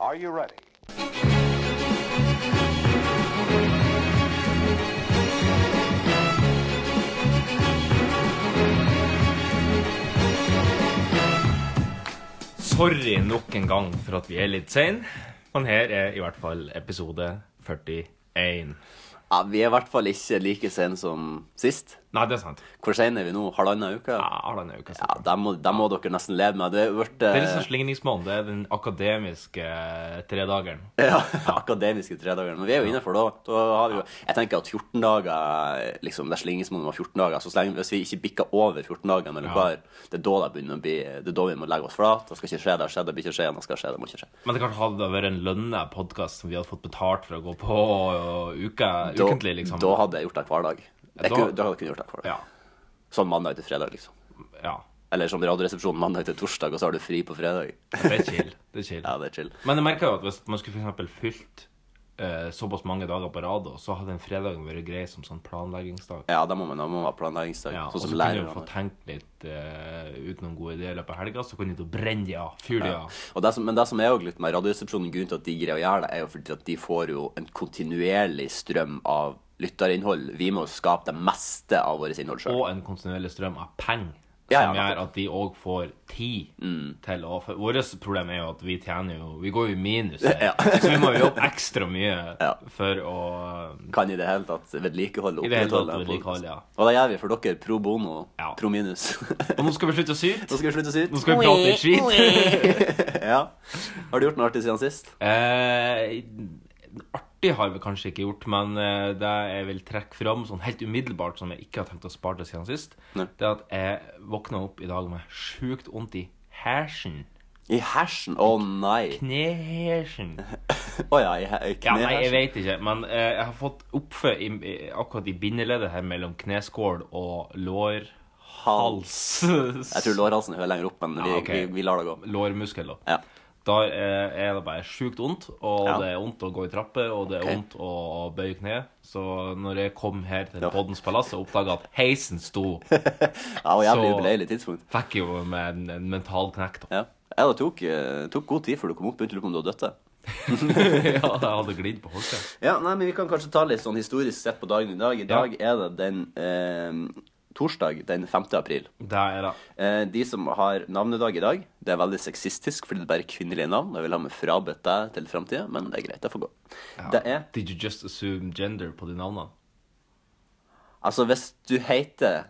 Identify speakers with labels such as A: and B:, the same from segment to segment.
A: Are you ready?
B: Sorry nok en gang for at vi er litt sein, men her er i hvert fall episode 41.
C: Ja, Vi er i hvert fall ikke like sene som sist.
B: Nei, det er sant.
C: Hvor sene er vi nå? Halvannen uke?
B: Ja, halvannen uke
C: Ja,
B: siden.
C: Da må, da må dere nesten leve med. Det er jo vært
B: Det er
C: eh,
B: liksom slingringsmåneden. Det er den akademiske eh, tredageren.
C: ja, akademiske tredager. Men vi er jo innenfor da. da har vi jo, jeg tenker at 14 dager liksom, Det er slingesmåneden var 14 dager. Så så lenge, hvis vi ikke bikker over 14 dager mellom
B: Ja.
C: hver, det er da det begynner å bli Det er da vi må legge oss flat. Det skal ikke skje, det har skjedd, det blir ikke skje, det skal skje, det må ikke skje.
B: Men det kanskje hadde det vært en lønna podkast som vi hadde fått betalt for å gå på og uke,
C: Da,
B: ukentlig, liksom.
C: da hadde jeg gjort det hver dag. Jeg
B: Da-
C: kunne, da hadde jeg kunnet gjort det hver dag.
B: Ja.
C: Sånn mandag til fredag, liksom.
B: ja.
C: Eller sånn Radioresepsjonen mandag til torsdag, og så har du fri på fredag.
B: Det er chill. Det er chill.
C: Ja, det er chill.
B: Men jeg merka jo at hvis man skulle for eksempel fylt eh, såpass mange dager på rad, og så hadde en fredag vært grei som sånn planleggingsdag.
C: Ja, da må man, da må man ha planleggingsdag.
B: Ja, og
C: sånn som
B: så kunne du få
C: lærerne.
B: tenkt litt eh, ut noen gode ideer i løpet av helga, så kunne du brenne de av, fyre de av.
C: Og det som, men det som er jo litt med Radioresepsjonen, grunnen til at de greier å gjøre det, er jo fordi at de får jo en kontinuerlig strøm av lytterinnhold. Vi må jo skape det meste av vårt innhold sjøl.
B: Og en kontinuerlig strøm av penger.
C: Ja, ja,
B: Som gjør
C: nettopp. Mm.
B: at de òg får tid til å for Vårt problem er jo at vi tjener jo Vi går jo i minus, her,
C: Ja.
B: så vi må jo jobbe ekstra mye
C: Ja.
B: for å
C: Kan i det hele tatt vedlikeholde
B: I det hele tatt
C: en podcast.
B: vedlikeholde, ja.
C: Og det gjør vi for dere, pro bono,
B: Ja.
C: pro minus. Nå
B: Og nå skal vi slutte å syte!
C: skal vi slutte å
B: Nå
C: syte.
B: skal vi prate litt skit!
C: Ja. Har du gjort noe artig siden sist?
B: Eh, artig har vi kanskje ikke gjort, men eh, det jeg vil trekke fram sånn helt umiddelbart, som jeg ikke har tenkt å spare til siden sist,
C: Nei.
B: det er at jeg våkna opp i dag med sjukt vondt i hersen.
C: I hersen? Å nei.
B: Knehersen.
C: Å ja, i he-
B: Ja, nei, jeg
C: knehersen.
B: vet ikke, men eh, jeg har fått oppfø i, i, akkurat i bindeleddet her mellom kneskål og lårhals.
C: Jeg tror lårhalsen er lenger opp, men vi,
B: Ja, ok.
C: vi, vi lar det gå.
B: Lårmuskel, da.
C: Ja.
B: Da eh, er det bare sjukt vondt, og
C: Ja.
B: det er vondt å gå i trapper, og det er
C: Ok.
B: vondt å å bøye kne. Så når jeg kom her til
C: Ja.
B: Poddens palass og oppdaga at heisen sto,
C: Ja, og jævlig
B: Så-
C: ubeleilig tidspunkt.
B: fikk jeg jo med en, en mental knekk, da.
C: Ja. ja, det tok, eh, tok god tid før du kom opp. Begynte å lure på om du hadde dødd. det.
B: ja, jeg hadde glidd på holtet.
C: Ja, nei, men Vi kan kanskje ta litt sånn historisk sett på dagen i dag. I dag er det den eh, torsdag den 5. april.
B: Det er det.
C: Eh, de som har navnedag i dag, det er veldig sexistisk fordi det bare er kvinnelige navn. Jeg vil ha med frabedt deg til framtida, men det er greit. Det får gå. Det er
B: Did you just assume gender på de navnene?
C: Altså, hvis du heter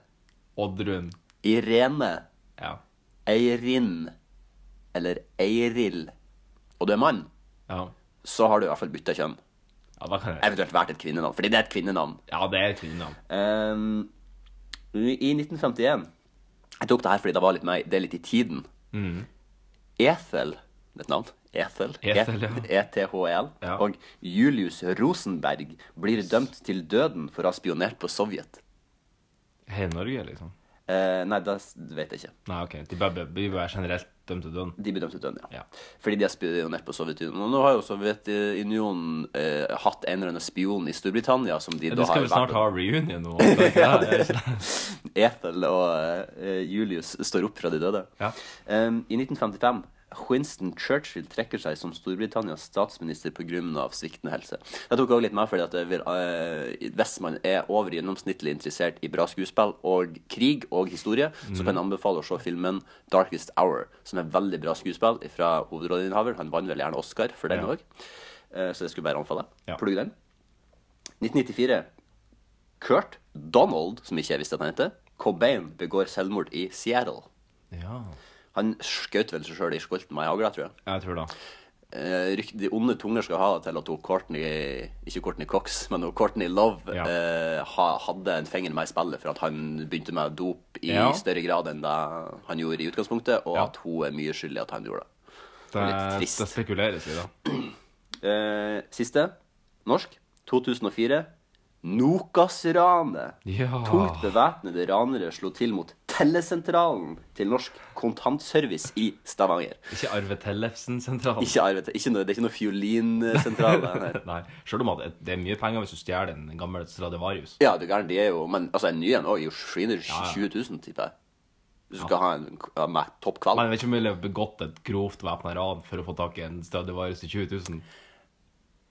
B: Oddrun.
C: Irene,
B: Ja.
C: Eirin eller Eiril, og du er mann,
B: Ja.
C: så har du i hvert fall bytta kjønn.
B: ja, da kan jeg
C: Eventuelt vært et kvinnenavn, fordi det er et kvinnenavn.
B: Ja, det er kvinnenavn.
C: Ehm, I 1951 Jeg tok det her fordi det var litt meg Det er litt i tiden
B: Mm.
C: Ethel Det er et navn Ethel E-
B: Ethel, ja.
C: E-T-H-E-L
B: Ja.
C: Og Julius Rosenberg Blir dømt til døden For å ha spionert på Sovjet
B: Hele Norge, liksom?
C: Eh, Nei, det s- vet jeg ikke
B: Nei, OK. De bare blir bare generelt dømt til døden.
C: De ble dømt til døden, ja.
B: Ja.
C: Fordi de har spionert på Sovjetunionen. Og nå har jo Sovjetunionen eh, hatt en eller annen spion i Storbritannia som de
B: Du
C: da har
B: skal vel snart
C: vært
B: ha reunion nå? er det ikke det? Er det ikke det?
C: Ethel og eh, Julius står opp fra de døde.
B: Ja.
C: Em, Ehm, I 1955 Winston Churchill trekker seg som Storbritannias statsminister pga. sviktende helse. Jeg tok også litt med fordi at jeg vil, eh, hvis man er over gjennomsnittlig interessert i bra skuespill og krig og historie,
B: Mm.
C: så kan jeg anbefale å se filmen 'Darkest Hour', som er veldig bra skuespill fra hovedrolleinnehaver. Han vant vel gjerne Oscar for den
B: Ja.
C: òg, så jeg skulle bare anbefale.
B: Ja.
C: Plugg den. 1994 Kurt Donald, som ikke jeg visste at han heter, Cobain begår selvmord i Seattle.
B: Ja,
C: Han skjøt vel seg sjøl i skolten med ei hagle, tror jeg.
B: jeg tror det.
C: Eh, rykt- de onde tunger skal ha det til at hun Courtney Ikke Courtney Cox, men hun Courtney Love
B: Ja.
C: eh, ha, hadde en finger med i spillet for at han begynte med dop i
B: Ja.
C: større grad enn det han gjorde i utgangspunktet, og
B: Ja.
C: at hun er mye skyldig i at han gjorde det.
B: Det,
C: litt trist.
B: det spekuleres i det.
C: Eh, siste, norsk, 2004. Nokas-ranet.
B: Ja.
C: Tungt bevæpnede ranere slo til mot tellesentralen til Norsk Kontantservice i Stavanger.
B: Ikke Arve Tellefsen-sentralen.
C: Ikke arvet, ikke noe, det er ikke noe fiolinsentral. det her.
B: Nei, Selv om at det er mye penger hvis du stjeler en gammel Stradivarius.
C: Ja, du gæren, de er jo Men altså, en ny en òg er jo 720 000, tipper jeg. Hvis du skal ha en ja, med toppkveld.
B: Men det er ikke mulig å ha begått et grovt væpna ran for å få tak i en stødigvare til 20 000.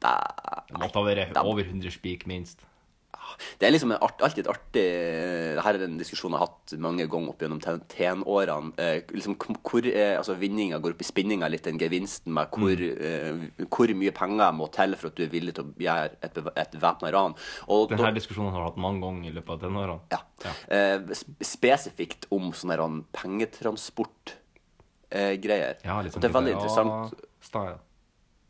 B: Det måtte ha vært over 100 spik, minst.
C: Det er liksom en art, alltid et artig Dette er en diskusjon jeg har hatt mange ganger opp gjennom ten- tenårene. Eh, liksom k- hvor eh, altså vinninga går opp i spinninga litt, den gevinsten med hvor, eh, hvor mye penger må til for at du er villig til å gjøre et, bev- et væpna ran. Og da-
B: Denne diskusjonen har vi hatt mange ganger i løpet av tenårene.
C: ja. Eh, sp- spesifikt om sånne her an- pengetransport eh, greier.
B: Ja, litt
C: Og
B: sånn
C: det er veldig
B: GTA
C: interessant.
B: style.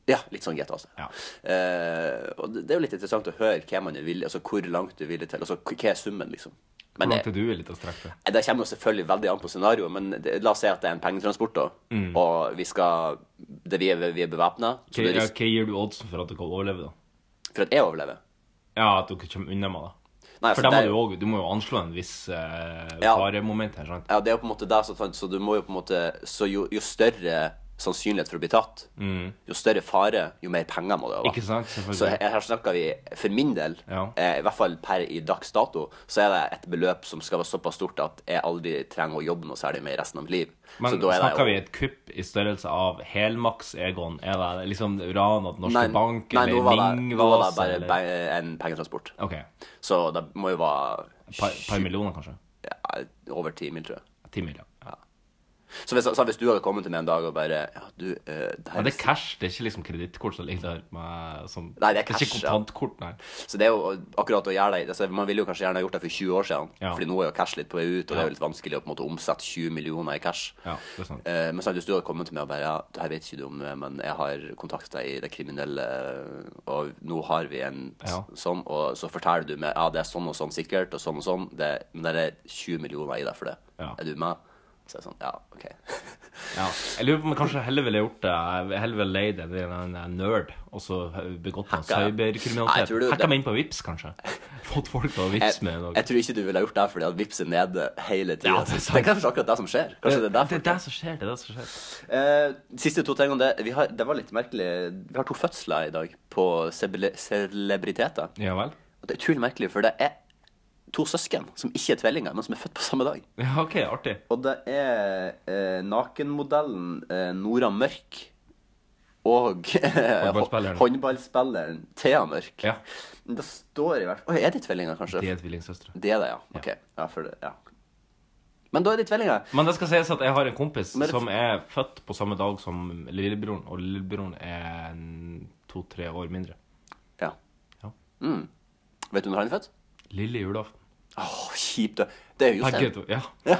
C: Ja, litt sånn GTA. Altså.
B: Ja.
C: Eh, og det det er jo litt interessant å høre hva man er villig, altså hvor langt du er villig til. Altså k- hva er summen, liksom.
B: Hvor
C: Men det,
B: langt er du villig til å strekke deg?
C: det kommer jo selvfølgelig veldig an på scenarioet, men det, la oss si at det er en pengetransport, da.
B: Mm.
C: Og vi skal det, Vi er, vi er bevæpna.
B: Hva ja, hva gir du oddsen for at du kan overleve, da?
C: For at jeg overlever.
B: Ja, at du kommer unna med det.
C: Nei, altså,
B: For
C: det
B: da må
C: er-
B: du, også, du må jo anslå en viss eh,
C: Ja.
B: faremoment her, sant?
C: Ja, det er jo på en måte der, så, sant, så du må jo på en måte Så jo, jo større sannsynlighet for å bli tatt, jo større fare, jo mer penger må det være.
B: Mm. Ikke sant?
C: Så
B: Selvfølgelig.
C: her, her snakker vi, for min del,
B: Ja.
C: eh, i hvert fall per i dags dato, så er det et beløp som skal være såpass stort at jeg aldri trenger å jobbe noe særlig med resten av mitt liv.
B: Men
C: så da er det
B: snakker
C: jo-
B: vi et kupp i størrelse av helmaks Egon? Er det liksom ran av Den norske bank
C: nei, nå
B: eller
C: var det, nå var det
B: Ringvas?
C: bare
B: eller-
C: be- en pengetransport.
B: OK.
C: Så det må jo være
B: Par, par millioner, kanskje?
C: ja, over ti mil, tror jeg.
B: Ti mil, ja. ja.
C: Så hvis, så hvis du hadde kommet til meg en dag og bare Ja, du, eh, det her
B: Men det er cash, det er ikke liksom kredittkort som ligger der med som
C: Nei, det er cash,
B: ikke
C: ja.
B: kontantkort, nei.
C: Så det er jo akkurat å gjøre det altså, Man ville jo kanskje gjerne gjort det for 20 år siden,
B: Ja.
C: Fordi nå er jo cash litt på vei ut, og det er jo litt vanskelig å på en måte omsette 20 millioner i cash.
B: Ja, det er sant.
C: Eh, men så hvis du hadde kommet til meg og bare Ja, det her vet ikke du om, men jeg har kontakta i det kriminelle, og nå har vi en s-
B: Ja.
C: sånn, og så forteller du meg Ja, det er sånn og sånn sikkert, og sånn og sånn, det, men det er 20 millioner i det for det.
B: Ja.
C: Er du med? Så er det sånn Ja, OK.
B: Ja. Jeg lurer på om jeg kanskje heller ville gjort det. Jeg heller ville leid en, en, en nerd og så begått noe
C: Hacka. Nei, jeg
B: cyberkriminalitet.
C: tror du-
B: Hacka meg inn på Vips, kanskje. Fått folk til å
C: Jeg,
B: vippse med noe.
C: jeg tror ikke du ville ha gjort det fordi at vips er nede hele tida.
B: Ja, det er
C: det,
B: sant.
C: er kanskje akkurat det som skjer. Kanskje det er derfor.
B: det er det som skjer. Det er det som skjer.
C: Eh, siste to tingene det, vi har, det var litt merkelig Vi har to fødsler i dag på sebele- celebriteter.
B: Ja vel?
C: Og det er utrolig merkelig, for det er to søsken som ikke er tvillinger, men som er født på samme dag.
B: Ja, OK, artig.
C: Og det er eh, nakenmodellen eh, Nora Mørk og eh,
B: Håndballspilleren.
C: håndballspilleren Thea Mørk.
B: Ja.
C: Men Det står i hvert fall Oi, er de tvillinger, kanskje?
B: De
C: Det,
B: er tvillingsøstre.
C: er det, ja. OK. Ja, for det, ja. Men da er de tvillinger.
B: Men det skal sies at jeg har en kompis
C: Men det-
B: som er født på samme dag som lillebroren, og lillebroren er en- to-tre år mindre.
C: Ja.
B: Ja.
C: Mm. Vet du når han er født?
B: Lille julaften.
C: Åh, kjipt. Det er jo Jostein.
B: Begge to. Ja.
C: Ja.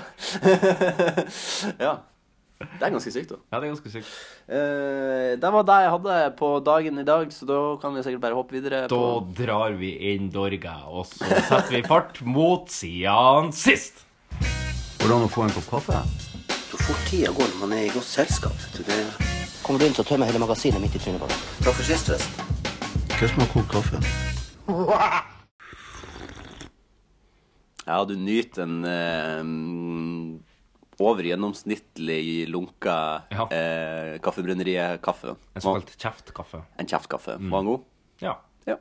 C: ja. Det er ganske sykt, da.
B: ja, det er ganske sykt.
C: Eh, det var det jeg hadde på dagen i dag, så da kan vi sikkert bare hoppe videre.
B: Da
C: På...
B: drar vi inn Dorga, og så setter vi fart mot siden sist.
A: Hvordan å få en kopp kaffe?
D: Så fort tida går når man er i godt selskap. vet du, Det...
E: Kommer du inn, så tømmer jeg hele magasinet midt i trynet på deg.
D: Takk for sist, forresten.
A: Hva som har kokt kaffe?
C: Ja, du nyter en eh, over gjennomsnittlig lunka
B: Ja.
C: eh, kaffebrenneriet-kaffe.
B: En såkalt kjeftkaffe.
C: En kjeftkaffe.
B: Mm.
C: Var den god?
B: Ja.
C: Ja.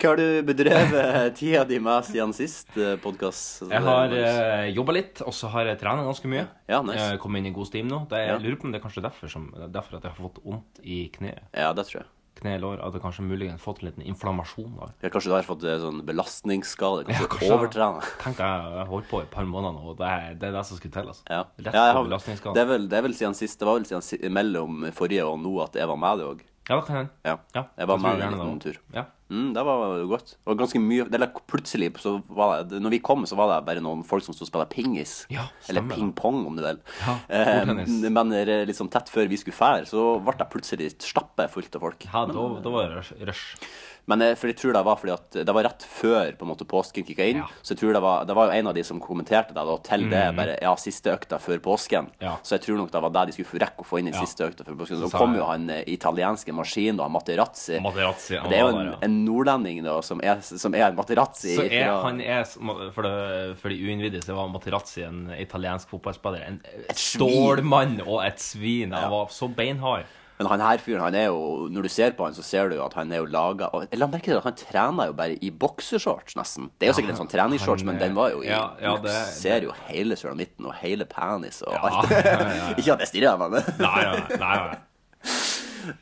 C: Hva har du bedrevet tida di med siden sist eh, podkast?
B: Jeg har eh, jobba litt, og så har jeg trent ganske mye.
C: Ja, nice.
B: Jeg kom inn i god steam nå. Det er,
C: Ja.
B: jeg lurer på om det er kanskje derfor, som, det er derfor at jeg har fått vondt i kneet.
C: Ja, det tror jeg.
B: Knelår. At jeg kanskje muligens fått en liten inflammasjon der.
C: Ja, kanskje du har fått eh, sånn belastningsskade? Kanskje,
B: kanskje
C: kanskje overtrene?
B: Tenk jeg jeg har holdt på i et par måneder nå, og det er det, er det som skulle til. altså.
C: Ja.
B: Rett
C: ja, jeg har,
B: på
C: det,
B: belastningsskade.
C: er vel, det er vel siden sist Det var vel siden si, mellom forrige og nå at jeg var med deg òg.
B: Ja, det kan hende.
C: Ja.
B: Ja,
C: Jeg var
B: jeg tror
C: med en
B: gjerne
C: liten
B: det
C: tur.
B: også. Ja.
C: Mm, det var jo godt. Og ganske mye eller Plutselig, så var det Når vi kom, så var det bare noen folk som sto og spilte pingis.
B: Ja,
C: eller
B: stemmer.
C: ping-pong, om du vil.
B: Ja,
C: Eh,
B: bordtennis.
C: men eh, liksom tett før vi skulle fære, så ble det plutselig stappe fullt av folk.
B: Ja, da, da var det rush- rush.
C: Men eh, for jeg tror det var fordi at det var rett før på en måte påsken kicka inn.
B: Ja. Mm.
C: Så jeg tror det var, det var jo en av de som kommenterte det, da, til det bare Ja, siste økta før påsken.
B: Ja.
C: Så jeg tror nok det var det de skulle få rekke å få inn i
B: Ja.
C: siste økta før påsken. Så
B: Så sa
C: kom
B: jeg-
C: jo han eh, italienske maskinen, da, Materazzi.
B: Materazzi, han
C: det er jo
B: var
C: en,
B: der, ja.
C: en nordlending da, som er, som er en Materazzi.
B: Så er
C: fra-
B: han er, som- for, det, for de uinnvidde, så var Materazzi en italiansk fotballspiller. En
C: Et svin.
B: stålmann og et svin. Han var så beinhard.
C: Men han her fyren, han er jo Når du ser på han, så ser du jo at han er jo laga La merke til at han trener jo bare i boksershorts, nesten. Det er jo sikkert en sånn treningsshorts,
B: han,
C: men den var jo i
B: ja, ja,
C: Du
B: det-
C: ser jo hele sulamitten og hele penis og alt.
B: ja, ja, ja.
C: Ikke at jeg stirrer, men
B: Nei, nei, nei. nei.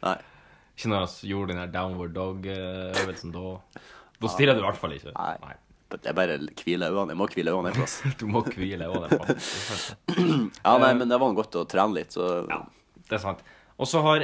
C: Nei.
B: Ikke når jeg gjorde den her downward dog-øvelsen da. Da stirrer du i hvert fall ikke.
C: Nei. Jeg bare hviler øynene. Jeg må hvile øynene en plass.
B: Du må hvile over det. faktisk.
C: Ja, nei, men det var godt å trene litt, så
B: Ja, det er sant. Og så har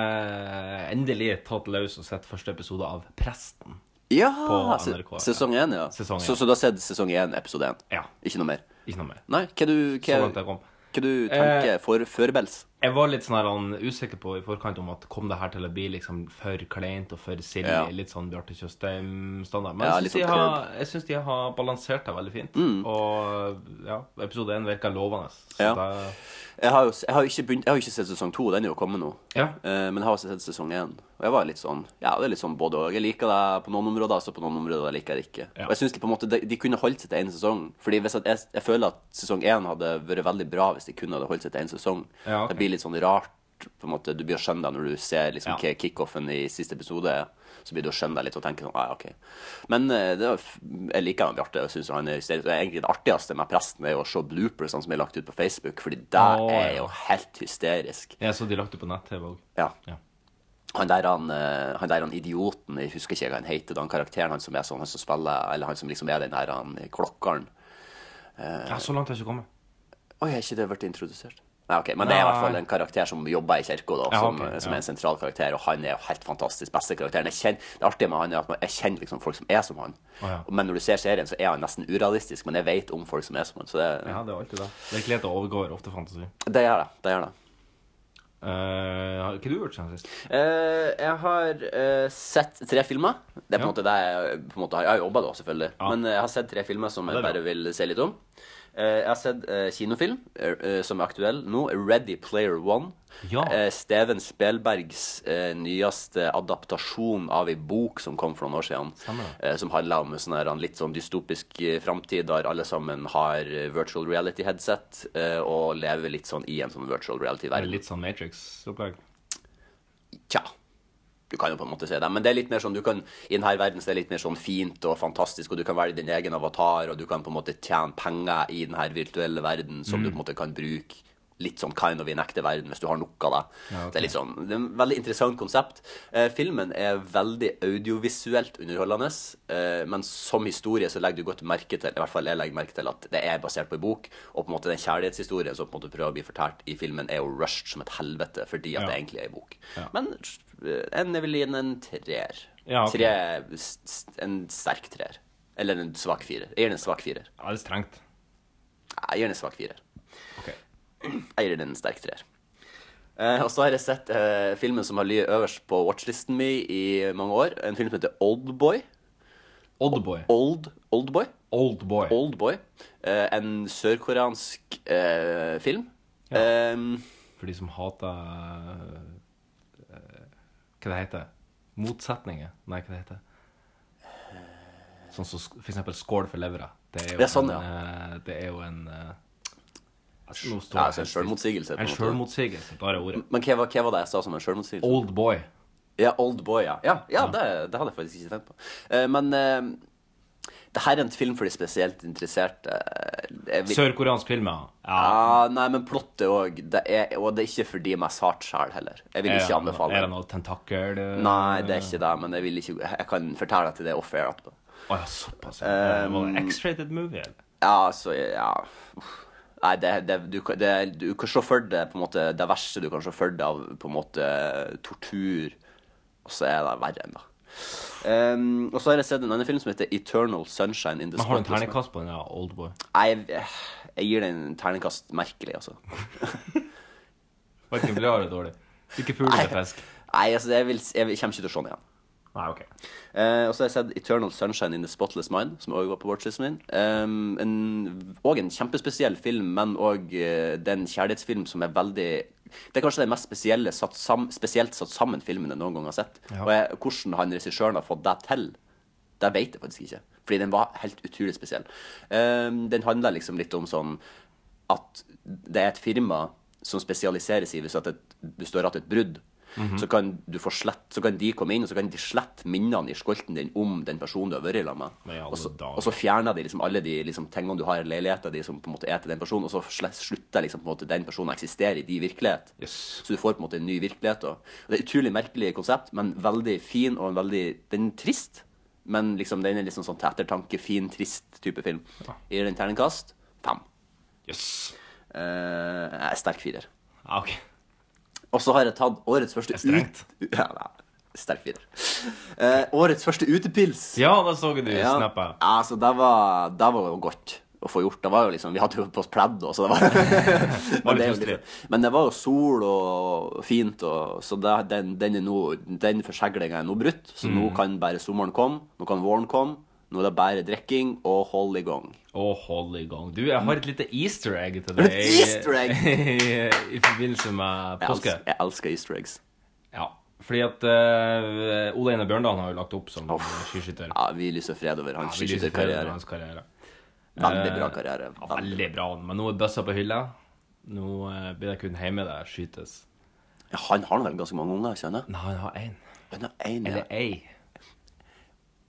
B: jeg endelig tatt løs og sett første episode av Presten.
C: Ja!
B: På
C: se-
B: NRK, ja.
C: Sesong én, ja.
B: Sesong én.
C: Så, så du har sett sesong én, episode én?
B: Ja.
C: Ikke noe mer?
B: Ikke noe mer.
C: Nei, hva du, hva,
B: Så langt jeg Eh. kom.
C: hva du tenker for førbels?
B: Jeg var litt sånn her, han, usikker på i forkant om at kom det her til å bli liksom for kleint og for silly.
C: Ja.
B: Litt sånn Bjarte Tjøstheim-standard. Men
C: Ja,
B: jeg
C: litt
B: syns de,
C: sånn Mm.
B: har- jeg synes de har balansert det veldig fint. Og ja, episode én virker lovende. Så
C: Ja.
B: det-
C: Jeg har jo s- jeg har jo ikke, begynt, jeg har jo ikke sett sesong to, den er jo kommet nå.
B: Ja.
C: Eh, men jeg har også sett sesong én. Og jeg var litt sånn Ja, det er litt sånn både og. Jeg liker det på noen områder, så på noen områder liker jeg det ikke.
B: Ja.
C: Og jeg synes de på en måte de, de kunne holdt seg til én sesong. Fordi hvis at jeg, jeg føler at sesong én hadde vært veldig bra hvis de kun hadde holdt seg til én sesong.
B: Ja, ok.
C: Det blir litt sånn rart. På en måte, du blir å skjønne det når du ser liksom
B: Ja.
C: hva kickoffen i siste episode er. Så blir du å skjønne deg litt og tenke sånn ah, ja, OK. Men eh, det er, f- jeg liker han Bjarte. Jeg synes han er hysterisk. Og egentlig det artigste med presten er jo å se bloopersene som er lagt ut på Facebook, fordi det
B: Å,
C: er
B: ja.
C: jo helt hysterisk.
B: Jeg så de lagt det på nett-TV òg.
C: Ja.
B: Ja.
C: Han der han, eh, han der han idioten, jeg husker ikke hva han heter, den karakteren han som er sånn, han som spiller, eller han som liksom er den der han klokkeren. Eh.
B: Ja, så langt har jeg ikke kommet.
C: Oi, er ikke det blitt introdusert? Nei, ok, men det er i hvert fall en karakter som jobber i kirka, da,
B: Ja,
C: som,
B: ok,
C: som er
B: ja.
C: en sentral karakter, og han er jo helt fantastisk, beste karakteren. Jeg kjenner, det artige med han er at man- jeg kjenner liksom folk som er som han.
B: Å, ja.
C: Men når du ser serien, så er han nesten urealistisk, men jeg vet om folk som er som han, så det,
B: Ja, det er alltid det. Virkelighet overgår ofte fantasi.
C: det gjør det, det gjør det.
B: Eh, har ikke du gjort siden sist?
C: Eh, jeg har eh, sett tre filmer. Det er på en
B: Ja.
C: måte det jeg på en måte har Jeg har jobba da, selvfølgelig.
B: Ja.
C: Men eh, jeg har sett tre filmer som
B: det
C: jeg
B: er bra.
C: bare vil se litt om. Eh, jeg har sett eh, kinofilm eh, eh, som er aktuell nå. Ready Player One.
B: Ja.
C: Eh, Steven Spelbergs eh, nyeste adaptasjon av ei bok som kom for noen år siden.
B: Stemmer det.
C: eh, som handler om en sånn her, en litt sånn dystopisk eh, framtid der alle sammen har eh, virtual reality-headset eh, og lever litt sånn i en sånn virtual
B: Det er
C: reality-verden.
B: litt sånn Matrix-opplegg.
C: Tja. Du kan jo på en måte se det, men det er litt mer sånn du kan, i denne verden så er det litt mer sånn fint og fantastisk, og du kan velge din egen avatar, og du kan på en måte tjene penger i denne virtuelle verden
B: Mm.
C: som du på en måte kan bruke litt sånn kind of i en ekte verden hvis du har nok av det.
B: Ja, ok.
C: Det er litt sånn, det er en veldig interessant konsept. Eh, filmen er veldig audiovisuelt underholdende, eh, men som historie så legger du godt merke til, i hvert fall jeg legger merke til, at det er basert på en bok, og på en måte den kjærlighetshistorien som på en måte prøver å bli fortalt i filmen er jo rushed som et helvete, fordi at
B: Ja.
C: det egentlig egentlig ei bok.
B: Ja.
C: Men eh, en jeg vil gi den en treer.
B: Ja, ok.
C: Tre, s- s- en sterk treer. Eller en svak firer. Jeg gir den en svak firer.
B: Ja, det er strengt.
C: Jeg gir den en svak firer.
B: Ok.
C: Jeg gir den en sterk treer. Eh, og så har jeg sett eh, filmen som har ligget øverst på watchlisten min i mange år. En film som heter Oldboy.
B: Oldboy.
C: Old, Oldboy?
B: Oldboy.
C: Oldboy. Eh, en sørkoreansk eh, film. Eh,
B: For de som hater eh, Hva det heter Motsetninger? Nei, hva det heter Sånn som sk- for eksempel skål for levra. Det er jo
C: Ja, sånn,
B: en eh, Det er jo en eh, altså, nå står
C: ja,
B: jeg
C: altså en
B: helt
C: selvmotsigelse,
B: stille.
C: på en
B: En
C: måte.
B: sjølmotsigelse. Da er det ordet.
C: men hva, var- hva var det jeg sa som en sjølmotsigelse?
B: Oldboy.
C: Ja, Old Boy, ja. Ja, ja Det, det hadde jeg faktisk ikke tenkt på. Eh, men uh, det her er en film for de spesielt interesserte. Eh, jeg vil-
B: Sørkoreansk film, ja. ja.
C: Ja, Ah, nei, men plottet òg. Det er, og det er ikke fordi meg sart sjæl heller. Jeg vil ikke anbefale
B: Er det
C: den.
B: noe tentakel eh,
C: Nei, det er ikke det, men jeg, vil ikke, jeg kan fortelle deg til det off air etterpå.
B: Å ja, såpass. ja. Det var en X-rated movie, eller?
C: Ja, altså, ja uff. Nei, det, det, du, kan- det, du kan se for deg på en måte det verste du kan se for deg av på en måte tortur, og så er det verre enn det. Ehm, og så har jeg sett en annen film som heter Eternal Sunshine in the
B: Men har du en
C: Spotless Mind.
B: terningkast på den? Ja, Oldboy.
C: Nei, Jeg, jeg gir den en terningkast merkelig, altså.
B: Verken bra eller dårlig. Ikke fugl
C: Nei.
B: eller fisk.
C: Nei, altså, jeg, vil, jeg, vil- kommer ikke til å se den igjen.
B: Nei, ok.
C: Eh, og så har jeg sett Eternal Sunshine in the Spotless Mind, som også var på watchlisten min. Um, en, og en kjempespesiell film, men òg uh, det er en kjærlighetsfilm som er veldig Det er kanskje den mest spesielle satt sam, spesielt satt sammen filmen jeg noen gang har sett.
B: Ja.
C: Og jeg, hvordan han regissøren har fått det til, det vet jeg faktisk ikke. Fordi den var helt utrolig spesiell. Um, den handler liksom litt om sånn at det er et firma som spesialiserer seg hvis at det består av et brudd.
B: Mhm.
C: så, kan du få slett, så kan de komme inn, og så kan de slette minnene i skolten din om den personen du har vært i lag med.
B: Men i alle
C: Og så-
B: dager.
C: Og så fjerner de liksom alle de liksom, tingene du har i leiligheten din som på en måte er til den personen, og så slett, slutter liksom, på en måte den personen å eksistere i din virkelighet.
B: Yes.
C: Så du får på en måte en ny virkelighet. Og. Og det er et utrolig merkelig konsept, men veldig fin og en veldig Den er trist, men liksom, den er liksom sånn til ettertanke, fin, trist type film. Gir den terningkast fem.
B: Yes.
C: Eh, jeg er sterk firer.
B: Ja, ok.
C: Og så har jeg tatt årets første
B: Det er strengt.
C: ut- Ja, nei, sterk firer. Eh, årets første utepils.
B: Ja, da så jeg du
C: Ja,
B: snappa.
C: altså, det var, det var jo godt å få gjort. Det var jo liksom, Vi hadde jo på oss pledd og så det var, men, det er jo
B: koselig.
C: liksom, men det var jo sol og fint, og, så det, den, den, er nå- den forseglinga er nå brutt. Så
B: Mm.
C: nå kan bare sommeren komme, nå kan våren komme. Nå er det bare drikking og hold i gang.
B: Å, hold i gang. Du, jeg har et lite easter egg til deg.
C: Et easter egg?
B: I, forbindelse med
C: Jeg,
B: påske.
C: elsker, jeg elsker easter eggs.
B: Ja. Fordi at eh, Ole Einar Bjørndalen har jo lagt opp som skiskytter.
C: Ja, Vi lyser fred over hans
B: Vi lyser fred over
C: skiskytterkarriere.
B: hans karriere.
C: Veldig bra
B: Eh,
C: karriere.
B: Ja, veldig bra, men nå er bøssa på hylla. Nå eh, blir det kun hjemme der skytes.
C: Ja, Han har nå vel ganske mange unger, kjenner jeg.
B: Nei, han har én.
C: Han har én, ja.
B: Eller ei.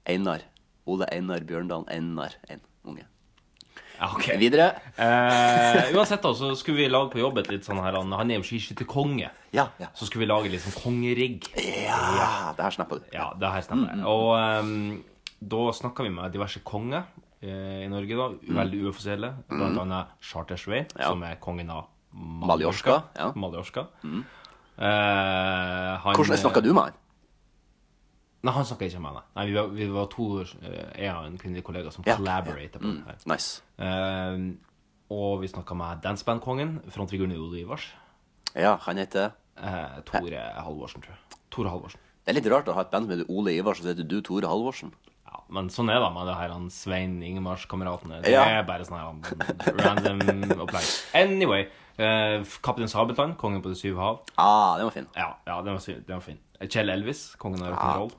C: Einar. Ole Einar Bjørndalen Einar. En unge.
B: Ja, ok.
C: Videre.
B: Eh, uansett, da, så skulle vi lage på jobb et litt sånn her Han han er jo skiskytterkonge.
C: Ja, ja.
B: Så skulle vi lage litt sånn kongerigg.
C: Ja, det her snappa du.
B: Ja, det her stemmer.
C: Mm.
B: Og ehm, da snakka vi med diverse konger eh, i Norge, da. Veldig uoffisielle. Blant annet Chartersvei,
C: Mm. Ja.
B: som er kongen av Mallorca.
C: Mallorca, ja. Mm.
B: Mallorca. Eh, han, eh,
C: Hvordan snakka du med han?
B: Nei, han snakka ikke med meg. Nei, vi var, vi var to eh, Jeg og en kvinnelig kollega som
C: Ja. Mm.
B: collaborated på det her.
C: Nice.
B: Ehm, og vi snakka med dansebandkongen, frontfiguren i Ole Ivars.
C: Ja, han heter
B: Eh, Tore Halvorsen, tror jeg. Tore Halvorsen.
C: Det er litt rart å ha et band med Ole Ivarsen, så heter du Tore Halvorsen.
B: Ja, men sånn er det med det her han Svein Ingemars-kameratene. Det
C: Ja.
B: er bare sånn her han, random opplegg. Anyway. eh, Kaptein Sabeltann, kongen på De syv hav.
C: Ah, den var fin.
B: Ja, ja den, var, sy- den var fin. Kjell Elvis, kongen av rock'n'roll.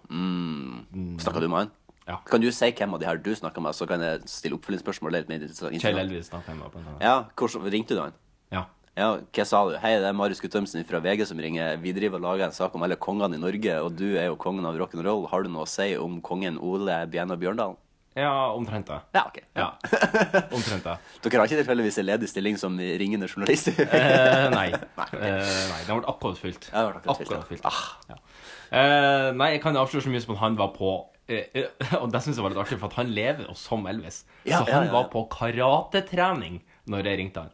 C: Snakka du med han?
B: Mm. Ja.
C: Kan du si hvem av de her du snakka med, så kan jeg stille oppfølgingsspørsmål? Det er Litt mer interessant.
B: Kjell Elvis snakka jeg med på en gang.
C: Ja, hvordan ringte du han?
B: Ja.
C: Ja, hva sa du? Hei, det er Marius Guttormsen fra VG som ringer. Vi driver og lager en sak om alle kongene i Norge, og du er jo kongen av rock'n'roll. Har du noe å si om kongen Ole Bjena Bjørndalen?
B: ja, omtrent det.
C: Ja, OK.
B: Ja, omtrent det.
C: Dere har ikke tilfeldigvis en ledig stilling som ringende journalist?
B: Eh, nei. Eh, nei. Den ble akkurat fylt.
C: Ja, den ble akkurat fylt, ja. Ah.
B: ja. Eh, nei, jeg kan avsløre så mye som at han var på eh, eh, Og det syns jeg var litt artig, for at han lever jo som Elvis.
C: Ja,
B: så
C: ja,
B: han
C: ja, ja.
B: var på karatetrening når jeg ringte han.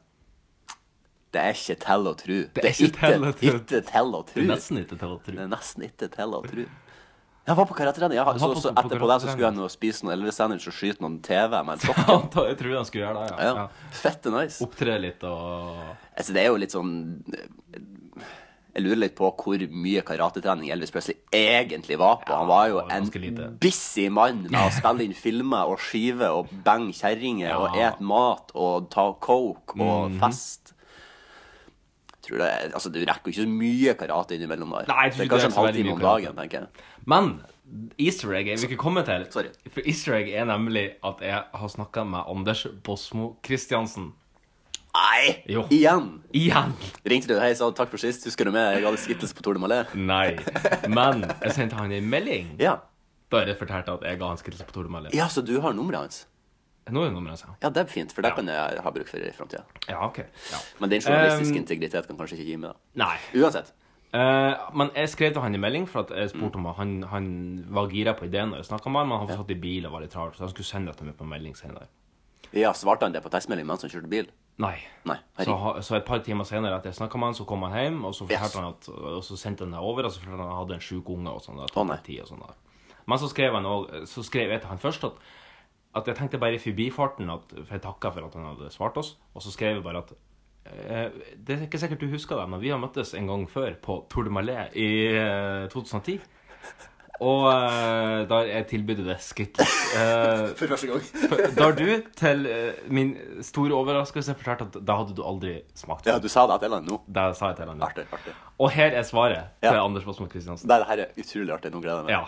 C: Det er ikke til å tru.
B: Det er ikke til å tru.
C: Ikke til å tru.
B: Det er nesten ikke til å
C: Det
B: tro.
C: er nesten ikke til å tru. Jeg var på karatetrening. Ja,
B: var
C: så,
B: på-
C: så
B: på
C: etterpå det så
B: karatetrening.
C: skulle jeg nå spise noen Elvis-sandwich og skyte noen TV med en sokk.
B: Han ta- jeg tror han skulle gjøre det, ja.
C: Ja,
B: ja.
C: fette nice.
B: Opptre litt og
C: Altså, det er jo litt sånn Jeg lurer litt på hvor mye karatetrening Elvis Presley egentlig var på. Han var jo
B: det var ganske
C: en
B: lite.
C: busy mann med å spille inn filmer og skiver og bange kjerringer og
B: Ja. Mhm.
C: et mat og ta coke og fest. Jeg Tror det, er- altså, du rekker jo ikke så mye karate innimellom der.
B: Nei, jeg tror
C: det er kanskje
B: ikke det er
C: en
B: så veldig
C: halvtime om
B: mye
C: dagen, tenker jeg.
B: Men easter egg er vi ikke kommet til.
C: Sorry.
B: For easter egg er nemlig at jeg har snakka med Anders Bosmo Christiansen.
C: Nei!
B: Jo.
C: Igjen!
B: Igjen!
C: Ringte du hei, sa takk for sist, husker du meg? Jeg hadde skittles på Tour de Malais.
B: Nei. Men jeg sendte han en melding.
C: Ja.
B: Bare fortalte at jeg ga han skrittelse på Tour de Malais.
C: ja, så du har nummeret hans?
B: Nå er nummeret hans.
C: Ja, det er fint, for det kan jeg ha bruk for i framtida.
B: Ja, ok. Ja.
C: Men din journalistiske
B: Um,
C: integritet kan kanskje ikke gi meg det.
B: Nei.
C: Uansett.
B: Eh, men jeg skrev til han en melding, for at jeg spurte om han, han var gira på ideen. når jeg snakket med han, Men han satt i bil og var litt travel, så han skulle sende dette med på en melding senere.
C: Ja, svarte han det på tekstmelding mens han kjørte bil?
B: Nei.
C: Nei.
B: Så,
C: Herregud.
B: ha- så et par timer senere etter jeg snakket med han, så kom han hjem, og så,
C: Yes.
B: fortalte han at, og så sendte han det over, og så fortalte han at han hadde en sjuk unge og sånn. da,
C: Å, nei.
B: tok tid og sånn da. Men så skrev, han også, så skrev jeg til han først at, at jeg tenkte bare i forbifarten at, For jeg takka for at han hadde svart oss, og så skrev jeg bare at eh, det er ikke sikkert du husker det, men vi har møttes en gang før på Tour de Malais i eh, 2010. Og eh, der jeg tilbød det skrittet. Eh,
C: For første gang.
B: da du til eh, min store overraskelse fortalte at da hadde du aldri smakt.
C: Ja, du sa det til han nå.
B: Det sa jeg til han.
C: Artig. artig.
B: Og her er svaret
C: Ja.
B: til Anders Baasmo Christiansen.
C: Nei, det her er utrolig artig. Nå gleder jeg meg.
B: Ja.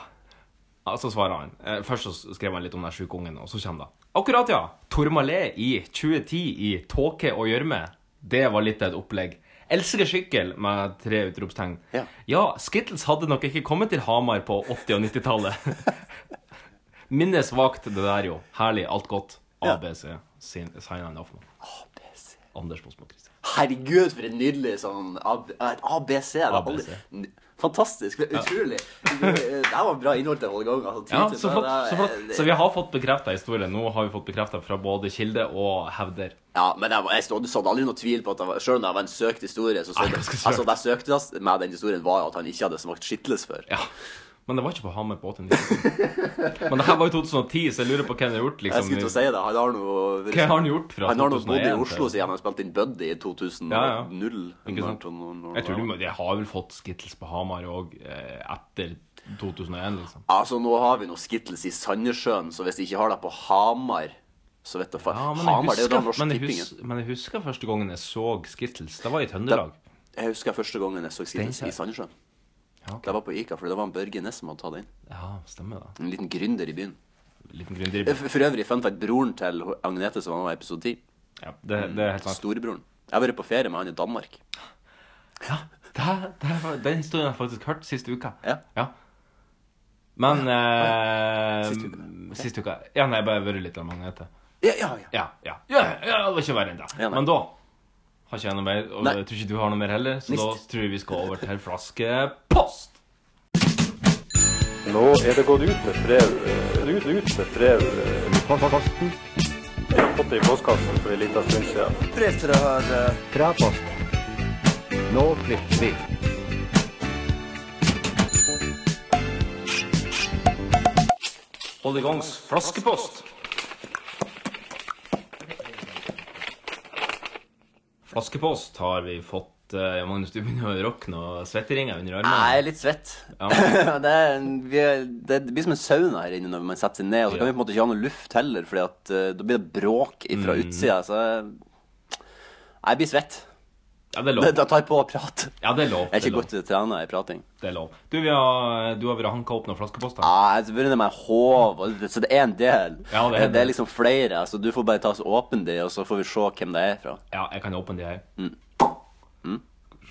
B: Ja, Så svarer han. Eh, Først så skrev han litt om den sjuke ungen, og så kommer det. Akkurat, ja. Tormalé i 2010 i tåke og gjørme. Det var litt av et opplegg. Elsker sykkel med tre utropstegn.
C: Ja.
B: Skittles hadde nok ikke kommet til Hamar på 80- og 90-tallet. Minnes vagt det der, jo. Herlig. Alt godt.
C: Ja.
B: ABC. Sin- Signa and Hoffman.
C: ABC.
B: Anders Bosmo Christian.
C: Herregud, for en nydelig sånn AB, et ABC. det har
B: ABC.
C: aldri- Fantastisk. Utrolig. Det her var bra innhold til Holger Gang. Altså,
B: Ja,
C: tid til
B: så
C: det, eh,
B: flott.
C: det-
B: Så, flott. så vi har fått bekrefta historien. Nå har vi fått bekrefta fra både kilde og hevder.
C: Ja, men jeg, var- jeg stod, så hadde aldri noe tvil på at det var, selv om det var en søkt historie, så stod,
B: Nei,
C: det-
B: ganske søkt.
C: altså, det jeg søkte oss med den historien, var at han ikke hadde smakt skitles før.
B: Ja. Men det var ikke på Hamar på 89. Men det her var i 2010, så jeg lurer på hva han har gjort.
C: Jeg
B: liksom.
C: skulle til å si det. Han har noe
B: Hva har han gjort fra
C: Han har nå bodd i
B: 2001
C: Oslo
B: til-
C: siden han spilte inn Buddy i 2000.
B: Ja, ja. Ikke sant? Jeg tror
C: Ja,
B: du må, jeg har vel fått Skittles på Hamar òg eh, etter 2001, liksom.
C: altså, nå har vi noe Skittles i Sandnessjøen, så hvis de ikke har det på Hamar, så vet du faen.
B: Ja, men,
C: Hamar, det
B: jeg
C: er jo da
B: husker,
C: Norsk
B: men, jeg
C: Tipping er.
B: husker, men jeg husker første gangen jeg så Skittles. Det var i Trøndelag.
C: Jeg husker første gangen jeg så Skittles i Sandnessjøen.
B: Ja, ok.
C: Det var på Ica, for det var en Børge Næss som hadde tatt det inn.
B: ja, stemmer det.
C: En liten gründer i byen.
B: Liten gründer.
C: For, for øvrig, fun fact, broren til Agnete som var med i episode 10,
B: Ja, det, det er helt sant.
C: storebroren Jeg har vært på ferie med han i Danmark.
B: Ja, det, det, var- den historien har jeg faktisk hørt siste uka.
C: Ja.
B: Men eh,
C: Siste uka, ok.
B: Siste uka. Ja, nei, jeg bare har vært litt av magnetet.
C: Ja, ja, ja.
B: Ja, ja. ja, ja det var ikke verre enn det.
C: Ja, nei.
B: Men da har ikke jeg noe mer, og
C: Nei.
B: jeg tror ikke du har noe mer heller, så
C: Nist.
B: da tror jeg vi skal over til flaskepost.
F: Nå er det gått ut med brev. Ut, ut med brev. Jeg har fått det i postkassen for en liten stund siden.
A: Nå klipper vi.
B: Hold i gangs flaskepost. Flaskepost har vi fått eh, Magnus, du begynner å rokne og svetteringer under armene.
C: Jeg er litt svett.
B: Ja.
C: det, er, en- vi er, det blir som en sauna her inne når man setter seg ned, og så kan
B: Ja.
C: vi på en måte ikke ha noe luft heller, Fordi at eh, da blir det bråk fra
B: Mm.
C: utsida. Så jeg, jeg blir svett.
B: Ja, det er lov.
C: Da tar jeg på å prate.
B: Ja, det er lov.
C: Jeg er
B: Det er
C: ikke
B: lov.
C: godt til å trene i prating.
B: Det er lov. Du, vi har, du har vært hanka opp noen flaskeposter.
C: Ja, jeg begynner med håv, og det- så det er en del.
B: Ja, det er en
C: det er
B: del.
C: liksom flere, så du får bare ta så åpen de, og så får vi se hvem det er fra.
B: Ja, jeg kan åpne de her.
C: Mm.
B: Mm.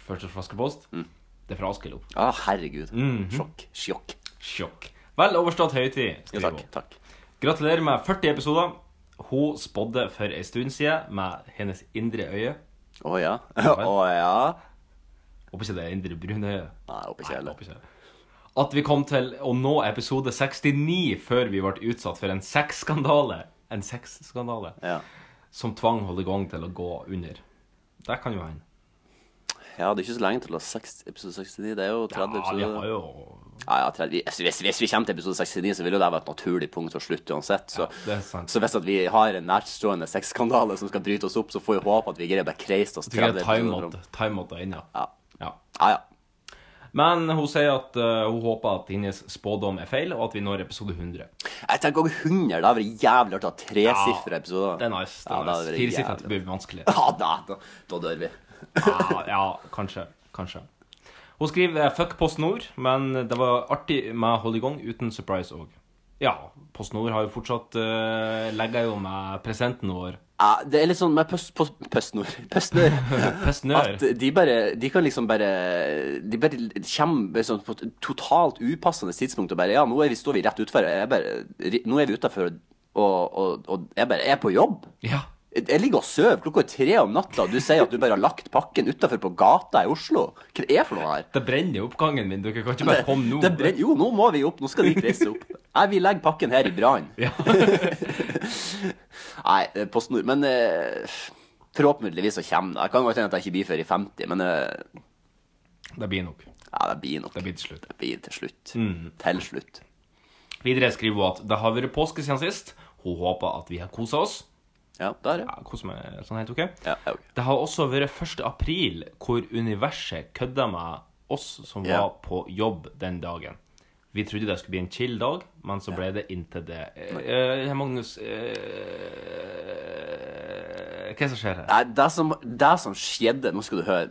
B: Første flaskepost. Det er fra Askelo.
C: Å, herregud.
B: Mhm.
C: Sjokk. Sjokk.
B: Sjokk. Vel overstått høytid.
C: Jo,
B: skriver
C: takk.
B: hun.
C: takk.
B: Gratulerer med 40 episoder. Hun spådde for ei stund siden med hennes indre øye.
C: Å ja.
B: vel.
C: Å ja.
B: Håper ikke det er indre brune øye.
C: Nei, håper ikke
B: Nei,
C: heller.
B: håper ikke det. At vi kom til å nå episode 69 før vi ble utsatt for en sexskandale. En sexskandale
C: Ja.
B: som tvang Holde Gang til å gå under. Det kan jo hende.
C: ja, det er ikke så lenge til å ha seks- episode 69. Det er jo 30
B: Ja, vi
C: episoder.
B: har jo
C: Ja, ja, 30. Altså, hvis, hvis vi kommer til episode 69, så vil jo det være et naturlig punkt å slutte uansett. Så,
B: det er sant.
C: så hvis at vi har en nærstående sexskandale som skal bryte oss opp, så får vi håpe at vi greier å bare kreise oss
B: Vi har
C: 30 episoder. fram.
B: timeout- timeout der inne.
C: Ja.
B: Ja.
C: Ja, ja.
B: Men hun sier at eh, hun håper at hennes spådom er feil, og at vi når episode 100.
C: Jeg tenker også 100. Det hadde vært jævlig artig å ha tresifra episoder.
B: Det er nice. det
C: Ja,
B: er
C: det
B: nice.
C: hadde vært
B: Fire sitter
C: jævlig.
B: blir vanskelig.
C: Ja, da, da, da dør vi.
B: Ja, ja, kanskje. Kanskje. Hun skriver eh, 'fuck Post Nord', men det var artig med Hold i gang uten surprise òg. Ja, Post Nord har jo fortsatt uh, legger jo med presenten vår
C: Ja, det er litt sånn med pøst, pøst, pøstnord Pøstnør. At
B: Pestnør.
C: de bare De kan liksom bare De bare kommer bare sånn på et totalt upassende tidspunkt og bare Ja, nå er vi, står vi rett utfor. Jeg bare, ri- nå er vi utafor, og, og, og jeg bare er på jobb.
B: Ja.
C: Jeg ligger og sover klokka er tre om natta, og du sier at du bare har lagt pakken utafor på gata i Oslo. Hva er det for noe her?
B: Det brenner i oppgangen min. Dere kan ikke bare komme nå.
C: Det brenner, jo, nå må vi opp. Nå skal de reise opp. Nei, vi legger pakken her i brann.
B: Ja.
C: Nei, eh, Post Nord. Men eh, forhåpentligvis så kommer det. Jeg kan godt hende at jeg ikke blir før i 50, men eh,
B: Det blir nok.
C: ja, det blir nok.
B: Det blir Mm. til slutt.
C: Det blir til slutt. Til slutt.
B: Videre skriver hun at det har vært påske siden sist. Hun håper at vi har kosa oss.
C: Ja, der, ja.
B: Ja, koser meg sånn helt ok.
C: Ja, ja, ok.
B: Det har også vært 1. april hvor universet kødda med oss som
C: Ja.
B: var på jobb den dagen. Vi trodde det skulle bli en chill dag, men så ble det inntil det. Eh, eh, Magnus eh, Hva er det som skjer her?
C: Nei, det som, det som skjedde Nå skal du høre.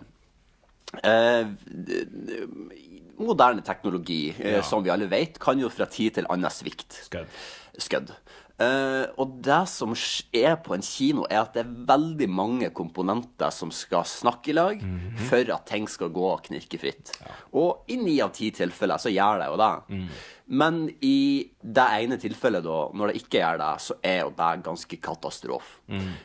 C: Eh, d- d- moderne teknologi, eh,
B: Ja.
C: som vi alle vet, kan jo fra tid til annen svikte.
B: Skudd.
C: Skudd. Eh, og det som sk- er på en kino, er at det er veldig mange komponenter som skal snakke i lag for at ting skal gå knirkefritt. Og i ni av ti tilfeller så gjør det jo det. Men i det ene tilfellet, da, når det ikke gjør det, så er jo det ganske katastrofe.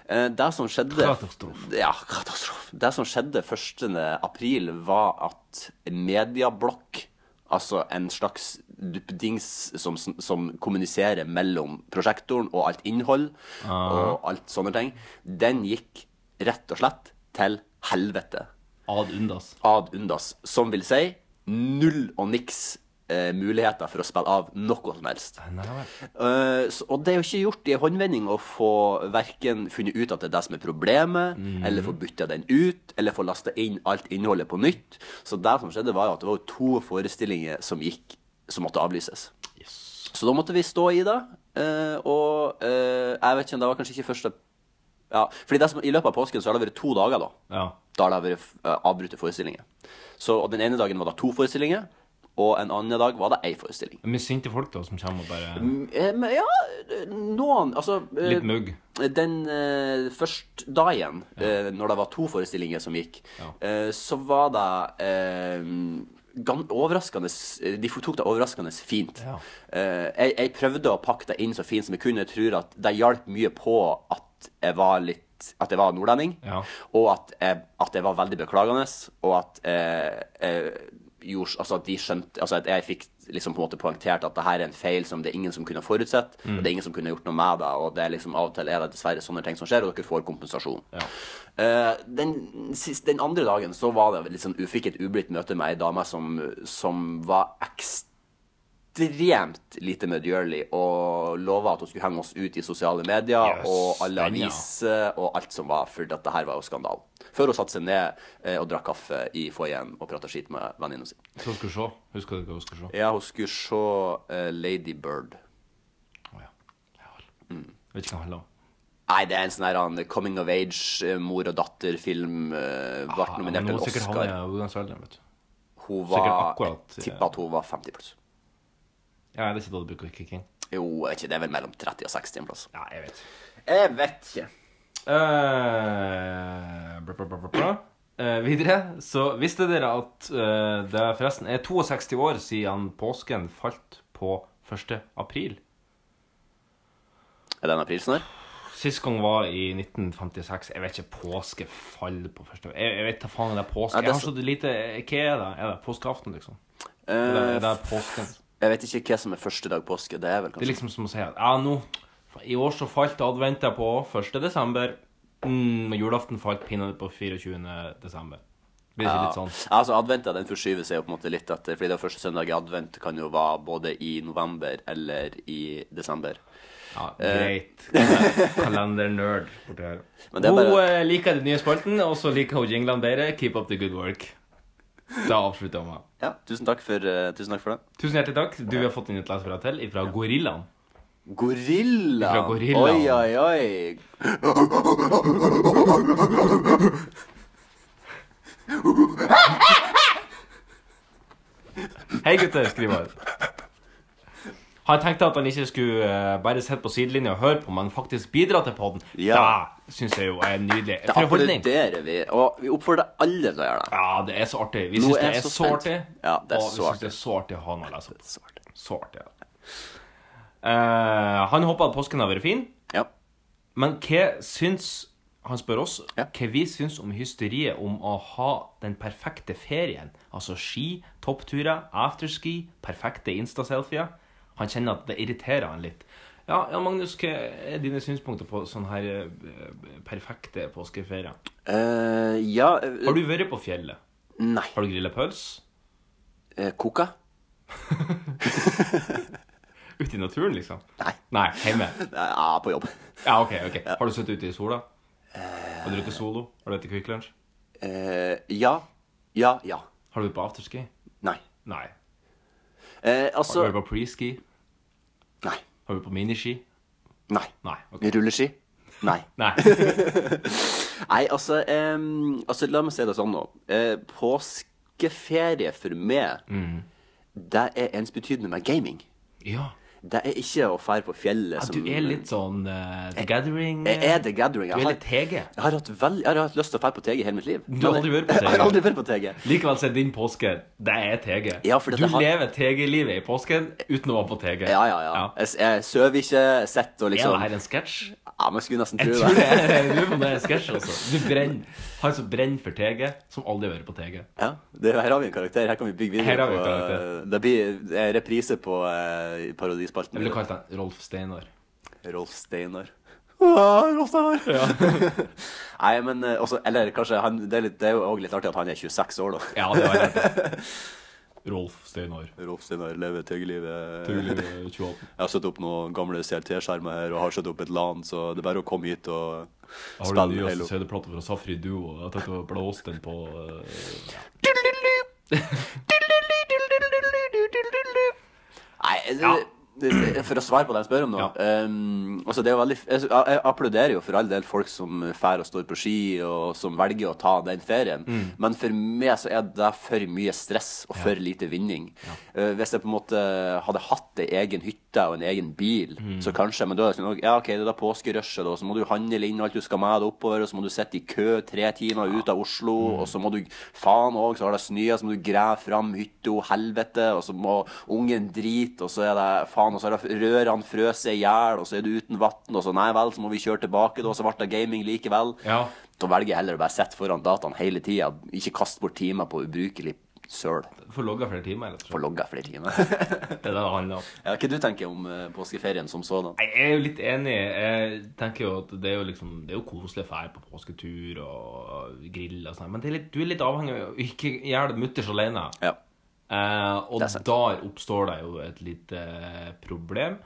C: Eh, det som skjedde
B: Katastrof.
C: Ja, katastrofe. Det som skjedde 1. april, var at Mediablokk Altså en slags duppedings som, som kommuniserer mellom prosjektoren og alt innhold og alt sånne ting. Den gikk rett og slett til helvete.
B: Ad undas.
C: Ad undas. Som vil si null og niks eh, muligheter for å spille av noe som helst.
B: Nei vel.
C: Eh, så- og det er jo ikke gjort i en håndvending å få verken funnet ut at det er det som er problemet, eller få bytta den ut, eller få lasta inn alt innholdet på nytt. Så det som skjedde, var jo at det var jo to forestillinger som gikk som måtte avlyses. Så da måtte vi stå i det. eh, og eh, jeg vet ikke, det var kanskje ikke første Ja, fordi det som, i løpet av påsken så har det vært to dager, da.
B: Ja.
C: Da har det vært eh, avbrutte forestillinger. Så og den ene dagen var det to forestillinger, og en annen dag var det én forestilling.
B: Mye sinte folk da, som kommer og bare
C: Eh, Men ja, noen Altså eh,
B: Litt mugg.
C: Den eh, først da igjen, eh, når det var to forestillinger som gikk,
B: Ja.
C: eh, så var det eh, gan overraskende eh, De tok det overraskende fint.
B: Ja.
C: Eh, jeg, jeg prøvde å pakke det inn så fint som jeg kunne. Jeg tror at det hjalp mye på at jeg var litt at jeg var nordlending,
B: Ja.
C: og at jeg, at jeg var veldig beklagende, og at eh, eh, gjorde, altså at de skjønte altså at jeg fikk liksom på en måte poengtert at det her er en feil som det er ingen som kunne ha forutsett,
B: Mm.
C: og det er ingen som kunne gjort noe med det, og det er liksom av og til er det dessverre sånne ting som skjer, og dere får kompensasjon.
B: Ja.
C: Eh, den, siste, den andre dagen så var det liksom, jeg fikk et ublidt møte med ei dame som, som var ekstremt lite medgjørlig og lova at hun skulle henge oss ut i sosiale medier
B: Yes,
C: og alle
B: den, ja.
C: aviser og alt som var, for dette her var jo skandalen. Før hun satte seg ned eh, og drakk kaffe i foajeen og prata skit med venninna si.
B: Hva skal du se? Husker du hva du skal se?
C: Ja, hun skulle se eh, Lady Bird.
B: Å ja. Ja vel.
C: Mm.
B: Vet ikke hva det handler om.
C: Nei, det er en sånn her han, coming of age, eh, mor og datter-film. Uh, ble
B: Ah,
C: nominert
B: men nå
C: til
B: er sikkert
C: Oscar.
B: han er uglandsforeldre, vet du.
C: Hun
B: Sikkert
C: var
B: akkurat,
C: Jeg
B: eh,
C: tipper at hun var 50 pluss.
B: Ja, det er ikke da du bruker å kicke inn.
C: Jo, jeg vet ikke, det er vel mellom 30 og 60 en plass.
B: Ja, jeg vet.
C: Jeg vet ikke.
B: Eh, bra, bra, bra, bra, bra. Eh, videre så visste dere at eh, det forresten er 62 år siden påsken falt på 1. april.
C: Er det en aprilsnarr?
B: Sist gang var i 1956. Jeg vet ikke påske fall på 1. april. Jeg, jeg vet da faen om det er påske.
C: Ja, det er
B: Jeg har
C: så-
B: så lite Hva er det? Er det påskeaften, liksom?
C: Eh,
B: Eller er det påsken?
C: jeg vet ikke hva som er første dag påske. Det er vel
B: Det er
C: kanskje
B: liksom som å si at ja, nå I år så falt adventet på 1. desember. Mm, og julaften falt pinadø på 24. desember. Blir det ikke litt sånn?
C: Ja, altså Advent den forskyver seg jo på en måte litt etter, fordi det første søndag i advent kan jo være både i november eller i desember.
B: Ja,
C: Eh.
B: greit. Kalendernerd borti her.
C: Men det er
B: Hun
C: bare-
B: eh, liker den nye spalten, og så liker hun jinglene bedre. Keep up the good work. Da avslutter jeg meg.
C: Ja, tusen takk for, eh, tusen takk for det.
B: Tusen hjertelig takk. Du har fått inn et lesebrev til fra Gorillaen.
C: Gorilla!
B: Fra gorilla.
C: Oi, oi, oi.
B: Hei, gutter, skriver han. Han tenkte at han ikke skulle eh, bare sitte på sidelinja og høre på, men faktisk bidra til podden.
C: Ja.
B: Det syns jeg jo er en nydelig.
C: Det
B: For en holdning.
C: applauderer vi, og vi oppfordrer alle til å gjøre det.
B: Ja, det er så artig. Vi
C: Nå
B: syns
C: er
B: det
C: jeg
B: er
C: så
B: så
C: spent.
B: artig.
C: Ja, det er
B: og
C: så
B: vi
C: artig.
B: syns det er så artig å ha noe å lese opp.
C: Svart.
B: Så artig, ja. Eh, han håper at påsken har vært fin,
C: Ja.
B: men hva syns Han spør oss
C: Ja.
B: hva vi syns om hysteriet om å ha den perfekte ferien. Altså ski, toppturer, afterski, perfekte Insta-selfier. Han kjenner at det irriterer han litt. Ja, Jan Magnus, hva er dine synspunkter på sånne her eh, perfekte påskeferier?
C: Eh, ja eh,
B: Har du vært på fjellet?
C: Nei.
B: Har du grilla pølse?
C: Eh, koka?
B: Ute i naturen, liksom?
C: Nei.
B: Nei, hjemme.
C: Ja, på jobb.
B: Ja, ok, ok. Har du sittet ute i sola? Har du drukket Solo? Har du vært i Quick Lunch?
C: Eh, ja. Ja, ja.
B: Har du vært på afterski?
C: Nei.
B: Nei.
C: Eh,
B: Har du
C: altså
B: vært på preski?
C: Nei.
B: Har du vært på miniski?
C: Nei.
B: Nei. ok.
C: Rulleski? Nei.
B: Nei.
C: Nei, altså, em, altså La meg si det sånn nå. Eh,
B: Mm.
C: påskeferie for meg, det er ensbetydende med gaming.
B: Ja.
C: Det er ikke å fære på fjellet
B: Ja, du er litt sånn eh, The Gathering eh,
C: Jeg er The Gathering.
B: Du
C: Jeg
B: er
C: har,
B: litt TG.
C: jeg har, hatt, vel, jeg har hatt lyst til å fære på TG hele mitt liv.
B: Du har aldri vært på
C: Jeg har
B: TG.
C: aldri vært på TG.
B: Likevel så er din påske Det er TG.
C: Ja, fordi at
B: du
C: jeg har-
B: lever TG-livet i påsken uten å være på TG.
C: Ja, ja, ja. Jeg, jeg sover ikke, jeg sitter og
B: Er
C: liksom
B: det her en sketsj?
C: Ja, men jeg skulle nesten
B: Jeg
C: tro
B: tror
C: det.
B: det er du på det er en sketsj, altså. Du brenner. Han som brenner for TG, som aldri har vært på TG.
C: Ja, det, her har vi en karakter. Her kan vi bygge videre
B: Her har vi en
C: på
B: karakter.
C: eh, Det blir det er reprise på eh, parodispalten.
B: Jeg ville kalt han Rolf Steinar.
C: Rolf Steinar. Ah, Rolf Steinar! Nei, men eh, også, Eller kanskje han, det, er litt, det er jo også litt artig at han er 26 år, da.
B: Ja, det var det. Rolf Steinar.
C: Rolf Steinar lever tøggelivet.
B: Tydelig, eh, 28.
C: Jeg har satt opp noen gamle CRT-skjermer her og har satt opp et LAN, så det er bare å komme hit og
B: Har du den
C: spille
B: nyeste
C: Halo.
B: CD-plata fra Safri Duo? Jeg tenkte å blåse den på eh,
C: Nei,
B: Ja.
C: det, det, for å svare på det jeg spør om nå
B: Ja.
C: ehm, altså det er jo veldig, jeg, jeg applauderer jo for all del folk som fær og står på ski, og som velger å ta den ferien.
B: Mm.
C: Men for meg så er det for mye stress og for lite vinning. Eh, hvis jeg på en måte hadde hatt ei egen hytte og en egen bil,
B: Mm.
C: så kanskje Men da er det sånn ok, ja, OK, det er da påskerushet, og så må du handle inn alt du skal med deg oppover, og så må du sitte i kø tre timer ut av Oslo, og så må du Faen òg, så har det snøa, så må du grave fram hytta, helvete, og så må ungen drite, og så er det faen, og så er det rørene frøset i hjel, og så er du uten vann, og så nei vel, så må vi kjøre tilbake, da, og så ble det gaming likevel.
B: Ja.
C: Da velger jeg heller å bare sitte foran dataen hele tida, ikke kaste bort timer på ubrukelig søl.
B: Får logga flere timer, rett og
C: Få
B: slett.
C: logga flere timer.
B: Det er det det handler om.
C: ja, hva du tenker om eh, påskeferien som sådan?
B: Nei, Jeg er jo litt enig. Jeg tenker jo at det er jo liksom Det er jo koselig å dra på påsketur og grille og sånn, men det er litt, du er litt avhengig av å ikke gjøre det mutters alene.
C: Ja.
B: Eh, og
C: Det er sant.
B: der oppstår det jo et lite problem.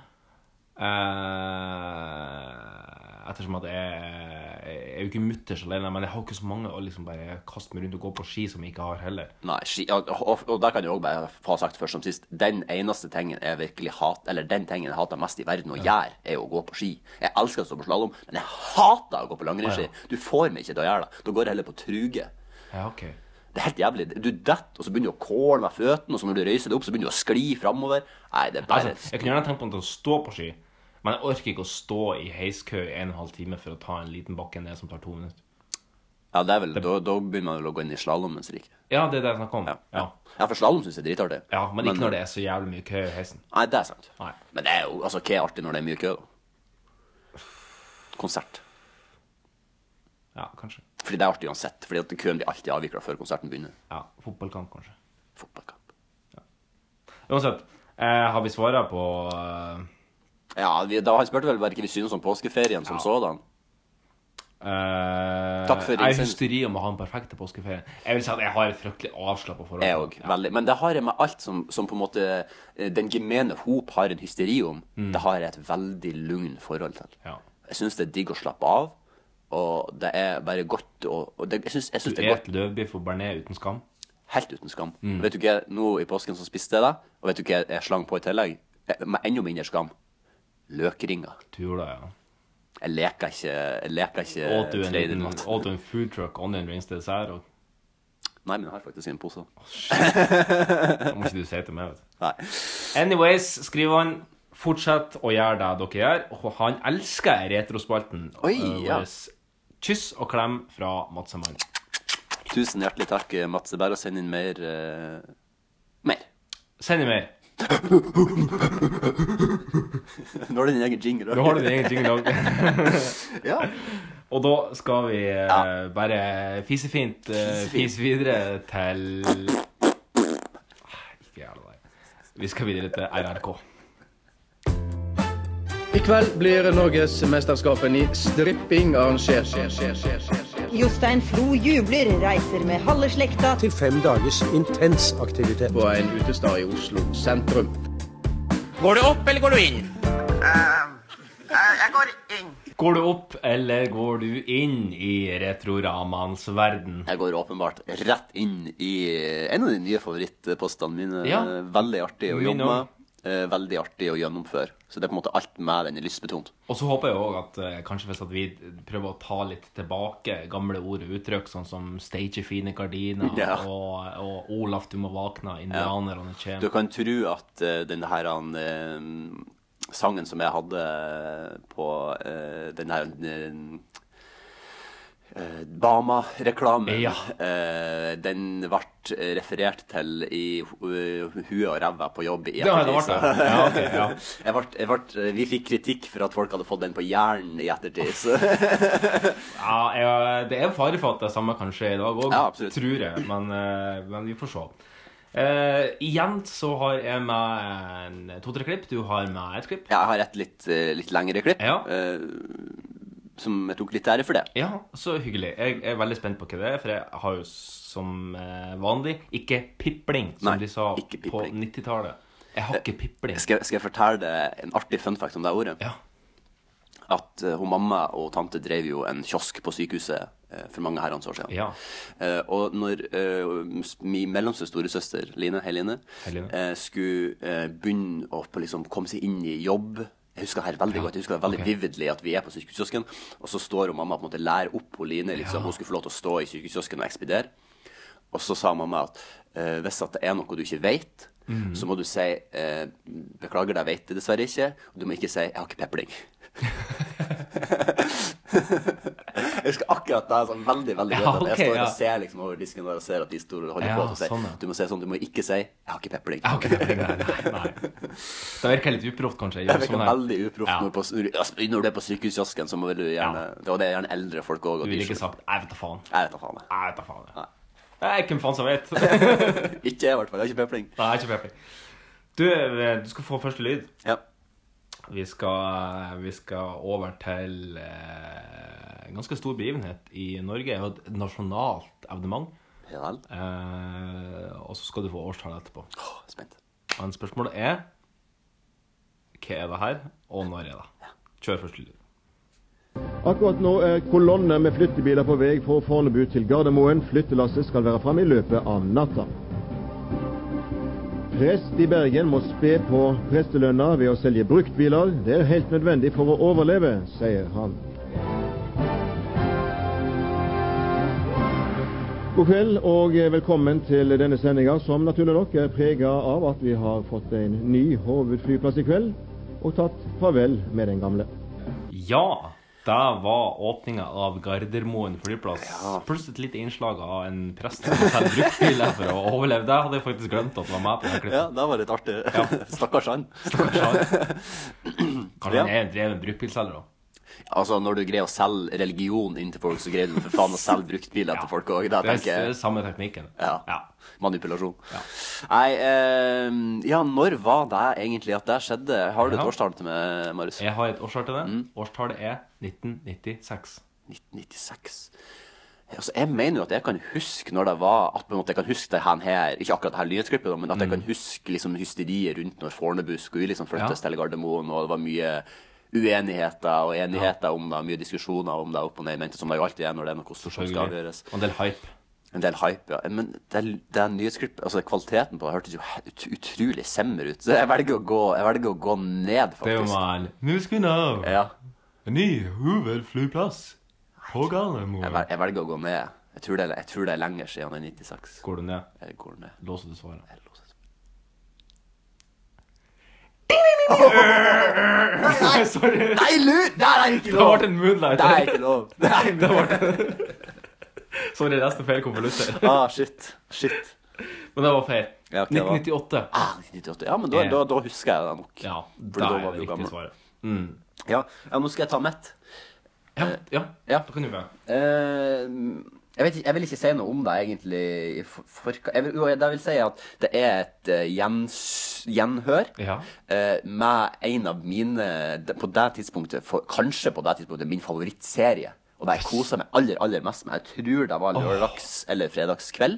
B: Eh, ettersom at jeg, jeg er jo ikke mutters alene, men jeg har ikke så mange å liksom bare kaste meg rundt og gå på ski som jeg ikke har heller.
C: Nei, ski, og, og, og der kan jeg òg bare få sagt først som sist Den eneste tingen jeg virkelig hat Eller den tingen jeg hater mest i verden å gjøre, er å gå på ski. Jeg elsker å stå på slalåm, men jeg hater å gå på langrennsski. Du får meg ikke til å gjøre det. Da går jeg heller på truge.
B: Ja, ok.
C: Det er helt jævlig. Du detter, og så begynner du å kåle med føttene, og så når du reiser deg opp, så begynner du å skli framover. Nei, det er bare
B: Altså, jeg kunne gjerne tenkt på å stå på ski, men jeg orker ikke å stå i heiskø i en og en halv time for å ta en liten bakke ned som tar to minutter.
C: Ja, det er vel, da, da begynner man vel å gå inn i slalåmens rike.
B: Ja, det er det jeg snakker om. Ja, ja.
C: Ja, for slalåm syns jeg er dritartig.
B: men ikke når det er så jævlig mye kø i heisen.
C: Nei, det er sant.
B: Nei.
C: Men det er jo altså, hva er artig når det er mye kø, da? Konsert.
B: Ja, kanskje.
C: Fordi det er artig uansett. Fordi at køen blir alltid avvikla før konserten begynner.
B: Ja, Fotballkamp, kanskje.
C: Fotballkamp.
B: Uansett, eh, har vi svaret på eh,
C: Ja, vi, da Han spurte vel hva ikke vi synes om påskeferien som sådan.
B: eh,
C: Takk for
B: Jeg har
C: innsendelsen.
B: hysteri om å ha en perfekt påskeferie. Jeg vil si at jeg har et fryktelig avslappa forhold.
C: Jeg òg. Veldig. Men det har jeg med alt som, som på en måte eh, den gemene hop har en hysteri om. Det har jeg et veldig lugn forhold til.
B: Ja.
C: Jeg syns det er digg å slappe av, og det er bare godt å og det, Jeg syns jeg
B: Du
C: syns det er Mm.
B: et
C: godt
B: løvbiff og bearnés uten skam.
C: helt uten skam. Vet du hva, nå i påsken så spiste jeg det, og vet du hva jeg slang på i tillegg? Eh, Med enda mindre skam. Løkringer.
B: Du gjorde det, ja.
C: Eh, Jeg leker ikke Jeg leker ikke
B: Åt du en,
C: tredje
B: liten-
C: mat.
B: åt du en food truck on den minste dessert? Og
C: Nei, men jeg har faktisk en pose.
B: Det må ikke du si til meg, vet du.
C: Nei.
B: Anyways, skriver han. Fortsett å gjøre det dere gjør. Og han elsker retrospalten.
C: Oi,
B: eh,
C: ja.
B: våres. Kyss og klem fra Mats og Mann.
C: Tusen hjertelig takk, eh, Mats. Det er bare å sende inn mer eh, Mer.
B: Send inn mer.
C: Nå har du din egen jingle.
B: Nå har du din egen jingle òg.
C: Ja.
B: Og da skal vi eh, bare fise fint eh,
C: Fise fint.
B: fise videre til ah, Ikke gjør det der. Vi skal videre til RRK.
G: I kveld blir Norgesmesterskapen i stripping arrangert.
H: Jostein Flo jubler, reiser med halve slekta
I: til fem dagers intens aktivitet.
G: På en utestad i Oslo sentrum.
B: Går du opp, eller går du inn i retroramans verden?
C: Jeg går åpenbart rett inn i en av de nye favorittpostene mine.
B: Ja.
C: Veldig artig å
B: Min
C: jobbe
B: også.
C: med. eh, Veldig artig å gjennomføre. Så det er på en måte alt med den er lystbetont.
B: Og så håper jeg òg at eh, kanskje hvis at vi prøver å ta litt tilbake gamle ord og uttrykk, sånn som 'stage fine gardiner'
C: Ja.
B: og, og 'Olaf, du må våkne', 'Indianerne
C: Du
B: kommer'.
C: kan tro at eh, den her han, eh, sangen som jeg hadde på eh, den her eh, Bama-reklamen.
B: Ja.
C: Eh, den ble referert til i hu- eh, huet og ræva på jobb i
B: Det har det vært,
C: så-
B: ja. Ja, ok, ja.
C: jeg ble, jeg ble, vi fikk kritikk for at folk hadde fått den på hjernen i ettertid. Så.
B: Ja, jeg, det er fare for at det samme kan skje i dag òg,
C: Ja, absolutt.
B: tror jeg. Men, eh, men vi får se. Eh, igjen så har jeg med en- to-tre klipp. Du har med et klipp.
C: Ja, jeg har et litt, eh, litt lengre klipp
B: Ja.
C: eh, som jeg tok litt ære for det.
B: Ja, så hyggelig. Jeg er veldig spent på hva det er, for jeg har jo som eh, vanlig ikke pipling, som
C: Nei,
B: de sa
C: ikke
B: på
C: pipling.
B: 90-tallet. Jeg har ikke pipling.
C: Skal, jeg- skal jeg fortelle deg en artig fun fact om det ordet?
B: Ja.
C: At eh, hun mamma og tante drev jo en kiosk på sykehuset eh, for mange herrens år siden.
B: Ja.
C: Eh, og når eh, s- min mellomste storesøster, Line, hei Line,
B: Hei, Line.
C: eh, skulle eh, begynne å på liksom, komme seg inn i jobb jeg husker det her veldig godt, jeg husker det veldig
B: ok.
C: vividly at vi er på sykehuskiosken, og så står hun mamma på en måte lærer opp hun Line, liksom,
B: Ja.
C: hun skulle få lov til å stå i sykehuskiosken og ekspedere. Og så sa mamma at eh, hvis at det er noe du ikke vet,
B: Mm.
C: så må du si eh, 'Beklager, det vet jeg dessverre ikke.' Og du må ikke si 'Jeg har ikke pepling'. jeg husker akkurat det sånn veldig veldig
B: Ja,
C: godt. at
B: ok,
C: jeg står
B: ja.
C: og ser liksom over disken der og ser at de står og holder
B: Ja,
C: på. Og så sier,
B: sånn, ja.
C: Du må si sånn, du må ikke si 'Jeg har ikke pepling'.
B: Jeg har ikke pipling, nei, nei, nei. Det virker litt uproft, kanskje. Sånn
C: Det virker veldig uproft
B: Ja.
C: når, på, når du er på sykehuskiosken. Så må du gjerne,
B: Ja.
C: Det var det gjerne eldre folk òg.
B: Du ville ikke sagt 'jeg vet da faen'.
C: Jeg vet da faen. jeg.
B: Jeg vet da faen. jeg. Nei, hvem faen som vet?
C: Ikke jeg, i hvert fall. Jeg har ikke pepling.
B: Nei, ikke pepling. Du, eh, du skal få første lyd.
C: Ja.
B: Vi skal, eh, vi skal over til eh, en ganske stor begivenhet i Norge. Det er jo et nasjonalt evenement.
C: Ja vel.
B: Eh, og så skal du få årstallet etterpå.
C: Åh, Spent.
B: Men spørsmålet er Hva er det her, og når er det? Kjør første lyd.
J: Akkurat nå er kolonne med flyttebiler på vei fra Fornebu til Gardermoen. Flyttelasset skal være framme i løpet av natta. Prest i Bergen må spe på prestelønna ved å selge bruktbiler. Det er helt nødvendig for å overleve, sier han. God kveld og velkommen til denne sendinga, som naturlig nok er prega av at vi har fått en ny hovedflyplass i kveld, og tatt farvel med den gamle.
B: Ja, det var åpninga av Gardermoen flyplass. Pluss et lite innslag av en prest som selger bruktbiler for å overleve. Det hadde jeg faktisk glemt at var med på det klippet.
C: Ja, det var litt artig. Stakkars han.
B: Kanskje han, kanskje
C: Ja.
B: han er en dreven bruktbilselger òg.
C: Altså, når du greier å selge religion inn til folk, så greier du for faen å selge bruktbiler til folk òg. Da
B: det
C: tenker
B: er
C: jeg
B: s- samme teknikken.
C: Ja.
B: ja.
C: Manipulasjon. Nei, eh, ja, når var det egentlig at det skjedde? Har du et
B: Ja.
C: årstall til meg, Marius?
B: Jeg har et årstall til det.
C: Mm.
B: Årstallet er 1996.
C: 1996. Altså, jeg mener jo at jeg kan huske når det var at på en måte jeg kan huske det her, her ikke akkurat det her nyhetsklippet, da, men at jeg kan huske liksom hysteriet rundt når Fornebu skulle liksom flyttes
B: Mm. Ja.
C: til Gardermoen, og det var mye uenigheter og enigheter om det, mye diskusjoner om det opp og ned, men som det jo alltid er når det er noe stort som skal avgjøres.
B: Og en del hype.
C: En del hype, ja. Men det, det nyhetsklippet, altså kvaliteten på det hørtes jo ut, utrolig semmer ut, så jeg velger å gå, jeg velger å gå ned,
B: Det er jo
C: faktisk.
B: man Nå skal vi nå
C: Ja.
B: en ny hovedflyplass på
C: Jeg,
B: Gardermoen.
C: vel, jeg velger å gå ned. Jeg tror, det, er- jeg tror det er lenger siden enn 96.
B: Går du ned,
C: Jeg går ned.
B: låser du svaret.
C: Jeg låser svaret.
B: Sorry.
C: Nei, lur! Der er ikke
B: Det
C: lov!
B: ble en moonlight.
C: Der er ikke lov. Nei, men-
B: Sorry, resten er feil konvolutter.
C: Ah, shit. Shit.
B: Men det var feil.
C: Ja, ok, det var-
B: 1998.
C: Ah, 98. Ja, men da, da, da husker jeg det nok.
B: Ja,
C: For
B: da
C: da
B: er
C: var
B: det
C: vi jo
B: riktige
C: gamle.
B: svaret. Mm.
C: Ja, ja, nå skal jeg ta mitt.
B: Ja, ja,
C: Eh, ja.
B: da kan du være.
C: Eh, jeg, vet, ikke- jeg vil ikke si noe om det, egentlig. i For, for, jeg, vil, jo, jeg- det vil si at det er et eh, gjens, gjenhør
B: Ja.
C: eh, med en av mine de- På det tidspunktet, for, kanskje på det tidspunktet, min favorittserie. Og det jeg koser meg aller, aller mest med. Jeg tror det var lørdags- eller fredagskveld.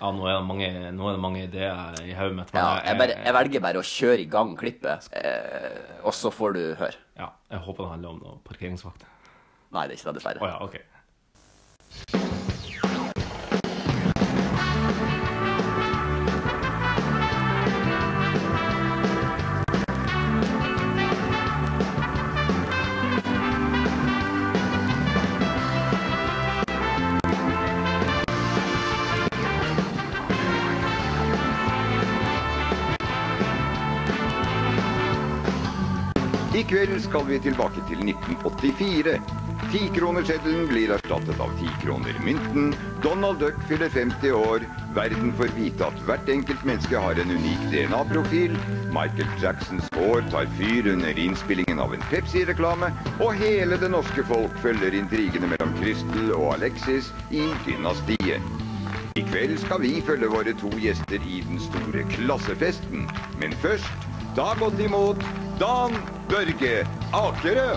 B: ja, nå er det mange, nå er det mange ideer i hodet mitt. men
C: Ja, jeg, bare,
B: eh,
C: jeg velger bare å kjøre i gang klippet, eh, og så får du høre.
B: ja, jeg håper det handler om noe parkeringsvakt. Å
C: Nei, det er ikke det, dessverre.
B: ja, ok.
K: I kveld skal vi tilbake til 1984. Tikronerseddelen blir erstattet av tikronermynten. Donald Duck fyller 50 år. Verden får vite at hvert enkelt menneske har en unik DNA-profil. Michael Jacksons hår tar fyr under innspillingen av en Pepsi-reklame. Og hele det norske folk følger intrigene mellom Crystal og Alexis i Dynastiet. I kveld skal vi følge våre to gjester i den store klassefesten. Men først, ta godt imot Dan Børge Akerø!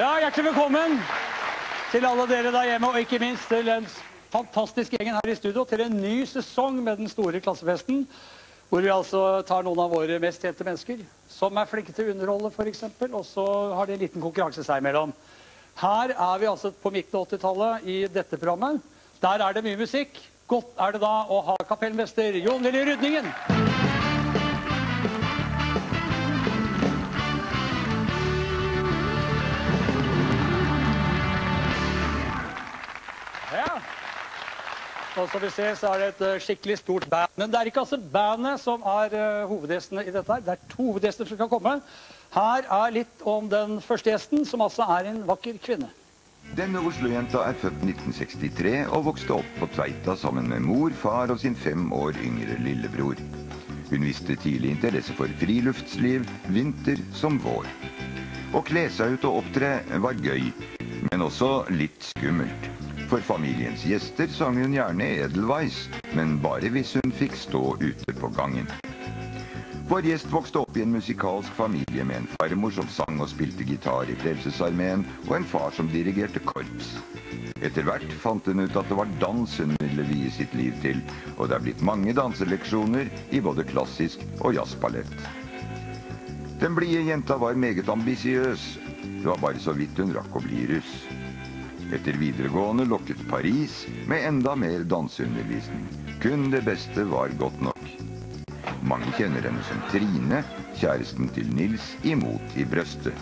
L: Ja, hjertelig velkommen til alle dere der hjemme, og ikke minst til den fantastiske gjengen her i studio til en ny sesong med den store klassefesten. Hvor vi altså tar noen av våre mest kjente mennesker, som er flinke til å underholde f.eks., og så har de en liten konkurranse seg imellom. Her er vi altså på midten av 80-tallet i dette programmet. Der er det mye musikk. Godt er det da å ha kapellmester Jon Lilly Rydningen. Ja. Og som vi ser, så er det et eh, skikkelig stort band. Men det er ikke altså bandet som er eh, hovedgjestene i dette her. Det er to hovedgjester som kan komme. Her er litt om den første gjesten, som altså er en vakker kvinne.
K: Denne Oslo-jenta er født 1963 og vokste opp på Tveita sammen med mor, far og sin fem år yngre lillebror. Hun viste tidlig interesse for friluftsliv, vinter som vår. Å kle seg ut og opptre var gøy, men også litt skummelt. For familiens gjester sang hun gjerne Edelweiss, men bare hvis hun fikk stå ute på gangen. Vår gjest vokste opp i en musikalsk familie med en farmor som sang og spilte gitar i Frelsesarmeen, og en far som dirigerte korps. Etter hvert fant hun ut at det var dans hun ville vie sitt liv til, og det er blitt mange danseleksjoner i både klassisk og jazzballett. Den blide jenta var meget ambisiøs. Det var bare så vidt hun rakk å bli russ. Etter videregående lokket Paris med enda mer danseundervisning. Kun det beste var godt nok. Mange kjenner henne som Trine, kjæresten til Nils i Mot i brøstet.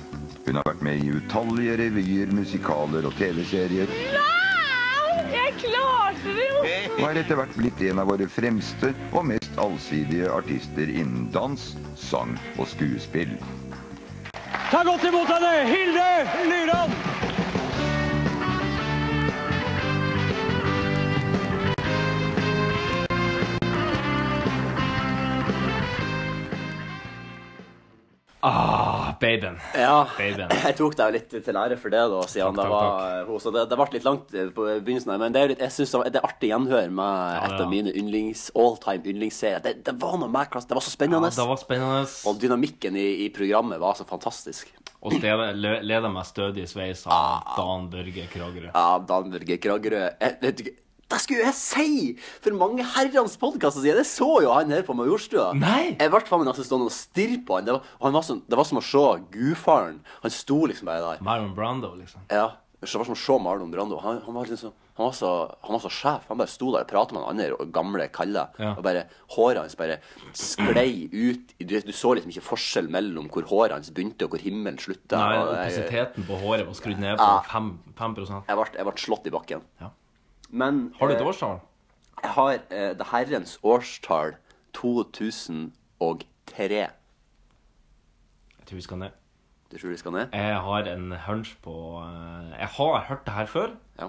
K: Hun har vært med i utallige revyer, musikaler og TV-serier,
M: Nei! Jeg klarte det jo!
K: og er etter hvert blitt en av våre fremste og mest allsidige artister innen dans, sang og skuespill.
L: Ta godt imot henne, Hilde Lyland!
B: Ah, babyen.
C: Ja,
B: Babyen.
C: jeg tok deg jo litt til ære for det, da, siden det
B: takk,
C: var hun. Så det, det ble litt langt eh, på begynnelsen her, men det er, litt- jeg synes det var- det er artig gjenhør med et
B: ja.
C: av mine yndlings, all time yndlingsserier. Det, det var noe med klasse, det var så spennende.
B: Ja, det var spennende.
C: Og dynamikken i, i programmet var så fantastisk.
B: Og stedet le- leder meg stødig i sveis av
C: Ah.
B: Dan Børge Kragerø.
C: Ja, Dan Børge Kragerø. Jeg, vet du, ikke- det skulle jeg si! For mange herrens podkaster sier det. så jo han her på Majorstua. Nei. Jeg ble faen meg nesten stående og stirre på han. Det var, han var sånn- det var som å se gudfaren. Han sto liksom bare der.
B: Marlon Brando, liksom.
C: Ja. Det var som å se Marlon Brando. Han, han, var liksom, han, var så, han var så sjef. Han bare sto der og prata med han andre og gamle kalle.
B: Ja.
C: Og bare Håret hans bare sklei ut. Du, du så liksom ikke forskjell mellom hvor håret hans begynte, og hvor himmelen slutta. Og
B: Nei,
C: jeg-
B: opasiteten på håret var skrudd ned på
C: Ja.
B: 5, 5
C: jeg ble, jeg ble slått i bakken. Men
B: Har du et
C: eh,
B: årstall?
C: Jeg har eh, det herrens årstall 2003.
B: Jeg tror vi skal ned.
C: Du tror vi skal ned?
B: Jeg har en hunch på eh, Jeg har hørt det her før. Jeg,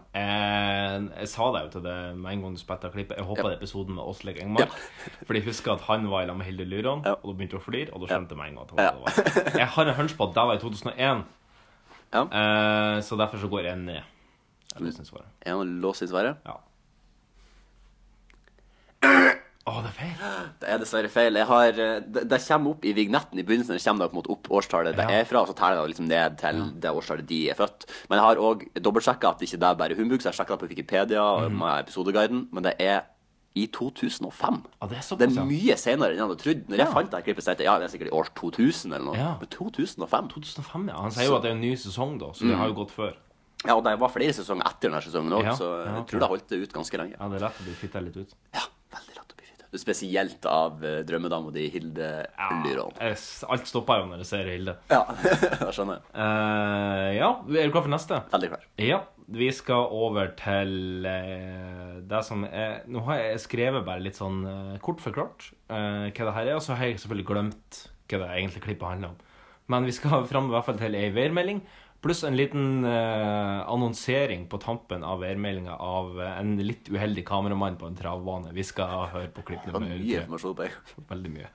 B: jeg sa det jo til deg med en gang du spilte av klippet. Jeg håpa det er episoden med Åsleik Engmark. Fordi jeg husker at han var i lag med Hilde Lyron, og da begynte hun å flire, og da skjønte jeg med en gang at det var det det var. Jeg har en hunch på at det var i 2001, Eh, så derfor så går jeg ned. Jeg låser inn svaret.
C: Er han låst i svaret?
B: Ja.
C: Det er dessverre feil. Jeg har, eh, det, det kommer opp i vignetten i begynnelsen. Det kommer da på en måte opp årstallet det
B: Ja.
C: er fra, og så teller det liksom ned til det årstallet de er født. Men jeg har òg dobbeltsjekka at ikke det er bare humbug, så jeg sjekka det på Wikipedia og
B: Mhm.
C: med episodeguiden, men det er i 2005.
B: Ja, det er
C: Det
B: såpass,
C: er
B: ja.
C: mye senere enn jeg hadde trodd. Når jeg
B: Ja.
C: fant det her klippet, så tenkte jeg ja, det er sikkert i år 2000 eller noe.
B: Ja.
C: Men 2005
B: 2005, ja. Han sier jo at det er en ny sesong, da, så
C: Mm.
B: det har jo gått før.
C: Ja, og det var flere sesonger etter denne sesongen òg,
B: Ja,
C: så
B: ja,
C: jeg
B: ok.
C: tror det holdt det ut ganske lenge.
B: Ja, det er lett å bli fitta litt ut.
C: Du Spesielt av eh, drømmedama di, Hilde Lyrån.
B: Eh, s- Alt stopper jo når jeg ser Hilde. Eh,
C: Ja, jeg skjønner.
B: ja, er du klar for neste?
C: Veldig klar.
B: Ja. Vi skal over til eh, det som er Nå har jeg skrevet bare litt sånn eh, kort forklart eh, hva det her er, og så har jeg selvfølgelig glemt hva det egentlig klippet handler om. Men vi skal fram i hvert fall til ei værmelding, pluss en liten eh, annonsering på tampen av værmeldinga av eh, en litt uheldig kameramann på en travbane. Vi skal høre på klipp nummer
C: Mye informasjon på en gang.
B: Veldig mye.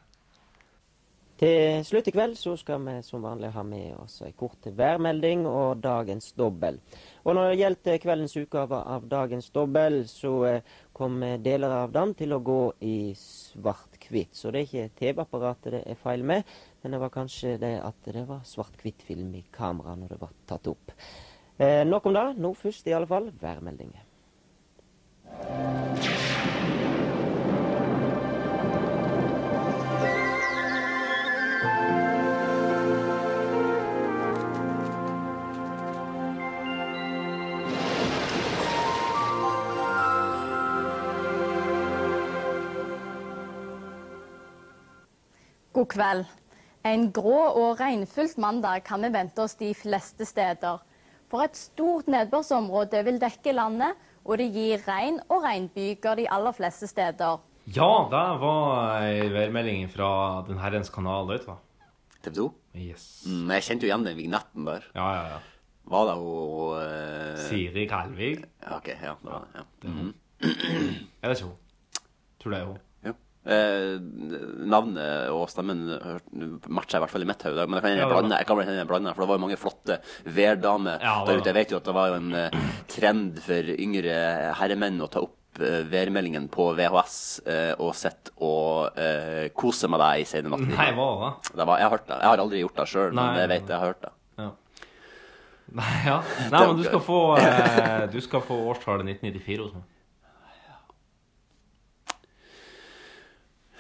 N: Til slutt i kveld så skal vi som vanlig ha med oss en kort værmelding og dagens dobbel. Og når det gjelder kveldens utgave av dagens dobbel, så eh, kommer deler av den til å gå i svart-hvitt. Så det er ikke TV-apparatet det er feil med, men det var kanskje det at det var svart-hvitt-film i kameraet når det var tatt opp. Eh, nok om det. Nå først i alle fall værmeldingen.
O: God kveld. En grå og regnfullt mandag kan vi vente oss de fleste steder. For et stort nedbørsområde vil dekke landet, og det gir regn og regnbyger de aller fleste steder.
B: Ja, det var ei værmelding fra Den herrens kanal, vet du hva.
C: TV 2?
B: Yes.
C: Mm, jeg kjente jo igjen den vignetten der.
B: Ja, ja, ja.
C: Var det hun eh,
B: Siri Kalvig?
C: Ja, OK. Ja, det var det. Ja. Mhm.
B: Er det ikke hun? Tror det er hun.
C: Ja. Eh, navnet og stemmen hør- matcher i hvert fall i mitt hode, men jeg kan hende jeg
B: Ja, det
C: blander, jeg kan hende jeg blander, for det var jo mange flotte værdamer
B: Ja,
C: der
B: det var
C: ute. Jeg vet jo at det var jo en eh, trend for yngre herremenn å ta opp eh, værmeldingen på VHS eh, og sitte og eh, kose med deg i sene natten.
B: Nei, hva
C: Det var, jeg, har hørt det. jeg har aldri gjort det sjøl,
B: Nei,
C: men jeg
B: nei,
C: vet jeg har hørt det.
B: Nei, ja. Nei, men du skal få, eh, du skal få årstallet 1994 hos meg.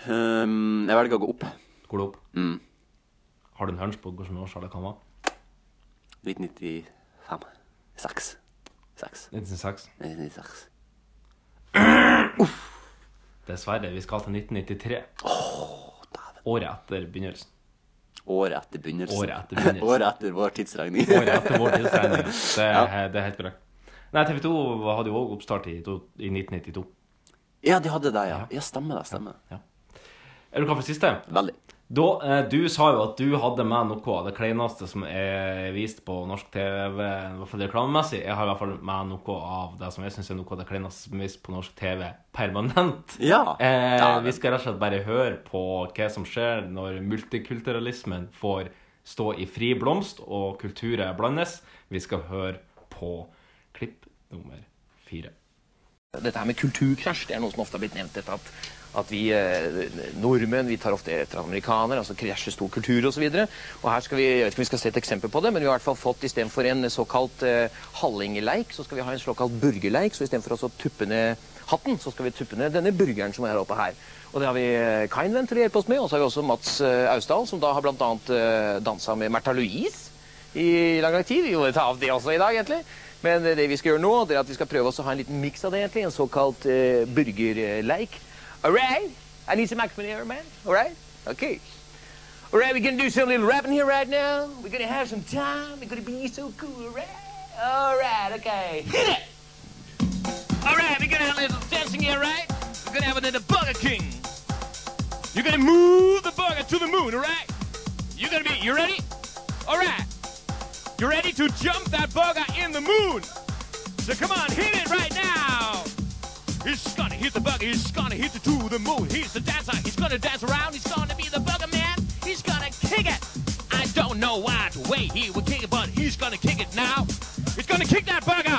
C: Um, jeg velger å gå opp.
B: Går det opp?
C: Mm.
B: Har du en hunch på hvordan årstallet kan være?
C: 1995. 6. 6.
B: 1996.
C: 1996.
B: Dessverre. Vi skal til 1993. Året etter begynnelsen.
C: Året etter begynnelsen.
B: Året etter begynnelsen.
C: Året etter vår tidsregning.
B: Året etter vår tidsregning. Det, er-
C: Ja.
B: det er helt korrekt. Nei, TV 2 hadde jo òg oppstart i, to- i 1992.
C: Ja, de hadde det, ja. Ja, stemmer det. stemmer.
B: Er du klar for siste?
C: Veldig.
B: Da, eh, du sa jo at du hadde med noe av det kleineste som er vist på norsk TV, i hvert fall reklamemessig. Jeg har i hvert fall med noe av det som jeg syns er noe av det kleineste som er vist på norsk TV permanent.
C: Ja.
B: Eh,
C: Ja,
B: vi skal rett og slett bare høre på hva som skjer når multikulturalismen får stå i fri blomst og kulturer blandes. Vi skal høre på klipp nummer fire.
P: Dette her med kulturkrasj det er noe som ofte har blitt nevnt. Dette at, at vi eh, nordmenn vi tar ofte etter amerikanere, altså krasjer stor kultur osv. Her skal vi, jeg vet ikke om vi skal se et eksempel på det, men vi har i hvert fall fått istedenfor en såkalt eh, hallingeleik, så skal vi ha en såkalt burgerleik. Så istedenfor å så tuppe ned hatten, så skal vi tuppe ned denne burgeren som er her oppe her. Og det har vi eh, Kindven til å hjelpe oss med, og så har vi også Mats eh, Austdal, som da har bl.a. Eh, dansa med Märtha Louise i lang, lang tid. Vi må ta av det også i dag, egentlig. Men eh, det vi skal gjøre nå, det er at vi skal prøve oss å ha en liten miks av det, egentlig. En såkalt eh, burgerleik. All right? I need some action here, man. All right? Okay. All right, we're gonna do some little rapping here right now. We're gonna have some time. It's gonna be so cool, all right? All right, okay. Hit it! All right, we're gonna have a little dancing here, right? We're gonna have another Burger King. You're gonna move the burger to the moon, all right? You're gonna be, you ready? All right. You ready to jump that burger in the moon? So come on, hit it right now. He's gonna hit the burger, he's gonna hit it to the moon. He's the dancer, he's gonna dance around, he's gonna be the burger man, he's gonna kick it. I don't know what way he would kick it, but he's gonna kick it now. He's gonna kick that burger.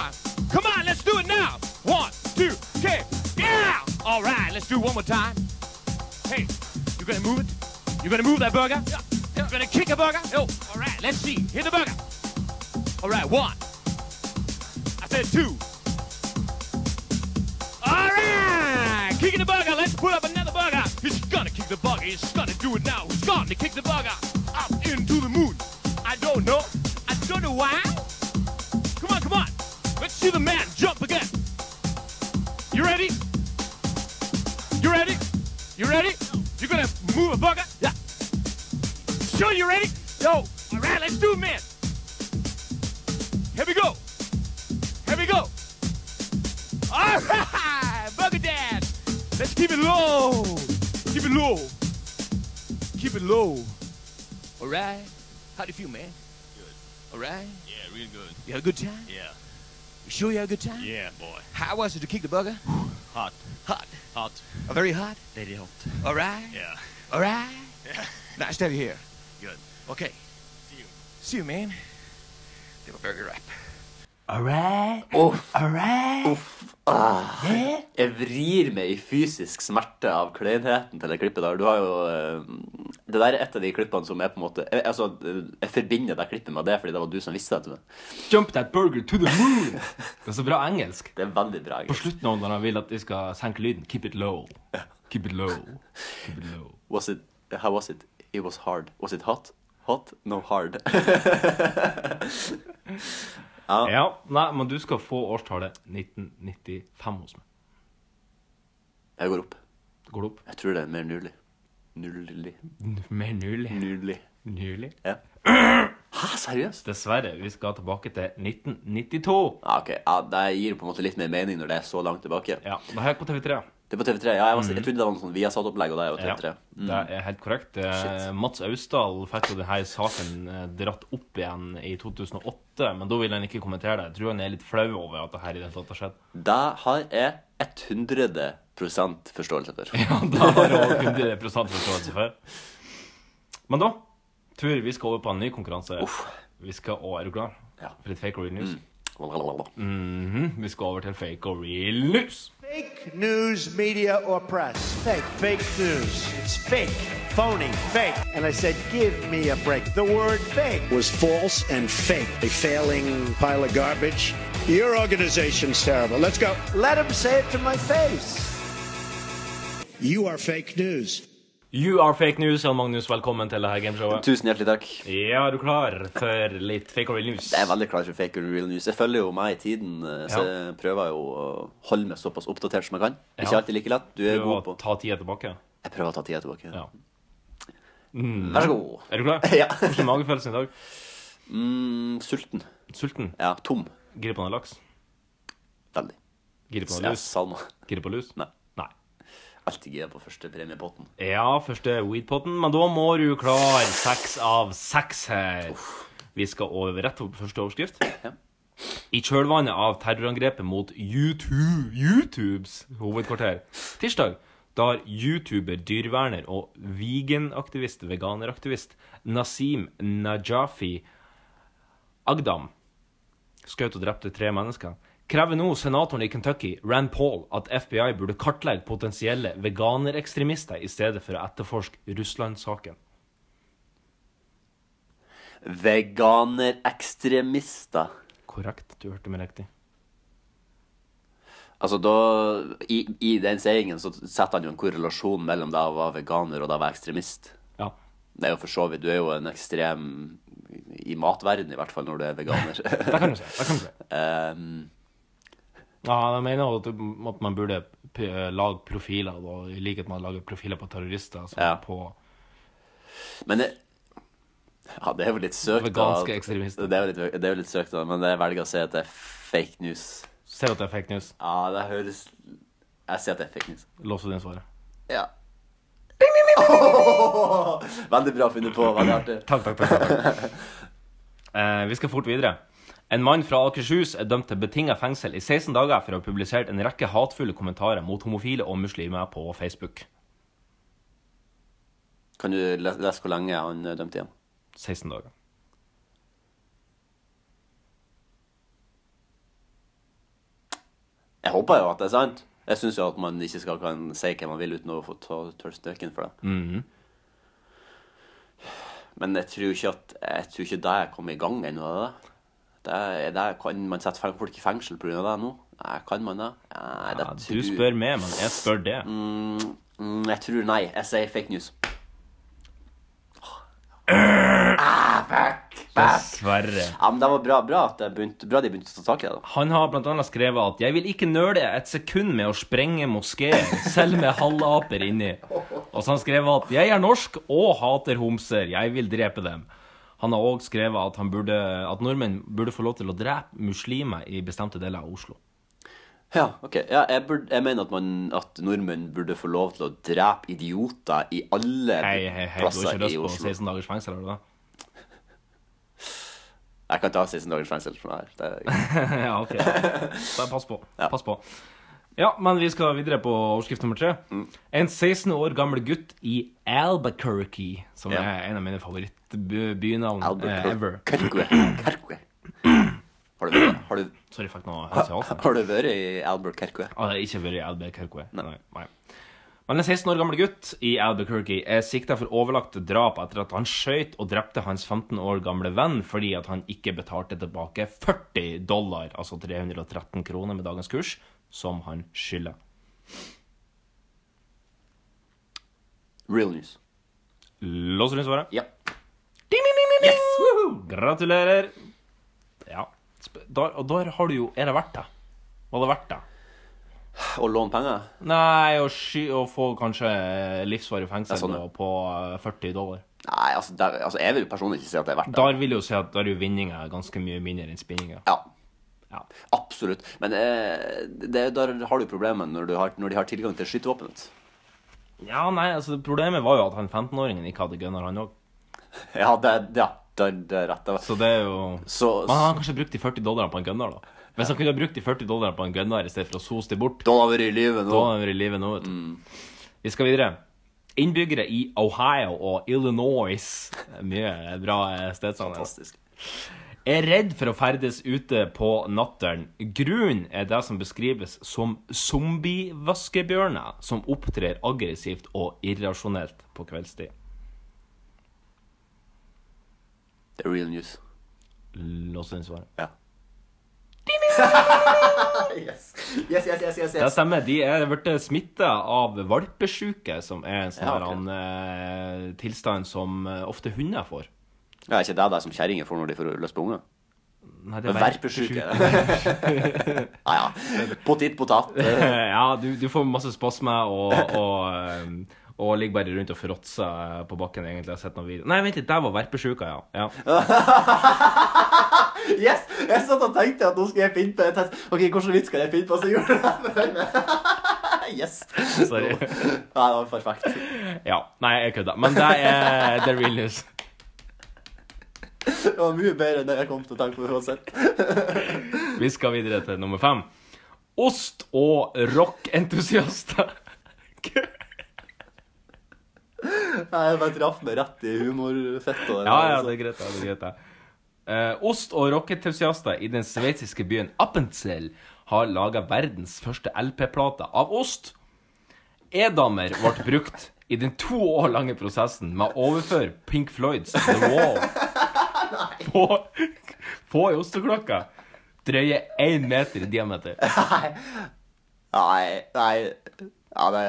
P: Come on, let's do it now. One, two, kick. Yeah! All right, let's do one more time. Hey, you gonna move it? You gonna move that burger? Yeah. You gonna kick a burger? No. All right, let's see. Hit the burger. All right, one. I said two. All right, kicking the burger. Let's put up another burger. He's gonna kick the burger. He's gonna do it now. He's gonna kick the burger up into the moon. I don't know. I don't know why. Come on, come on. Let's see the man jump again. You ready? You ready?
Q: move a bugger? Yeah. Sure you ready? Yo. All right, let's do it, man. Here we go. Here we go. All right, bugger dad. Let's keep it low. Keep it low. Keep it low. All right. How do you feel, man? Good. All right.
R: Yeah, real good.
Q: You had a good time?
R: Yeah.
Q: You sure you had a good time?
R: Yeah, boy.
Q: How was it to kick the bugger?
R: Hot.
Q: Hot.
R: Hot.
Q: Uh, very hot?
R: Very hot.
Q: All right.
R: Yeah.
Q: All right.
R: Yeah.
Q: Nice to have you here.
R: Good.
Q: Okay.
R: See you.
Q: See you, man. They were very ripe.
B: All right.
C: Uff.
B: All right.
C: Uff. Ah. Jeg vrir meg i fysisk smerte av kleinheten til det klippet der. Du har jo eh, Det der er et av de klippene som er på en måte jeg, Altså, jeg forbinder det klippet med det fordi det var du som visste det til meg.
B: Jump that burger to the moon. Det er så bra engelsk.
C: Det er veldig bra.
B: På slutten av når han vil at vi skal senke lyden. Keep it low. Keep it low. Keep it low.
C: Was it How was it? It was hard. Was it hot? Hot? No hard.
B: Ja. Nei, men du skal få årstallet 1995 hos meg.
C: Jeg går opp.
B: Går det opp?
C: Jeg tror det er mer nulig. Nulig.
B: Mer nylig.
C: Nulig.
B: Nylig?
C: Ja. Hæ, seriøst?
B: Dessverre. Vi skal tilbake til 1992.
C: Ja, ok. Ja, det gir på en måte litt mer mening når det er så langt tilbake.
B: Ja, Det her er på TV3.
C: Det er på TV3. Ja, jeg,
B: Mm.
C: var, jeg trodde det var noe sånn Viasat-opplegg, og det er jo TV3. Mm.
B: Det er helt korrekt. Eh, Mats Austdal fikk jo denne saken eh, dratt opp igjen i 2008, men da vil han ikke kommentere det. Jeg tror han er litt flau over at det her i det hele tatt har skjedd.
C: Det har jeg 100 forståelse for.
B: Da har han 100 forståelse for. Men da tror jeg vi skal over på en ny konkurranse. Vi skal over, Er du klar? For litt fake or real news?
C: Mm.
B: Mhm, Vi skal over til fake or real news.
S: Fake news, media, or press. Fake, fake news. It's fake, phony, fake. And I said, give me a break. The word fake was false and fake. A failing pile of garbage. Your organization's terrible. Let's go. Let him say it to my face. You are fake news.
B: You are fake news, Jan Magnus. Velkommen til dette gameshowet.
C: Tusen hjertelig takk.
B: Ja, er du klar for litt fake or real news?
C: Jeg er veldig klar for fake or real news. Jeg følger jo meg i tiden, eh, så
B: Ja.
C: jeg prøver jo å holde meg såpass oppdatert som jeg kan. Ikke
B: Ja.
C: alltid like lett. Du er
B: Prøv
C: god
B: å
C: på
B: ta tida tilbake.
C: Jeg prøver å ta tida tilbake.
B: Mm.
C: Vær så god.
B: Er du klar?
C: Ja.
B: Hvordan er magefølelsen i dag?
C: Mm, sulten.
B: Sulten?
C: Ja, tom.
B: Gir det på noe laks?
C: Veldig.
B: Gir det på
C: Ja,
B: noe lus?
C: Salma.
B: Gir det på lus?
C: Nei.
B: Nei.
C: Alltid gira på første premiepotten.
B: Ja, første weedpotten, men da må du klare seks av seks her. Vi skal over rett på første overskrift. I kjølvannet av terrorangrepet mot YouTube, YouTubes hovedkvarter tirsdag, da har YouTuber, dyrverner og veganaktivist, veganeraktivist Nasim Najafi Agdam skjøt og drepte tre mennesker, krever nå senatoren i Kentucky, Rand Paul, at FBI burde kartlegge potensielle veganerekstremister i stedet for å etterforske Russland-saken.
C: Veganerekstremister.
B: Korrekt, du hørte meg riktig.
C: Altså da, i, I den seingen så setter han jo en korrelasjon mellom deg å være veganer og deg å være ekstremist.
B: Ja.
C: Det er jo for så vidt, Du er jo en ekstrem i matverden, i hvert fall, når du er veganer. det
B: kan du si. Det kan du si. Ja, jeg mener jo at at man burde p- lage profiler, da, i likhet med at man lager profiler på terrorister. Altså på
C: men det, ja, det er jo litt søkt. da.
B: Veganske ekstremister.
C: Det er jo litt, det er jo litt søkt, da, men jeg velger å si at det er fake news.
B: Ser du at det er fake news?
C: Ja, det høres Jeg sier at det er fake news.
B: Lås du din svaret.
C: Ja. Veldig bra funnet på. Veldig artig.
B: Takk, takk, takk. takk, takk. Eh, vi skal fort videre. En mann fra Akershus er dømt til betinga fengsel i 16 dager for å ha publisert en rekke hatefulle kommentarer mot homofile og muslimer på Facebook.
C: Kan du le- lese hvor lenge han eh, dømte igjen?
B: 16 dager.
C: Jeg håper jo at det er sant. Jeg syns jo at man ikke skal kan si hva man vil uten å få ta tørr støken for det.
B: Mhm.
C: Men jeg tror ikke at jeg tror ikke det er kommet i gang ennå. det der. Det er, det er, kan man sette feng- folk i fengsel pga. det nå? Nei, kan man det? Nei, det tror...
B: Du spør meg, men jeg spør det.
C: Mm, mm, jeg tror nei. Jeg sier fake news. Ah, fuck!
B: Dessverre.
C: Ja, men det var bra, bra, at jeg begynte, bra de begynte å ta tak i det. da.
B: Han har blant annet skrevet at 'jeg vil ikke nøle et sekund med å sprenge moskeer, selv med halvaper inni'. Og så har han skrevet at 'jeg er norsk og hater homser, jeg vil drepe dem'. Han har òg skrevet at, han burde, at nordmenn burde få lov til å drepe muslimer i bestemte deler av Oslo.
C: Ja, ok. Ja, jeg, burde, jeg mener at, man, at nordmenn burde få lov til å drepe idioter i alle
B: Hei, hei, hei, du har
C: plasser
B: ikke lyst
C: i
B: på
C: Oslo.
B: 16 dagers fengsel, har du det?
C: Jeg kan ta 16 dagers fengsel for det her. Det er
B: ja, ok. Bare pass på. Pass på. Ja, men vi skal videre på overskrift nummer tre. En 16 år gammel gutt i Albuquerque, som
C: Ja.
B: er en av mine favorittbynavn eh, ever.
C: Albuquerque. Har du vært har du,
B: Sorry, fikk noe helse i halsen.
C: har du vært i Albuquerque?
B: Ah, det har ikke vært i Albuquerque. Nei. Nei. Men en 16 år gammel gutt i Albuquerque er sikta for overlagt drap etter at han skjøt og drepte hans 15 år gamle venn fordi at han ikke betalte tilbake 40 dollar, altså 313 kroner med dagens kurs, som han skylder.
C: Real news.
B: Låser du svaret?
C: Ja.
B: Yes! Woohoo! Gratulerer. Ja. Sp- Da, og da har du jo Er det verdt det? Var det verdt det?
C: Å låne penger?
B: Nei, å, sky, å få kanskje eh, livsvarig fengsel
C: Ja, sånn,
B: da, på eh, 40 dollar.
C: Nei, altså, der, altså jeg vil jo personlig ikke si at det er verdt det.
B: Der vil jeg jo si at der er jo vinninga ganske mye mindre enn spinninga.
C: Ja. Absolutt. Men eh, det, der har du problemet når, du har, når de har tilgang til skytevåpenet.
B: Ja, nei, altså Problemet var jo at han 15-åringen ikke hadde gunner, han òg.
C: Ja, det, ja, der, der rett det var.
B: Så det er jo
C: Så-
B: Men han har kanskje brukt de 40 dollarene på en gunner, da. Hvis han kunne ha brukt de 40 dollarene på en gunner i stedet for å sose de bort
C: Da har vi i livet nå. Mm.
B: Da er vi i livet nå, vet du. Vi skal videre. Innbyggere i Ohio og Illinois Mye bra eh, stedsnavn.
C: Fantastisk.
B: Er redd for å ferdes ute på natteren. Grunn er det som beskrives som zombievaskebjørner som opptrer aggressivt og irrasjonelt på kveldstid.
C: Det er real news.
B: Lås inn svaret.
C: Ja. yes. yes, yes, yes, yes,
B: Det stemmer. De er blitt smitta av valpesjuke, som er en sånn
C: Ja,
B: der,
C: ok.
B: han, eh, tilstand som eh, ofte hunder får.
C: Ja, er ikke det det som kjerringer får når de får lyst på unger?
B: Nei, det er
C: Verpesjuke.
B: verpesjuke.
C: ja, ja. Potet, potet. eh.
B: ja, du, du får masse spasmer og, og, ehm, og ligger bare rundt og fråtser eh, på bakken. egentlig. Jeg har sett noen videoer. Nei, vent litt, der var verpesjuka, ja. ja.
C: Yes! Jeg satt og tenkte at nå skal jeg finne på en test. Ok, hvordan vits skal jeg finne på? Så gjorde jeg det. Yes.
B: Sorry.
C: Ja, det var perfekt.
B: ja. Nei, jeg kødda. Men det er the real news.
C: Det var mye bedre enn det jeg kom til å tenke på uansett.
B: Vi skal videre til nummer fem. Ost- og rockentusiaster.
C: Nei, jeg bare traff meg rett i humorfettet. der,
B: Ja, ja,
C: altså.
B: det er greit. Ja, det er greit ja. Eh, ost- og rockentusiaster i den sveitsiske byen Appenzell har laga verdens første LP-plate av ost. Edamer ble brukt i den to år lange prosessen med å overføre Pink Floyds The Wall på, på ei osteklokka. Drøye én meter i diameter.
C: Nei, nei. Ja, det,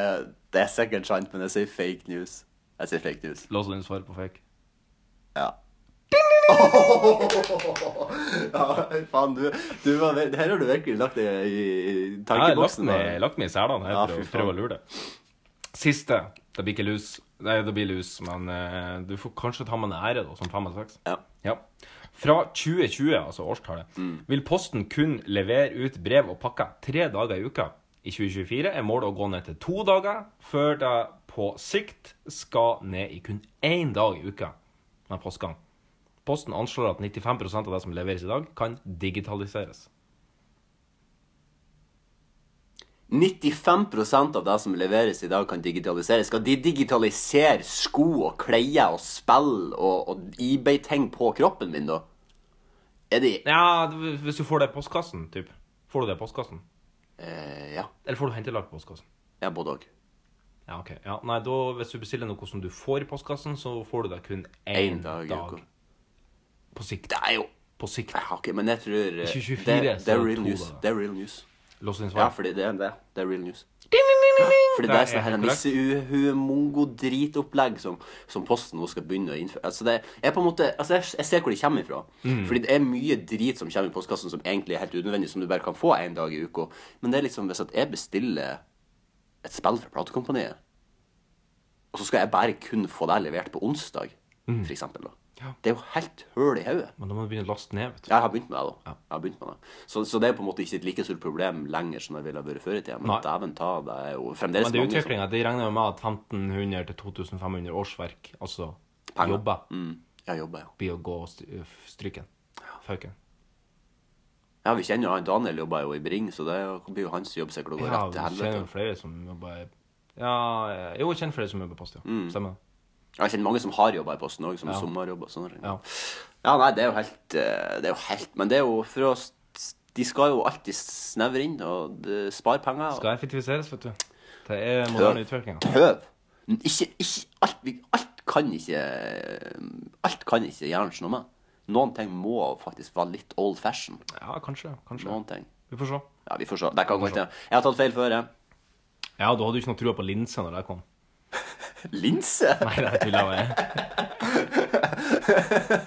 C: det er sikkert sant, men jeg sier fake news. Jeg sier fake news.
B: Lås inn svaret på fake.
C: Ja. ja, faen, du, du var, ve- det her har du virkelig lagt i, i i
B: Jeg har lagt
C: tankeboksen.
B: meg,
C: da.
B: lagt meg i selene her
C: Ja,
B: for
C: fy
B: å
C: faen.
B: prøve å lure det. Siste. Det blir ikke lus. Nei, det blir lus, men eh, du får kanskje ta med en ære, da, som fem og seks.
C: Ja.
B: Fra 2020, altså årstallet,
C: Mm.
B: vil Posten kun levere ut brev og pakker tre dager i uka. I 2024 er målet å gå ned til to dager, før det på sikt skal ned i kun én dag i uka med postgang. Posten anslår at 95 av det som leveres i dag, kan digitaliseres.
C: 95 av det som leveres i dag, kan digitaliseres. Skal de digitalisere sko og klær og spill og, og eBay-ting på kroppen min, da? Er de
B: Ja, d- hvis du får det i postkassen, typ. Får du det i postkassen?
C: eh, Ja.
B: Eller får du hentelag i postkassen?
C: Ja, både òg.
B: Ja, ok. Ja, nei, da, hvis du bestiller noe som du får i postkassen, så får du det kun én
C: Én dag
B: dag.
C: i uka.
B: På sikt.
C: Det er jo
B: På sikt.
C: Ja, ok, men jeg tror eh,
B: I 2024
C: det, det
B: så er
C: er
B: det
C: real
B: to
C: news.
B: dager.
C: Det er real news.
B: Lås inn
C: Ja,
B: svar.
C: fordi det er det. Det er real news. For det
B: Det
C: der
B: er
C: er sånn her
B: helt
C: misse-mongo-dritopplegg som, som Posten nå skal begynne å innføre. Altså, det er på en måte, altså jeg, jeg ser hvor de kommer ifra.
B: Mm.
C: Fordi det er mye drit som kommer i postkassen som egentlig er helt unødvendig, som du bare kan få én dag i uka. Men det er liksom hvis at jeg bestiller et spill fra platekompaniet, og så skal jeg bare kun få det levert på onsdag,
B: Mm.
C: for eksempel, da. Det er jo helt høl i hodet.
B: Men da må du begynne å laste ned. vet du.
C: Jeg har begynt med det, da. Jeg har begynt med det. Så, så det er på en måte ikke et like stort problem lenger som det ville ha vært før i tida. Men
B: Nei.
C: dæven ta, det er jo fremdeles
B: Men det er
C: mange som-
B: utviklinga. De regner jo med at 1500 til 2500 årsverk, altså
C: Penger.
B: jobber,
C: Ja, Mm. jobber, ja.
B: blir å gå st- øh, stryken. Fauken.
C: Ja, vi kjenner jo han Daniel jobber jo i Bring, så det blir jo hans jobb sikkert å gå
B: Ja,
C: rett til
B: vi kjenner
C: helvete.
B: jo flere som jobber i- Ja, jo, jeg kjenner flere som jobber på post, ja.
C: Mm.
B: Stemmer.
C: Jeg kjenner mange som har jobba i Posten òg, som
B: Ja.
C: sommerjobber og sånne ting.
B: Ja.
C: Ja, nei, det er jo helt eh, Det er jo helt Men det er jo for å s- De skal jo alltid snevre inn og eh, spare penger. og-
B: Skal effektiviseres, vet du. Det er moderne utvikling.
C: Tøv. Ikke, ikke alt, vi- alt kan ikke Alt kan ikke hjernen noe med. Noen ting må faktisk være litt old fashion.
B: Ja, kanskje. kanskje.
C: Noen ting.
B: Vi får se.
C: Ja, vi får se. Det kan
B: Vi
C: gå
B: får se.
C: til. Jeg har tatt feil før, jeg.
B: Ja, du hadde jo ikke noe trua på linser når det kom.
C: Linse?
B: Nei, det tuller jeg med.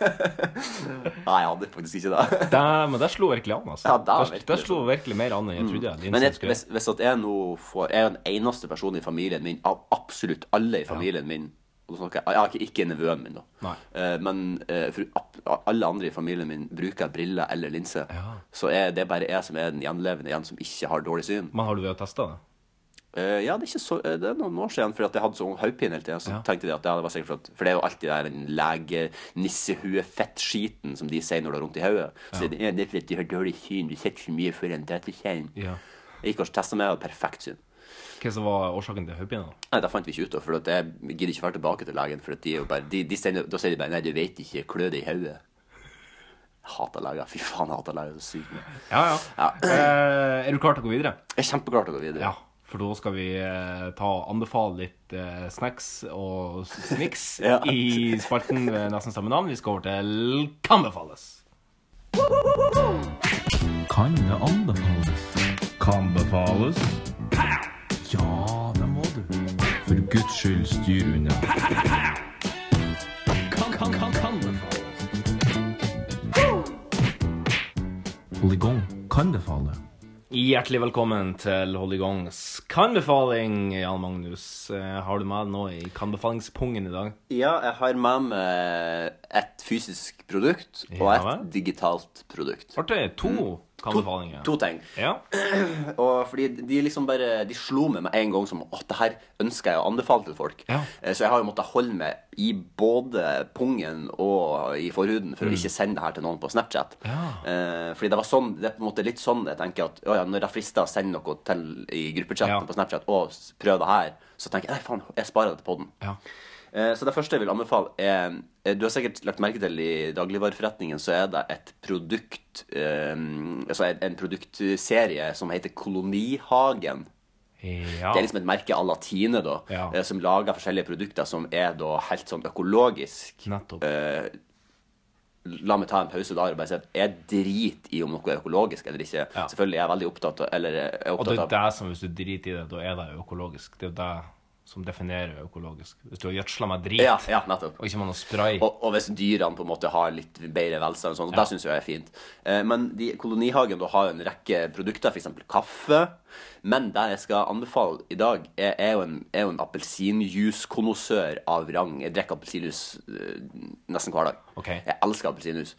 C: Nei, jeg hadde faktisk ikke det.
B: Det- Men det slo virkelig an, altså.
C: Ja, det er
B: Der-
C: virkelig Mm.
B: der slo virkelig mer an enn jeg trodde.
C: Men
B: Linser
C: jeg,
B: skulle
C: hvis, hvis at jeg nå får Jeg er den eneste personen i familien min, av absolutt alle i familien min og da snakker jeg, jeg har ikke, ikke nevøen min, da.
B: Nei.
C: Eh, men eh, for ab- alle andre i familien min bruker briller eller linser. Så er det bare jeg som er den gjenlevende igjen som ikke har dårlig syn.
B: Men har du vært og testa det?
C: Eh, ja, det er, ikke så, eh, det er noen år siden, for at jeg hadde sånn hodepine hele tida. Så tenkte jeg at ja, det var sikkert for at For det er jo alltid det der den lege-nissehue-fettskiten som de sier når du har vondt i hodet. Så
B: Ja.
C: sier de, ja, det er fordi at du har dårlig syn, du sitter for mye foran datakjernen.
B: Ja.
C: Jeg gikk og testa meg, jeg hadde perfekt syn.
B: Hva som var årsaken til hodepine? da?
C: Nei, det fant vi ikke ut av, for at jeg gidder ikke være tilbake til legen. For at de er jo bare, de, de sender, Da sier de bare 'nei, du vet ikke, klø det i hodet'. Jeg Hater leger. Fy faen, jeg hater leger så sykt mye.
B: Ja, ja. Eh, er du klar til å gå videre?
C: Jeg er kjempeklar til å gå videre.
B: Ja, for da skal vi eh, ta og anbefale litt eh, snacks og snicks
C: Ja.
B: i spalten ved nesten samme navn. Vi skal over til Kan befales.
T: Kan det anbefales? Kan befales? Ja, det må du. For guds skyld, styr unna.
Q: Kan, kan, kan, kan befales.
T: Polygon kan befale.
B: Hjertelig velkommen til Holigongs kanbefaling, Jan Magnus. Eh, Har du med noe i kanbefalingspungen i dag?
C: Ja, jeg har med meg et fysisk produkt og
B: Ja
C: et
B: vel.
C: digitalt produkt.
B: Artig. To kanbefalinger.
C: Mm. To ting.
B: Ja.
C: Og fordi de liksom bare De slo meg med en gang som Å, det her ønsker jeg å anbefale til folk. Eh, Så jeg har jo måttet holde meg i både pungen og i forhuden for
B: Mm.
C: å ikke sende det her til noen på Snapchat. Eh, fordi det var sånn, det er på en måte litt sånn jeg tenker at å ja, når jeg frister å sende noe til i gruppechatten på Snapchat og s- prøv det her, så tenker jeg nei, faen, jeg sparer det til podden. Eh, Så det første jeg vil anbefale, er eh, Du har sikkert lagt merke til i dagligvareforretningen, så er det et produkt eh, Altså en- en produktserie som heter Kolonihagen.
B: Ja.
C: Det er liksom et merke à la Tine, da, eh, som lager forskjellige produkter som er da helt sånn økologisk. Eh, La meg ta en pause der og bare si at jeg driter i om noe er økologisk eller ikke. Selvfølgelig er jeg veldig opptatt av Eller jeg er
B: Og det
C: opptatt
B: er
C: av
B: det som, hvis du driter i det, da er det økologisk. Det er jo det som definerer økologisk. Hvis du har gjødsla med drit
C: Ja, ja, nettopp.
B: og ikke med noe spray
C: Og, og hvis dyrene på en måte har litt bedre velstand, og sånn, og det syns jeg er fint. Eh, Men de, Kolonihagen da har jo en rekke produkter, f.eks. kaffe. Men der jeg skal anbefale i dag, er, er jo en, er jo en appelsinjuice-konnoissør av rang. Jeg drikker appelsinjuice eh, nesten hver dag. Jeg elsker appelsinjuice.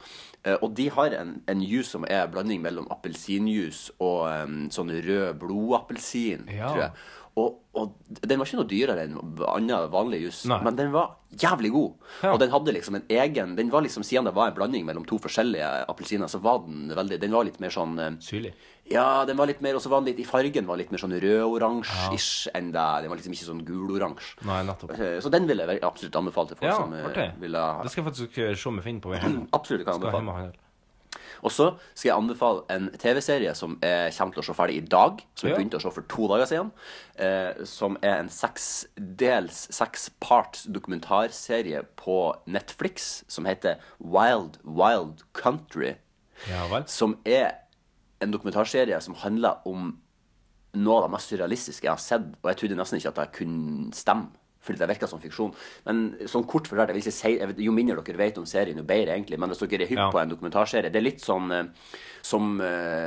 C: Eh, Og de har en, en juice som er en blanding mellom appelsinjuice og em, sånn rød blodappelsin,
B: Ja.
C: tror jeg. Og, og den var ikke noe dyrere enn annen vanlig jus, men den var jævlig god. Og den hadde liksom en egen Den var liksom, Siden det var en blanding mellom to forskjellige appelsiner, så var den veldig Den var litt mer sånn eh,
B: Syrlig.
C: Ja, den var litt mer Og så var den litt i fargen var litt mer sånn rød-oransje-ish enn det. Den var liksom ikke sånn gul-oransje.
B: Nei, nettopp.
C: Eh, Så den vil jeg vel absolutt anbefale til folk
B: Ja,
C: som eh,
B: artig.
C: vil ha
B: Det skal jeg faktisk se om jeg finner på vei hjem.
C: Absolutt kan jeg
B: Skal hjem
C: anbefale.
B: og handle.
C: Og så skal jeg anbefale en TV-serie som jeg kommer til å se ferdig i dag. Som jeg
B: Ja.
C: begynte å se for to dager siden. Eh, som er en seksdels, seksparts dokumentarserie på Netflix som heter Wild Wild Country.
B: Ja vel.
C: Som er en dokumentarserie som handler om noe av det mest surrealistiske jeg har sett. Og jeg trodde nesten ikke at jeg kunne stemme, fordi det virka som fiksjon. Men sånn kort forklart, jeg vil ikke si, jeg vet, jo mindre dere vet om serien, jo bedre, egentlig. Men hvis dere er hypp
B: Ja.
C: på en dokumentarserie Det er litt sånn eh, som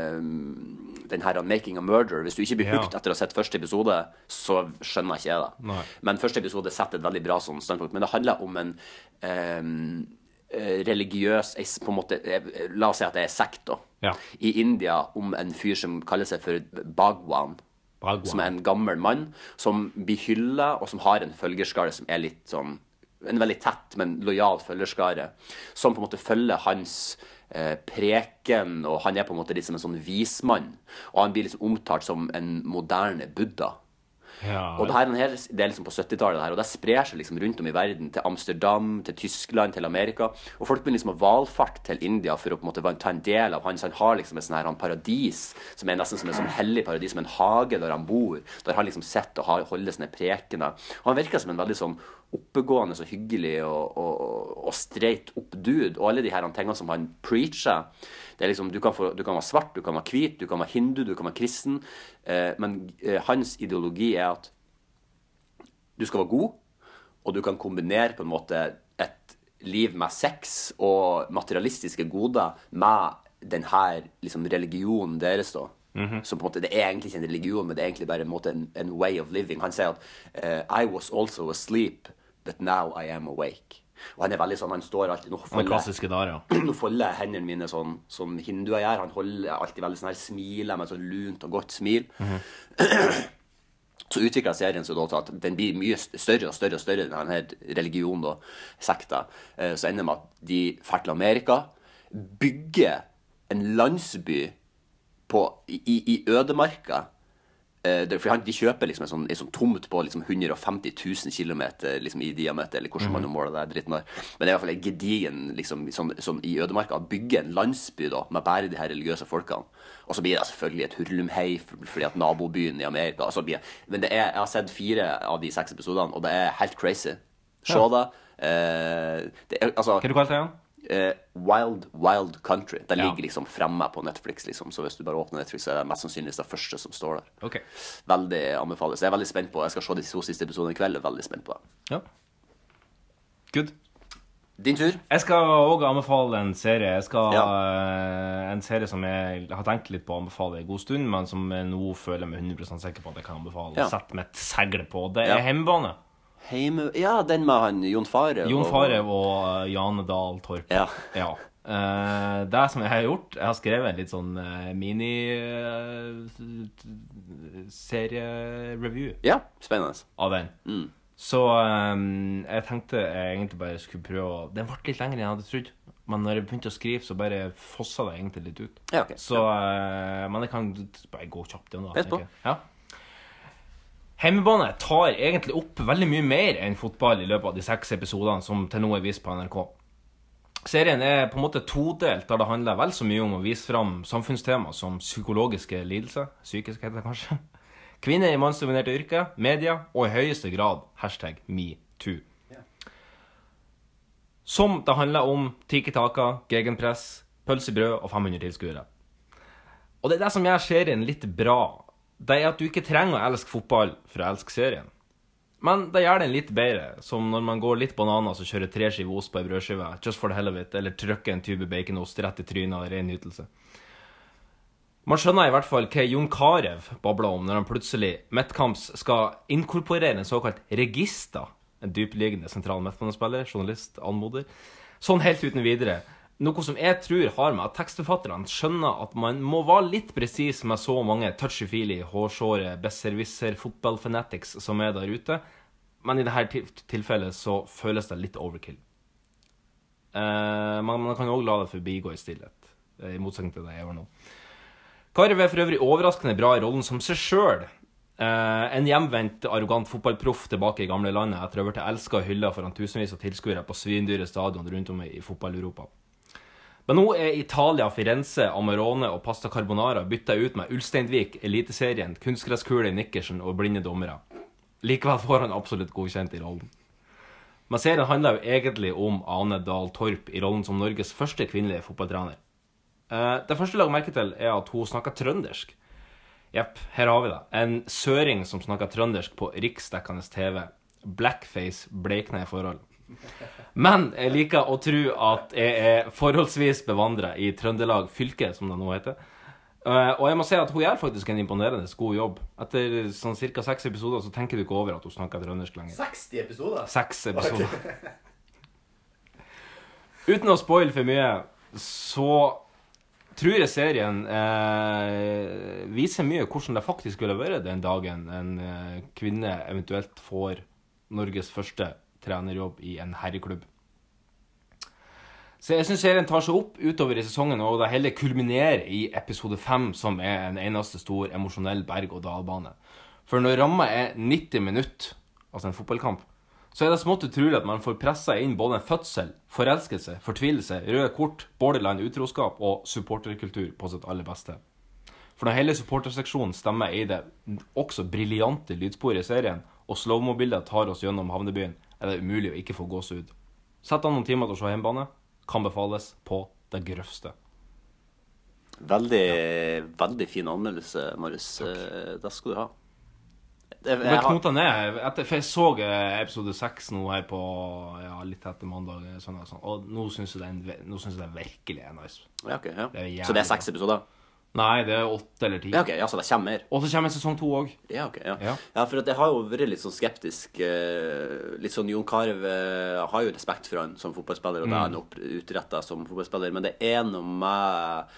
C: eh, den her 'Making a Murder'. Hvis du ikke blir
B: Ja.
C: hooked etter å ha sett første episode, så skjønner ikke jeg det.
B: Nei.
C: Men første episode setter et veldig bra sånn standpunkt. Men det handler om en ehm, eh, religiøs eh, på en måte, eh, La oss si at det er sekt, da.
B: Ja.
C: I India om en fyr som kaller seg for Bhagwan.
B: Bhagwan.
C: Som er en gammel mann som blir hylla, og som har en følgerskare som er litt sånn En veldig tett, men lojal følgerskare. Som på en måte følger hans eh, preken, og han er på en måte litt som en sånn vismann. Og han blir liksom omtalt som en moderne Buddha. Og det, her, er en hel, det er liksom på 70-tallet, det her, og det sprer seg liksom rundt om i verden. Til Amsterdam, til Tyskland, til Amerika. Og folk begynner liksom å valfarte til India for å på en måte ta en del av hans. Han har liksom et sånn her han paradis, som er nesten som et sånn hellig paradis, som en hage der han bor. Der han liksom sitter og har- holder sine prekener. Og han virker som en veldig sånn oppegående og hyggelig og, og, og straight up dude. Og alle de her tingene som han preacher det er liksom, du, kan få, du kan være svart, du kan være hvit, du kan være hindu, du kan være kristen. Eh, men eh, hans ideologi er at du skal være god, og du kan kombinere på en måte et liv med sex og materialistiske goder med denne liksom, religionen deres. da.
B: Mhm.
C: Som på en måte, Det er egentlig ikke en religion, men det er egentlig bare en, måte, en, en way of living. Han sier at eh, I was also asleep, but now I am awake. Og han er veldig sånn, han står alltid nå
B: Den
C: følger-
B: klassiske der, ja.
C: nå folder jeg hendene mine sånn som hinduer gjør. Han holder alltid veldig sånn her, smiler med sånn lunt og godt smil. Så utvikler serien seg da til at den blir mye st- større og større og større, denne religionen og sekta. Eh, Så ender det med at de drar til Amerika, bygger en landsby på, i, i- i ødemarka. Eh, det- For han, de kjøper liksom en sånn, en sånn tomt på liksom 150 000 km liksom, i diameter, eller hvordan man nå måler det dritten der. Men det er i hvert fall en gedigen liksom, sånn, sånn, i ødemarka. Bygge en landsby da, med bare de her religiøse folkene. Og så blir det selvfølgelig et hurlumhei for- fordi at nabobyen i Amerika altså, blir, Men det er, jeg har sett fire av de seks episodene, og det er helt crazy. Se
B: Ja.
C: det. Eh, det er, altså,
B: Hva kalte du den?
C: Eh, Wild Wild Country. Det
B: Ja.
C: ligger liksom fremme på Netflix, liksom. Så hvis du bare åpner Netflix, så er det mest sannsynligvis det første som står der.
B: Ok.
C: Veldig anbefales. Jeg er veldig spent på Jeg skal se de to siste episodene i kveld. Jeg er veldig spent på det.
B: Ja. Good.
C: Din tur.
B: Jeg skal òg anbefale en serie. Jeg skal eh, En serie som jeg har tenkt litt på å anbefale en god stund, men som jeg nå føler jeg meg 100 sikker på at jeg kan anbefale.
C: Ja.
B: Sett mitt segle på. Det
C: Ja.
B: er Hjemmebane.
C: Heime... Ja, den med han Jon Farev.
B: Jon
C: og-
B: Farev og eh, Jane Dahl Torp.
C: Ja.
B: Eh, det som jeg har gjort Jeg har skrevet en litt sånn eh, mini eh, seriereview
C: Ja, spennende.
B: av den. Så eh, jeg tenkte jeg egentlig bare skulle prøve å Den ble litt lengre enn jeg hadde trodd. Men når jeg begynte å skrive, så bare fossa det egentlig litt ut.
C: Ja, ok.
B: Så eh, Men jeg kan bare gå kjapt gjennom. da,
C: Vet på.
B: tenker jeg. Ja. Hjemmebane tar egentlig opp veldig mye mer enn fotball i løpet av de seks episodene som til nå er vist på NRK. Serien er på en måte todelt, der det handler vel så mye om å vise fram samfunnstema som psykologiske lidelser, psykisk heter det kanskje, kvinner i mannsdominerte yrker, media og i høyeste grad hashtag metoo. Som det handler om Tiki Taka, Gegenpress, pølsebrød og 500 tilskuere. Og det er det som gjør serien litt bra. Det er at du ikke trenger å elske fotball for å elske serien. Men det gjør den litt bedre, som når man går litt bananas og kjører tre skiver ost på ei brødskive, just for the hell of it, eller trykker en tube baconost rett i trynet av ren nytelse. Man skjønner i hvert fall hva Jon Carew babla om når han plutselig midtkamps skal inkorporere en såkalt regista, en dypliggende sentral midtbanespiller, journalist, anmoder, sånn helt uten videre. Noe som jeg tror har med at tekstforfatterne skjønner at man må være litt presis med så mange touchy-feely, hårsåre, besserwisser, fotballfanatics som er der ute, men i dette til- tilfellet så føles det litt overkill. Eh, men man kan òg la det forbigå i stillhet, eh, i motsetning til det jeg gjør nå. Karev er for øvrig overraskende bra i rollen som seg sjøl. Eh, en hjemvendt, arrogant fotballproff tilbake i gamle landet etter å ha blitt elska og hylla foran tusenvis av tilskuere på svindyre stadion rundt om i i fotball-Europa. Men nå er Italia, Firenze, Amarone og pasta carbonara bytta ut med Ulsteinvik, Eliteserien, kunstgresskule i nikkersen og blinde dommere. Likevel får han absolutt godkjent i rollen. Men serien handler jo egentlig om Ane Dahl Torp i rollen som Norges første kvinnelige fotballtrener. Eh, Det første jeg la merke til, er at hun snakker trøndersk. Jepp, her har vi det. En søring som snakker trøndersk på riksdekkende TV. Blackface, bleikna i forhold. Men jeg liker å tro at jeg er forholdsvis bevandra i Trøndelag fylke, som det nå heter. Eh, Og jeg må si at hun gjør faktisk en imponerende god jobb. Etter sånn ca. seks episoder så tenker du ikke over at hun snakker trøndersk lenger.
U: 60 episoder?
B: Seks episoder.
U: Ok.
B: Uten å spoile for mye, så tror jeg serien eh, viser mye hvordan det faktisk ville vært den dagen en eh, kvinne eventuelt får Norges første trenerjobb i en herreklubb. Så jeg syns serien tar seg opp utover i sesongen, og det hele kulminerer i episode fem, som er en eneste stor emosjonell berg-og-dal-bane. For når ramma er 90 minutter, altså en fotballkamp, så er det smått utrolig at man får pressa inn både en fødsel, forelskelse, fortvilelse, røde kort, borderline utroskap og supporterkultur på sitt aller beste. For når hele supporterseksjonen stemmer i det også briljante lydsporet i serien, og slowmo-bildet tar oss gjennom havnebyen, er det umulig å ikke få gåsehud. Sett an noen timer til å se hjemmebane. Kan befales på det grøvste.
C: Veldig, veldig fin anmeldelse, Marius. Eh, Det skal du ha. Det-
B: Jeg ble knota ned. Etter, for jeg så eh, episode seks nå her på ja, litt etter mandag. eh, Sånn, og sånn. Og nå syns jeg den, nå synes jeg den virkelig er nice.
C: Ja, ok, ja.
B: jævlig
C: Så det er seks episoder?
B: Nei, det er åtte eller ti.
C: Ja, ok, ja, så det kommer mer.
B: Og så kommer sesong to òg.
C: Ja, ok, ja. ja. for at jeg har jo vært litt sånn skeptisk. eh, Litt sånn Jon Carew eh, har jo respekt for han som fotballspiller, og det
B: Mm.
C: han utretta som fotballspiller, men det er noe med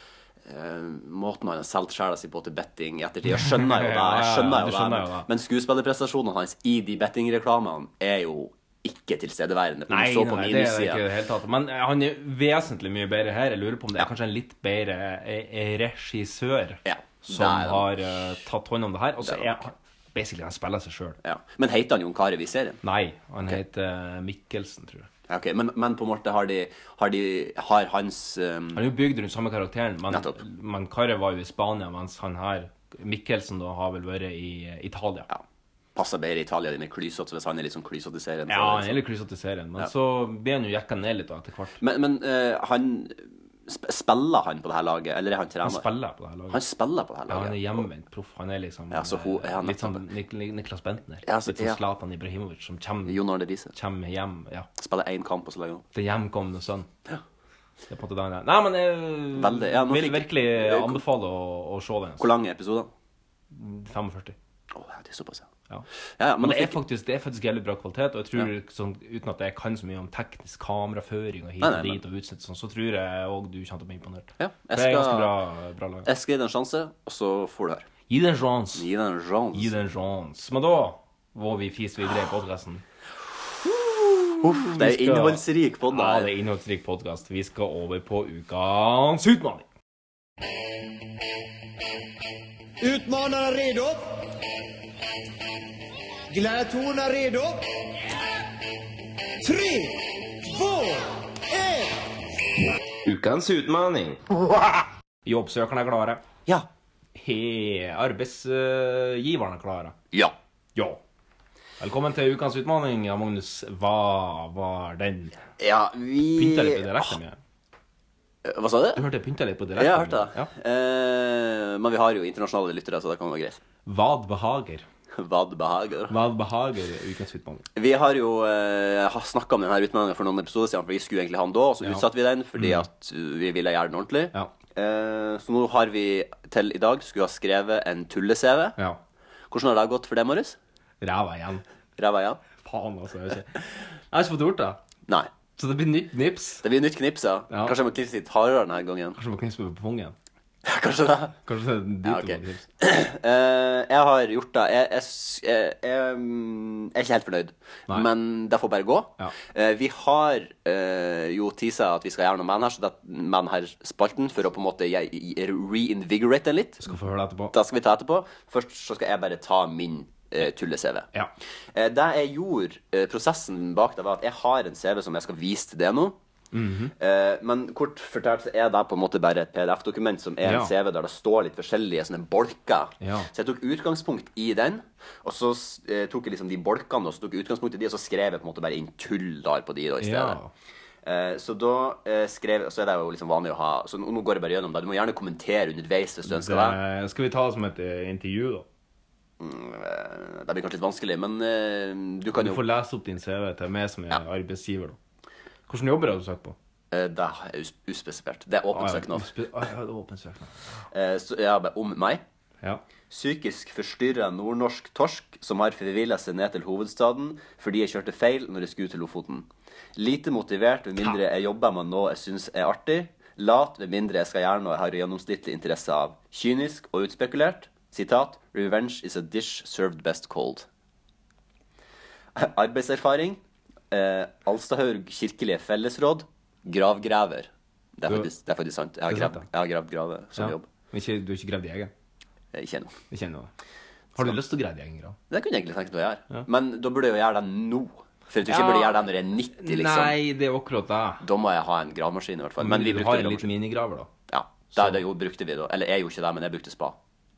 C: eh, måten han har solgt sjela si på til betting i ettertid. Jeg skjønner jo det.
B: Ja,
C: jeg
B: ja,
C: skjønner jo
B: du
C: det,
B: skjønner
C: men-
B: jo det.
C: Men skuespillerprestasjonene hans i de bettingreklamene er jo ikke tilstedeværende. for
B: Nei,
C: du så på
B: nei, det er det
C: minussiden.
B: ikke i det hele tatt. Men eh, han er vesentlig mye bedre her. Jeg lurer på om det er kanskje en litt bedre eh, eh, regissør som
C: det er det.
B: har eh, tatt hånd om det her. Og så er han basically han spiller seg sjøl.
C: Ja. Men heter han Jon Carew i serien?
B: Nei, han heter eh, Mikkelsen, tror jeg.
C: Ja, ok, men, men på en måte har de Har, de, har hans um,
B: Han er jo bygd rundt samme karakteren, men, men Kare var jo i Spania, mens han her, Mikkelsen, da, har vel vært i eh, Italia. Ja,
C: passer bedre i Italia, de mer klysete, så hvis han er litt sånn klysete i serien så er det
B: han
C: liksom-
B: er litt klysete i serien, men
C: Ja.
B: så blir han jo jekka ned litt da, etter hvert.
C: Men, men eh, han sp Spiller han på det her laget, eller er han trener?
B: Han spiller på det her laget.
C: Han spiller på det her
B: Ja,
C: laget.
B: han er hjemvendt proff. Han er liksom
C: Ja, så hun-
B: eh,
C: ja, nettopp.
B: litt sånn Nik Nik Niklas Bentner.
C: Ja, så-
B: litt sånn
C: ja.
B: Zlatan Ibrahimovic som kommer,
C: Jon Arne Riise.
B: Kjem hjem, ja.
C: Spiller én kamp, og så legger han opp.
B: Til hjemkomne sønn. Det er på en måte det han er. Nei, men jeg
C: Veldig, ja, nå
B: vil
C: fikk-
B: virkelig
C: Eh, hvor-
B: anbefale å, å se den.
C: Hvor lang er episoden?
B: 45.
C: Å, det er såpass, ja.
B: Ja.
C: Ja, ja, men
B: men det
C: nå
B: er,
C: fikk-
B: faktisk, det er faktisk jævlig bra kvalitet. Og jeg tror, sånn, uten at jeg kan så mye om teknisk kameraføring og hit
C: Nei, nei,
B: og
C: nei.
B: dit og utsnitt, og sånn, så tror jeg òg du kommer til å bli imponert.
C: jeg
B: det er
C: skal-
B: ganske bra, bra laget.
C: Jeg skal gi det en sjanse, og så får du høre.
B: Gi det en sjanse.
C: Gi det en sjanse.
B: Gi det en sjanse. Men da må vi fise videre i podkasten.
C: Uff, det er innholdsrik podd,
B: Ja, det er innholdsrik podkast. Vi skal over på ukens utfordring.
V: Utmanaren redo? Gladiatorerna redo? Tre, två, ett!
B: Ukens utfordring. Jobbsøkerne er klare.
C: Ja.
B: He, arbeidsgiverne er klare.
C: Ja.
B: Ja. Velkommen til ukens utfordring, ja, Magnus. Hva var den?
C: Ja, vi
B: Pynta litt på direkten. Ja.
C: Hva sa du?
B: Du hørte jeg pynta litt
C: Ja,
B: på direkten.
C: jeg har hørt det. Eh, men vi har jo internasjonale lyttere, så det kan være greit.
B: Vad behager.
C: Vad behager.
B: Vad behager er ukens utfordring.
C: Vi har jo eh, snakka om denne utmeldinga for noen episoder siden, for vi skulle egentlig ha den da, og så
B: Ja.
C: utsatte vi den fordi
B: Mm.
C: at vi ville gjøre den ordentlig. Eh, så nå har vi til i dag skulle ha skrevet en tulle-CV.
B: Ja.
C: Hvordan har det gått for deg, Marius?
B: Ræva igjen.
C: Ræva igjen?
B: Faen, altså. Jeg har ikke, jeg har ikke fått gjort det.
C: Nei.
B: Så det blir nytt knips?
C: Det blir nytt knips, ja. Kanskje jeg må knipse litt hardere denne gangen.
B: Kanskje må knipse på pungen.
C: Kanskje det.
B: Kanskje det er dit
C: Ja,
B: du
C: ok.
B: må knipse.
C: Eh, jeg har gjort det. Jeg, jeg, s- jeg, jeg, mm, jeg er ikke helt fornøyd, men det får bare gå. Eh, vi har eh, jo teasa at vi skal gjøre noe med denne spalten for å på en måte jeg, jeg, reinvigorate den litt.
B: Skal få høre det etterpå.
C: Det skal vi ta etterpå. Først så skal jeg bare ta min eh, tulle-CV. Eh, det jeg gjorde, eh, prosessen bak det, var at jeg har en CV som jeg skal vise til deg nå.
B: Mhm.
C: Eh, men kort fortalt så er det på en måte bare et PDF-dokument som er en
B: Ja.
C: CV der det står litt forskjellige sånne bolker.
B: Ja.
C: Så jeg tok utgangspunkt i den, og så eh, tok jeg liksom de bolkene og så tok jeg utgangspunkt i de, og så skrev jeg på en måte bare inn tull der på de da i
B: Ja.
C: stedet. Eh, så da eh, skrev Så er det jo liksom vanlig å ha Så nå nå går jeg bare gjennom det. Du må gjerne kommentere underveis hvis du ønsker det.
B: Det, skal vi ta det som et eh, intervju, da?
C: Mm, eh, Det blir kanskje litt vanskelig, men eh, du kan
B: Du
C: jo
B: får lese opp din CV til meg som er arbeidsgiver, da. Hvilken jobber har du søkt på?
C: Eh, Det er us- uspesifert. Det er åpen
B: Ah, ja,
C: søknad.
B: uspe- ah, ja, det er åpen søknad.
C: Eh, Så ja, men om meg.
B: Ja.
C: Psykisk forstyrra nordnorsk torsk som har forvilla seg ned til hovedstaden fordi jeg kjørte feil når jeg skulle til Lofoten. Lite motivert med mindre jeg jobber med noe jeg syns er artig. Lat med mindre jeg skal gjøre noe jeg har gjennomsnittlig interesse av. Kynisk og utspekulert. Sitat 'Revenge is a dish served best cold'. Arbeidserfaring. Eh, Alstahaug kirkelige fellesråd. Gravgraver. Det er
B: Du-
C: faktisk, det er faktisk sant. Jeg har
B: Det er sant,
C: gravd, jeg har gravd graver som
B: Ja.
C: Sånn jobb.
B: Men ikke, du har ikke gravd i egen?
C: Ikke ennå.
B: Ikke ennå. Har du lyst til å grave i egen grav?
C: Det kunne jeg egentlig tenkt meg å gjøre. Men da burde jeg jo gjøre det nå. For at du ikke
B: Ja.
C: burde gjøre det når jeg er 90, liksom.
B: Nei, det er akkurat det.
C: Da må jeg ha en gravemaskin i hvert fall. Men vi
B: du
C: brukte
B: har en
C: gravemaskin.
B: liten minigraver, da.
C: Ja, det, det jo, brukte vi da. Eller jeg gjorde ikke det, men jeg brukte spa.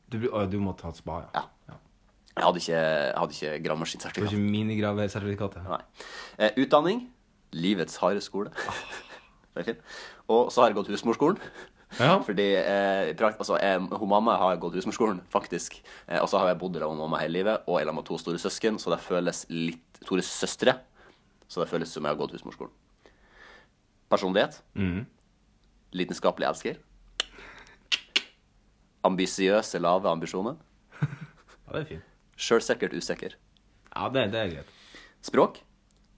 B: Du, bru- å, du må ta et spa, ja.
C: Jeg hadde ikke, jeg hadde ikke
B: Du har
C: gravemaskinsertifikat.
B: ikke minigravesertifikatet?
C: Nei. Eh, utdanning. Livets harde skole.
B: Ah.
C: det er fint. Og så har jeg gått husmorskolen. Fordi eh, i prakt, altså, jeg, hun mamma har gått husmorskolen, faktisk. Eh, og så har jeg bodd sammen med mamma hele livet, og jeg er sammen med to store søsken, så det føles litt Tores søstre. Så det føles som jeg har gått husmorskolen. Personlighet.
B: Mhm.
C: Lidenskapelig elsker. Ambisiøse, lave ambisjoner.
B: Ja, det er fint.
C: Sjølsikkert usikker.
B: Ja, det, det er greit.
C: Språk.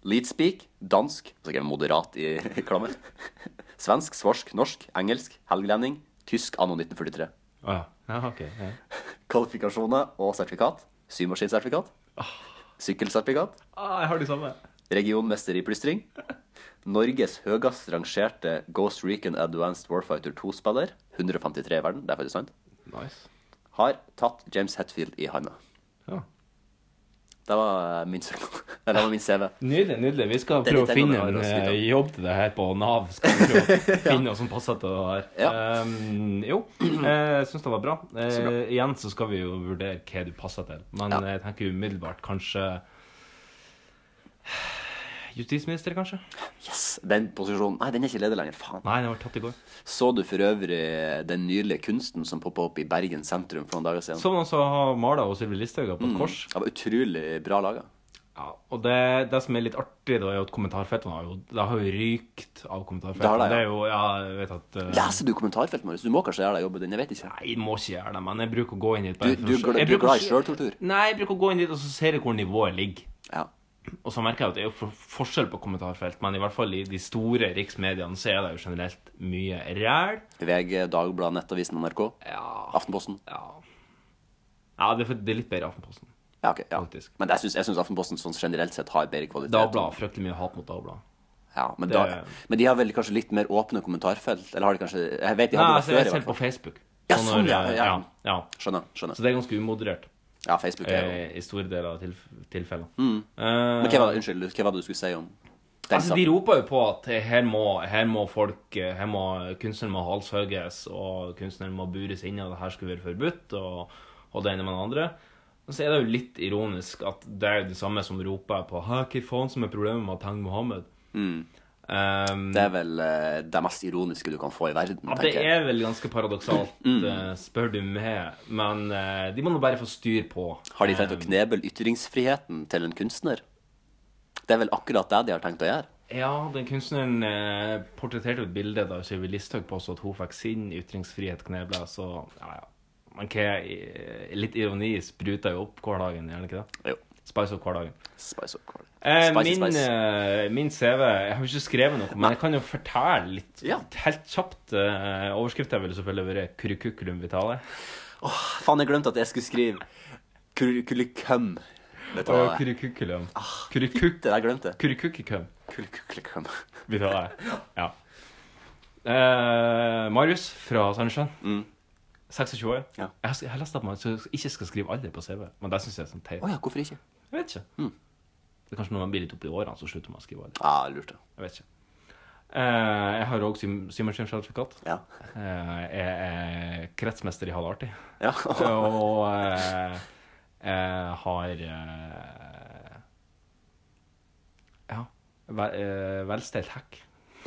C: Leadspeak. Dansk. Så skrev jeg moderat i i klammer. Svensk, svorsk, norsk, engelsk, helgelending. Tysk anno 1943.
B: Å ja. ja. OK. Ja.
C: Kvalifikasjoner og sertifikat. Symaskinsertifikat. Sykkelsertifikat.
B: Ah, jeg har de samme.
C: Regionmester i plystring. Norges høyest rangerte Ghost Recon Advanced Warfighter 2-spiller. 153 i verden, det er faktisk sant.
B: Nice.
C: Har tatt James Hetfield i handa.
B: Ja.
C: Det var eh, min søknad. Eller det var min CV.
B: Nydelig. nydelig. Vi skal
C: Det er
B: prøve
C: litt
B: å finne
C: ennå
B: en
C: det har å skryte
B: eh, jobb til det her på Nav. Skal vi prøve å finne noe som passer til det her. Ehm, jo, eh, jeg syns det var bra. Eh,
C: Så bra.
B: igjen så skal vi jo vurdere hva du passer til. Men eh, jeg tenker umiddelbart kanskje Justisminister, kanskje?
C: Yes, Den posisjonen Nei, den er ikke ledig lenger. Faen.
B: Nei, den var tatt i går.
C: Så du for øvrig eh, den nydelige kunsten som poppa opp i Bergen sentrum for noen dager siden?
B: Som noen som Sånn, har mala og Sylvi Listhaug på
C: Mm,
B: et kors.
C: Det var utrolig bra laga.
B: Ja, og det, det som er litt artig, da, er jo at kommentarfeltene har jo, det har jo rykt av
C: Det har
B: kommentarfeltene.
C: det, ja.
B: Det, er jo, ja, jeg vet at eh,
C: Leser du kommentarfeltet, Marius? Du må kanskje gjøre deg jobben din? Jeg vet ikke.
B: Nei, jeg må ikke gjøre det, men jeg bruker å gå inn i et
C: Du, du, du,
B: Jeg
C: du er
B: bruker
C: glad i
B: ikke-
C: sjøltortur?
B: Nei, jeg bruker å gå inn dit og så ser jeg hvor nivået ligger.
C: Ja.
B: Og så merker jeg at det er jo for- forskjell på kommentarfelt, men i hvert fall i de store riksmediene så er det jo generelt mye ræl.
C: VG, Dagbladet, Nettavisen, NRK? Aftenposten?
B: Ja, det er, for, det er litt bedre i Aftenposten.
C: Ja, ok, ja. Men jeg syns, jeg syns Aftenposten sånn generelt sett har bedre kvalitet.
B: Dagbladet har fryktelig mye hat mot Dagbladet.
C: Ja, men,
B: Det-
C: da, men de har vel kanskje litt mer åpne kommentarfelt? Eller har de kanskje Jeg vet de
B: Nei,
C: hadde
B: altså,
C: det
B: jeg
C: før. i
B: ser
C: hvert
B: på
C: fall.
B: Facebook.
C: Ja,
B: Så
C: sånn, ja,
B: når- eh,
C: ja, ja.
B: ja.
C: Skjønner. skjønner.
B: Så det er ganske umoderert.
C: Ja, Facebook er jo
B: eh, I store deler av tilf tilfellene.
C: Mm.
B: Eh,
C: Men sånn. hva var det, unnskyld, hva var det du skulle si om den
B: Altså, de roper jo på at her må, her må folk eh, her må, Kunstneren må halshøges, og kunstneren må bures inne, og det her skulle være forbudt, og, og det ene med det andre. Og så er det jo litt ironisk at det er det samme som roper på Hæ, hva faen som er problemet med Tang Mohammed?
C: Mm. det er vel eh, det mest ironiske du kan få i verden,
B: Ja, det
C: tenker jeg.
B: er vel ganske paradoksalt,
C: Mm.
B: eh, spør du meg, men eh, de må nå bare få styr på
C: Har de tenkt å kneble ytringsfriheten til en kunstner? Det er vel akkurat det de har tenkt å gjøre.
B: Ja, den kunstneren eh, portretterte jo et bilde da Sylvi Listhaug påstod at hun fikk sin ytringsfrihet knebla, så ja, ja. Men hva, eh, litt ironi spruter jo opp hverdagen, gjør det ikke det?
C: Jo.
B: Spice opp hverdagen.
C: Spice up Carl.
B: Eh,
C: Spicy
B: min,
C: spice.
B: eh, min CV Jeg har jo ikke skrevet noe, men jeg kan jo fortelle litt helt kjapt. Eh, Overskriften ville selvfølgelig vært 'Curriculum vitale'.
C: Faen, jeg glemte at jeg skulle skrive kurkulikum. Vet du hva
B: Og
C: det er?
B: Curriculum.
C: Ah. Det der glemte jeg.
B: Curriculum.
C: Kurkulikum.
B: Vitale. Ja. Eh, Marius fra Sandnessjøen. 26 år. Jeg, har, sk- jeg har lest at man så- ikke skal skrive alder på CV, men det syns jeg er sånn teit.
C: Å ja, hvorfor ikke?
B: Jeg vet ikke. Det er kanskje når man blir litt oppi årene, så slutter man å skrive alder.
C: Ja, lurt det.
B: Jeg vet ikke. Eh, jeg har òg Symersen-sertifikat.
C: Ja.
B: Eh, jeg er kretsmester i Ha det artig.
C: Ja.
B: Og eh, jeg har eh, Ja. Ve eh, velstelt hekk.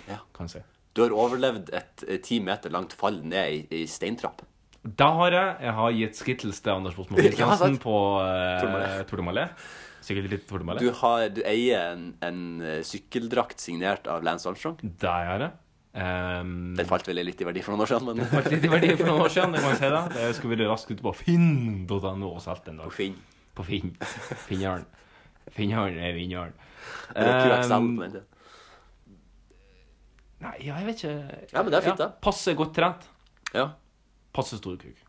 B: kan jeg si.
C: Du har overlevd et eh, ti meter langt fall ned i, i steintrapp.
B: Da har jeg Jeg har gitt Skittles til Anders Bosmo
C: Ja,
B: Christiansen
C: sant.
B: på uh,
C: Tordemalé.
B: Tordemalé. Sikkert litt Tordemalé.
C: Du, har, du eier en, en eh, sykkeldrakt signert av Lance Armstrong.
B: Det gjør jeg.
C: den falt vel litt i verdi for noen år siden, men
B: Det var litt i verdi for noen år siden, det kan jeg si da. Det skulle vi raskt ut på finn.no og solgt en dag. På
C: Finn.
B: På Finn. Finnjaren. Finnjaren er vinnjaren.
C: Det var QXL på
B: Eh,
C: den tiden.
B: Nei, ja, jeg vet ikke.
C: Ja, men det er fint, da.
B: Passe godt trent.
C: Ja.
B: Passe stor kuk.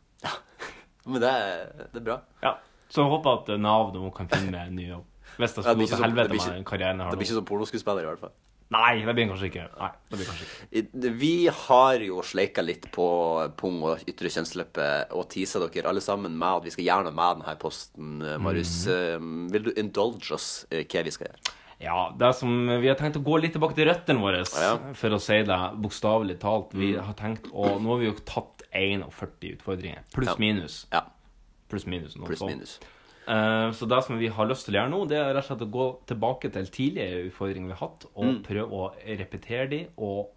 C: Men det er, det er bra.
B: Ja. Så jeg håper at Nav nå kan finne meg en ny jobb. Hvis det
C: Ja, det blir
B: skulle gå til
C: ikke så- det
B: helvete
C: blir
B: med
C: ikke-
B: karrieren jeg har
C: Det blir ikke
B: nå.
C: som pornoskuespiller, i hvert fall.
B: Nei, det blir kanskje ikke. Nei, det blir kanskje ikke.
C: I- Vi har jo sleika litt på pung og ytre kjønnsleppe og teasa dere alle sammen med at vi skal gjøre noe med denne posten, eh, Marius.
B: Mhm.
C: Eh, Vil du indulge oss eh, hva vi skal gjøre?
B: Ja, det som Vi har tenkt å gå litt tilbake til røttene våre, for å si det bokstavelig talt. Vi
C: Mm.
B: har tenkt å Nå har vi jo tatt 41 utfordringer. Pluss
C: Ja.
B: minus.
C: Ja.
B: Pluss minus. noe
C: Pluss
B: sånt.
C: minus.
B: Eh, så det som vi har lyst til å gjøre nå, det er rett og slett å gå tilbake til tidligere utfordringer vi har hatt, og
C: Mm.
B: prøve å repetere de, og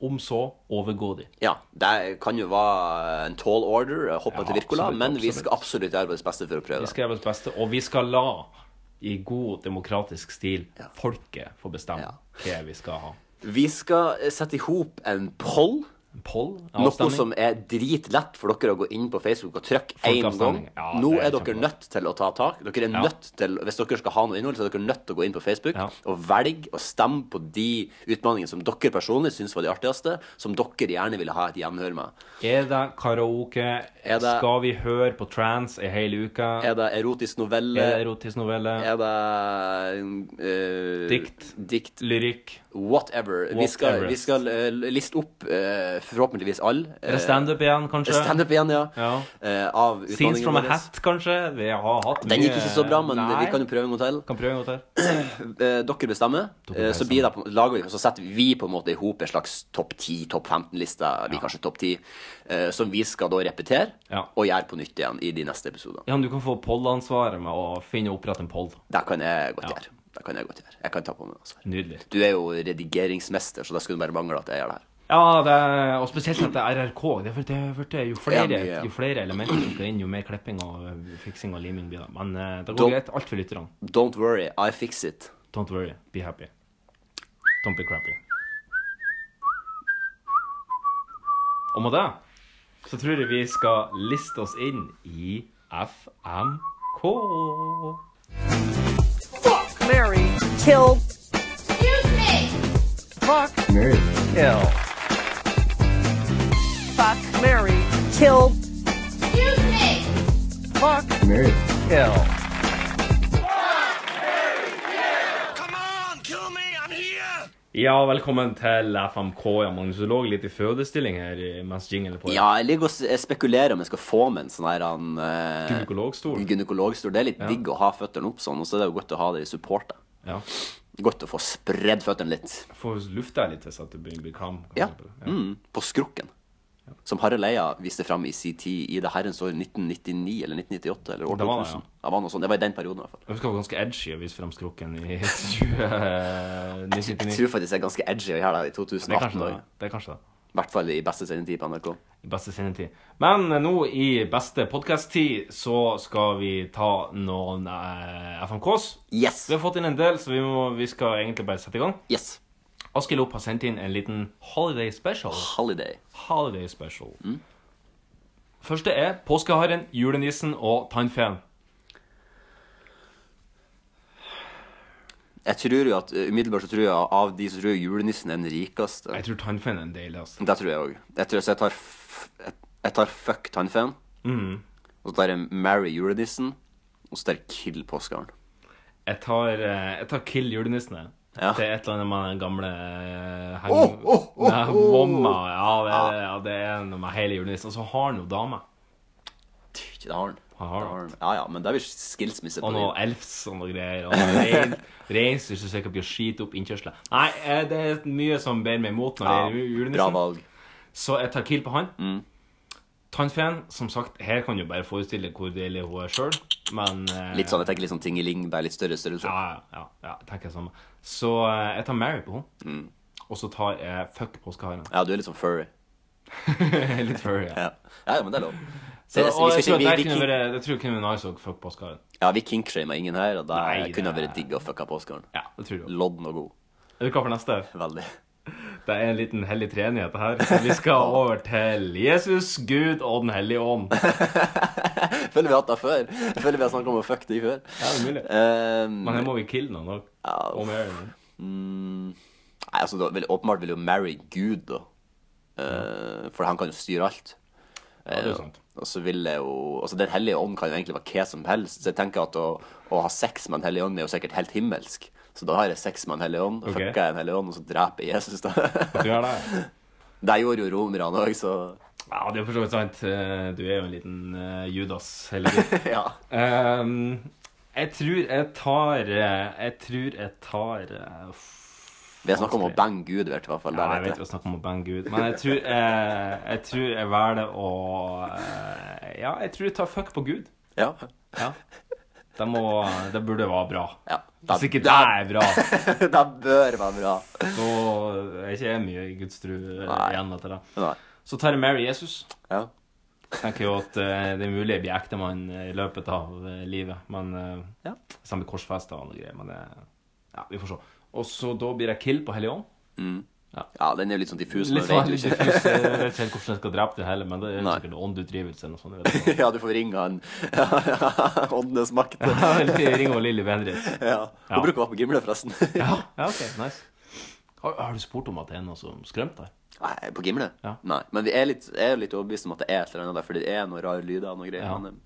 B: om så overgå de.
C: Ja, det kan jo være en tall order, eh, hoppe
B: Ja,
C: til Virkola,
B: absolutt,
C: men vi
B: absolutt.
C: skal absolutt gjøre vårt beste for å prøve
B: Vi
C: det.
B: skal gjøre vårt beste, og vi skal la, i god demokratisk stil, folket få bestemme hva vi skal ha.
C: Vi skal eh, sette i hop en poll. Noe
B: avstemning.
C: som er dritlett for dere å gå inn på Facebook og trykke én gang.
B: Folkeavstemning. Ja,
C: Nå
B: det er
C: er dere nødt til å ta tak. Dere er
B: Ja.
C: nødt til, Hvis dere skal ha noe innhold, så er dere nødt til å gå inn på Facebook og velge og stemme på de utfordringene som dere personlig syns var de artigste, som dere gjerne ville ha et gjenhør med.
B: Er det karaoke?
C: det-
B: Skal vi høre på trans i hele uka?
C: Er det erotisk novelle?
B: Er det erotisk novelle?
C: Er det eh,
B: Dikt.
C: dikt?
B: Lyrikk?
C: Whatever. Vi skal,
B: Whatever.
C: vi skal eh, liste opp eh, forhåpentligvis alle.
B: Er det standup igjen, kanskje?
C: Eh, Standup igjen, ja.
B: Ja.
C: Eh, av
B: Scenes from a
C: vår.
B: hat, kanskje? Vi har hatt
C: Den gikk ikke så bra, men
B: Nei.
C: vi kan jo prøve en gang til.
B: Kan prøve en gang
C: til. Dere bestemmer. Eh, Så, blir det, på- lager vi, så setter vi på en måte i hop en slags topp 10, topp 15-liste, blir kanskje topp 10, eh, som vi skal da repetere
B: Ja.
C: og gjøre på nytt igjen i de neste episodene.
B: Ja, men du kan få pollansvaret med å finne og opprette en poll.
C: Det kan jeg godt gjøre. Det kan jeg godt gjøre. Jeg kan ta på meg ansvar.
B: Nydelig.
C: Du er jo redigeringsmester, så da skulle det bare mangle at jeg gjør det her.
B: Ja, det er, og spesielt at det er RRK. Det er fordi- det er fordi jo, flere,
C: Ja, mye.
B: jo flere elementer som skal inn, jo mer klipping og eh, fiksing og liming blir det. Men eh, det går
C: Don't-
B: greit. Alt for lytterne.
C: Don't worry, I fix it.
B: Don't worry. Be happy. Don't be crappy. Og med det så tror jeg vi skal liste oss inn i FMK.
M: Fuck, Mary, kill. Excuse me. Fuck, kill. Fuck, Mary, kill. Excuse me. Fuck, Mary, kill.
B: Ja, velkommen til FMK. Ja, Magnus, du lå litt i fødestilling her eh, mens jingle på.
C: Ja, jeg ligger og s- jeg spekulerer om jeg skal få med en sånn her han, eh,
B: Gynekologstol.
C: gynekologstol. Det er litt digg å ha føttene opp sånn, og så er det jo godt å ha det i support. da.
B: Ja.
C: Godt å få spredd føttene litt.
B: Få lufta litt hvis at du blir blir klam.
C: Ja. Mm, på skrukken. Som Harald Eia viste fram i sin tid i det herrens år 1999 eller 1998 eller år
B: Det var det,
C: 2000. Det var noe sånt. Det var i den perioden i hvert fall.
B: Jeg husker det var ganske edgy å vise frem skrukken i 2099.
C: Jeg tror faktisk det er ganske edgy å gjøre det i 2018.
B: Det er kanskje det,
C: også.
B: det er kanskje det.
C: I hvert fall i beste sendetid på NRK.
B: I beste sendetid. Men eh, nå i beste podkast-tid så skal vi ta noen eh, FMKs.
C: Yes.
B: Vi har fått inn en del, så vi, må, vi skal egentlig bare sette i gang.
C: Yes.
B: Askild Opp har sendt inn en liten holiday special.
C: Holiday.
B: Holiday special. Første er påskeharen, julenissen og tannfeen.
C: Jeg tror jo at eh, umiddelbart så tror jeg av de som tror jeg julenissen er den rikeste.
B: Jeg tror tannfeen er altså. den deiligste.
C: Det tror jeg òg. Jeg tror så jeg tar f jeg, jeg tar fuck tannfeen.
B: Mhm.
C: Og så tar jeg marry julenissen. Og så tar jeg kill påskeharen.
B: Jeg tar, eh, jeg tar kill julenissene. Det er et eller annet med den gamle eh, heng...
C: Åh, åh, åh,
B: Nei,
C: åh.
B: Mamma. Ja, det, er- ja, det er noe med hele julenissen. Og så har han jo dame.
C: Det har han. Det har han. Ja ja, men det er vel skillsmisse på
B: Og
C: det.
B: noe elfs og noe greier. Og noe rein, reinsdyr som sikkert blir skit opp innkjørselen. Nei, eh, det er mye som bærer meg imot når det liksom-
C: Ja,
B: gjelder ju- julenissen.
C: bra valg.
B: Så jeg tar kill på han.
C: Mm.
B: Tannfeen, som sagt, her kan du bare forestille hvor deilig hun er sjøl, men eh,
C: Litt sånn, jeg tenker litt sånn tingeling, bare litt større størrelse.
B: sånn.
C: Mm.
B: Ja, ja, ja, jeg tenker det samme. Så eh, jeg tar Mary på henne. Og så tar jeg fuck påskeharen.
C: Ja, du er litt sånn furry.
B: litt furry, ja.
C: ja. Ja, men det er lov.
B: Så,
C: Det er-
B: og
C: vi skal
B: jeg tror
C: ikke-
B: at jeg
C: vi- vi kink-
B: kunne vært- jeg tror det kunne vært nice å fuck påskeharen.
C: Ja, vi kinkshama ingen her, og da
B: Nei,
C: kunne det
B: det-
C: vært digg å fucka påskeharen.
B: Ja, det tror jeg.
C: Lodden og god.
B: Er du klar for neste?
C: Veldig.
B: Det er en liten hellig treenighet det her. Så vi skal over til Jesus, Gud og Den hellige ånd.
C: Føler vi har hatt det før? Føler vi har snakket om å fuck de før?
B: Ja, det er mulig.
C: Um,
B: Men her må vi kille noen òg. Om jeg gjør det.
C: Mm, nei, altså, da vil, åpenbart vil jo Mary Gud, da. Eh, For han kan jo styre alt.
B: Ja, det er
C: Eh,
B: sant.
C: og så vil jeg jo Altså, Den hellige ånd kan jo egentlig være hva som helst. Så jeg tenker at å, å ha sex med Den hellige ånd er jo sikkert helt himmelsk. Så da har jeg sex med Den hellige ånd,
B: Ok.
C: fucker jeg Den hellige ånd, og så dreper jeg Jesus, da.
B: Du gjør det?
C: det gjorde jo romerne òg, så
B: Ja, det er for så vidt sant. Eh, Du er jo en liten eh, Judas, heldigvis.
C: ja.
B: Ehm, jeg tror jeg tar eh, Jeg tror jeg tar eh, f-
C: Vi har snakket om å bange Gud, i hvert fall.
B: Nei,
C: der,
B: jeg vet ikke å snakke om å bange Gud. Men jeg tror jeg, jeg, tror jeg velger å eh, Ja, jeg tror jeg tar fuck på Gud.
C: Ja.
B: ja. Det, må, det burde være bra.
C: Ja.
B: Hvis ikke det
C: da-
B: er bra,
C: det bør være bra.
B: så er ikke jeg mye i Guds tru eh,
C: Nei.
B: igjen etter det.
C: Nei.
B: Så tar jeg Mary Jesus.
C: Ja.
B: Tenker jo at eh, det er mulig jeg blir ektemann i løpet av eh, livet. Men uh,
C: ja.
B: Samme korsfest og noe greier. Men det ja, vi får se. Og så da blir jeg kill på Hellig Ånd.
C: Mm.
B: Ja.
C: den er jo litt sånn diffus.
B: Litt
C: men
B: sånn litt
C: vet jo ikke.
B: diffus. Jeg vet ikke helt hvordan jeg skal drepe det heller, men det er
C: Nei.
B: sikkert åndutdrivelse eller noe sånt. jeg vet ikke.
C: ja, du får ringe han. Åndenes makt.
B: Ring over Lilly Bendriss.
C: Ja. Hun
B: Ja.
C: bruker å være på Gimle, forresten.
B: Ja, ja, ok, nice. Har, har du spurt om at det er noe som skremte deg?
C: Nei, på Gimle? Nei. Men vi er litt, jeg er litt overbevist om at det er et eller annet der, for det er noen rare lyder og noe greier.
B: Ja.
C: Men, eh,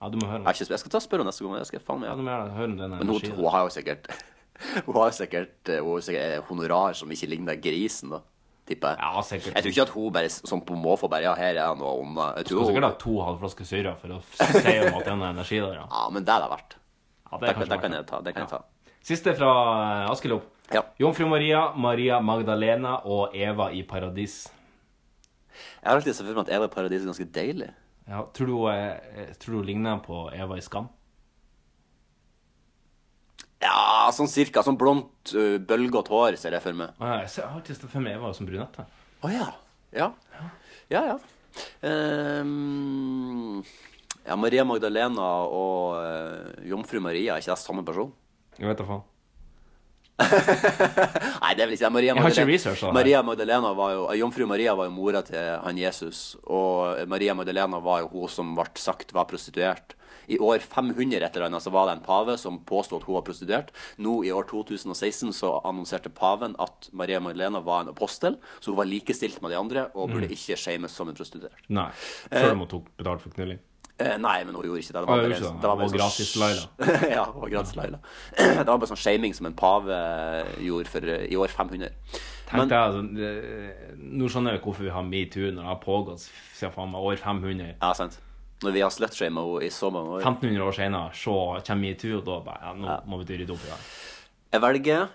B: Ja, du må høre
C: jeg,
B: om
C: er ikke, jeg skal ta og spørre henne neste gang. men Jeg skal faen meg
B: Ja, du må gjerne høre om den
C: Men hun,
B: energien.
C: hun har jo sikkert Hun har jo sikkert, eh, hun har jo sikkert eh, honorar som ikke ligner grisen, da. Tipper jeg.
B: Ja, sikkert.
C: Jeg tror ikke at hun bare s- sånn på måfå bare Ja, her er noe ånder. Jeg
B: Du
C: tror
B: skal
C: hun
B: sikkert ha to halvflasker syre for å si om at det er noe energi der, ja.
C: Ja, men det er det verdt.
B: det er
C: det,
B: kanskje
C: det
B: verdt
C: kan
B: det.
C: jeg ta. Det kan jeg ta.
B: Siste fra eh, Askelopp.
C: Ja.
B: Jomfru Maria, Maria Magdalena og Eva i paradis.
C: Jeg har alltid sett for meg at Eva i Paradis er ganske deilig.
B: Ja, tror, du, eh, eh, tror du ligner på Eva i Skam?
C: Ja, sånn cirka. Sånn blondt, uh, bølgete hår ser jeg for meg.
B: Å, ja, Jeg ser- jeg har alltid sett for meg Eva som brunette.
C: Å ja. Ja, ja. ja. Ehm, ja Maria Magdalena og eh, jomfru Maria, er ikke det samme person?
B: Jeg vet da faen.
C: Nei, det vil ikke si. Maria
B: Jeg har ikke
C: Magdalena,
B: researchet det her.
C: Maria Magdalena var jo, eh, jomfru Maria var jo mora til han Jesus, og Maria Magdalena var jo hun som ble sagt var prostituert. I år 500 et eller annet så var det en pave som påstod at hun var prostituert. Nå i år 2016 så annonserte paven at Maria Magdalena var en apostel, så hun var likestilt med de andre og burde
B: Mm.
C: ikke shames som en prostituert.
B: Nei.
C: Eh,
B: Før hun tok betalt for knulling.
C: Eh, nei, men hun gjorde ikke det. Det
B: Å,
C: var
B: hun
C: bare,
B: gjorde ikke det.
C: det var
B: Hun
C: bare sånn
B: var gratis Laila.
C: ja, hun var gratis Laila. det var bare sånn shaming som en pave gjorde for eh, i år 500.
B: Tenk deg, altså, eh, Nå skjønner jeg hvorfor vi har metoo når det har pågått siden faen meg år 500.
C: Ja, sant. Når vi har slutshama henne i så mange år.
B: 1500 år senere så kommer metoo, og da bare ja, Nå må vi rydde opp i det.
C: Jeg velger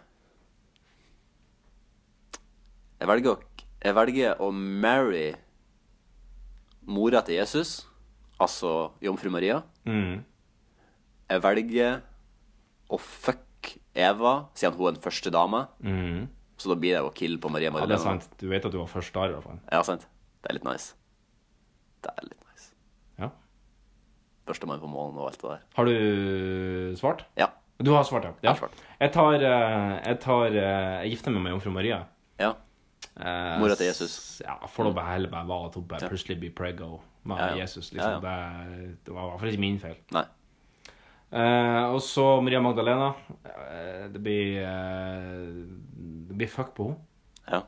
C: Jeg velger å, jeg velger å marry mora til Jesus, altså jomfru Maria.
B: Mm.
C: Jeg velger å fuck Eva, siden hun er den første dama.
B: Mm.
C: Så da blir det jo kill på Maria
B: Ja,
C: Magdalena.
B: det er sant. Du vet at du var først der, i hvert fall.
C: Ja, sant. Det er litt nice. Det er litt nice.
B: Ja.
C: Førstemann på målen og alt det der.
B: Har du eh, svart?
C: Ja.
B: Du har svart, ja.
C: Jeg har
B: ja. Jeg tar, eh, jeg, tar eh, jeg gifter meg med jomfru Maria.
C: Ja.
B: Eh,
C: Mora til Jesus. Mm.
B: Ja, for da bare heller bare var at hun bare eh, plutselig blir preggo med
C: Ja, ja.
B: Jesus.
C: Ja, ja.
B: Liksom. Det, det var i hvert fall ikke min feil.
C: Nei.
B: Eh, og så Maria Magdalena. Eh, det blir eh, Det blir fuck på henne.
C: Ja.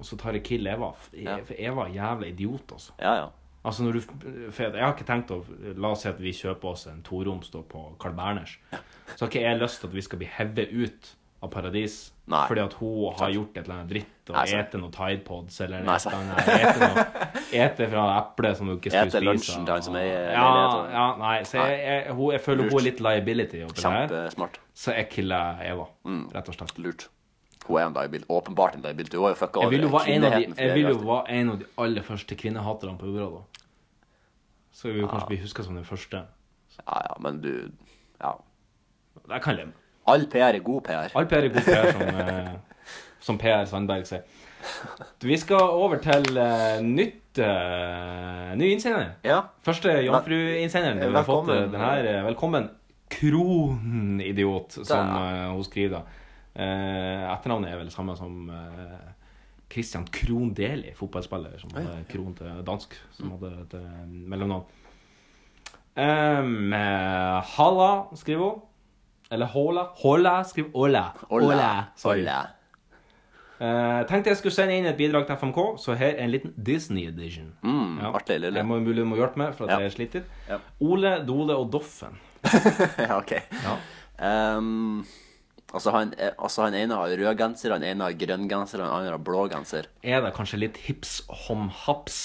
B: Og så tar jeg kill Eva. F-
C: Ja.
B: For Eva er jævla idiot, altså.
C: Ja, ja.
B: Altså når du, for jeg har ikke tenkt å La oss si at vi kjøper oss en toroms da på Carl Berners. Så har ikke jeg lyst til at vi skal bli hevet ut av paradis
C: Nei.
B: fordi at hun har gjort et eller annet dritt og
C: Nei, sant.
B: ete noen Tide Pods eller
C: Nei,
B: et eller annet. Ete, noe, ete fra eplet som hun ikke skulle
C: Ete
B: spise.
C: lunsjen til han som eier
B: ja,
C: leiligheten.
B: ja, nei, så jeg, jeg, hun, jeg føler hun er litt liability oppi det her.
C: Kjempesmart.
B: Så jeg killer Eva,
C: Mm.
B: rett og slett.
C: Lurt. Hun er en liability. Åpenbart en liability. Hun har jo fucka
B: Jeg
C: over
B: vil jo være en av de,
C: kvinneheten
B: jeg
C: flere
B: vil jo
C: ganger.
B: være en av de aller første kvinnehaterne på jorda, da. Så jeg vil jo kanskje bli huska som den første.
C: Ja, ja, men du Ja.
B: Jeg kan leve med
C: All PR er god PR.
B: All PR er god PR som eh, som Per Sandberg sier. Vi skal over til eh, nytt eh, ny innsender. Første jomfruinnsenderen vi har fått eh,
E: Velkommen.
B: den her. eh, Velkommen. Kronidiot, som
E: Da.
B: eh, hun skriver da. Eh, etternavnet er vel samme som eh, Christian Krohn Deli, fotballspiller som
E: Ja, ja,
B: hadde Krohn til dansk, som hadde et eh, mellomnavn. Um, eh, Halla, skriver hun. Eller Håla. Håla, skriver Åla.
C: Hola.
B: sorry.
C: Hola.
B: Eh, tenkte jeg skulle sende inn et bidrag til FMK, så her er en liten Disney edition.
C: Mm,
B: Ja.
C: Artig,
B: Jeg
C: lille.
B: må mulig må hjelpe meg, for at
C: Ja.
B: jeg sliter. Ole, Dole og Doffen.
C: ja, ok. Ehm, altså, han, eh, altså, han ene har rød genser, han ene har grønn genser, han andre har blå genser.
B: Er det kanskje litt hips hom haps?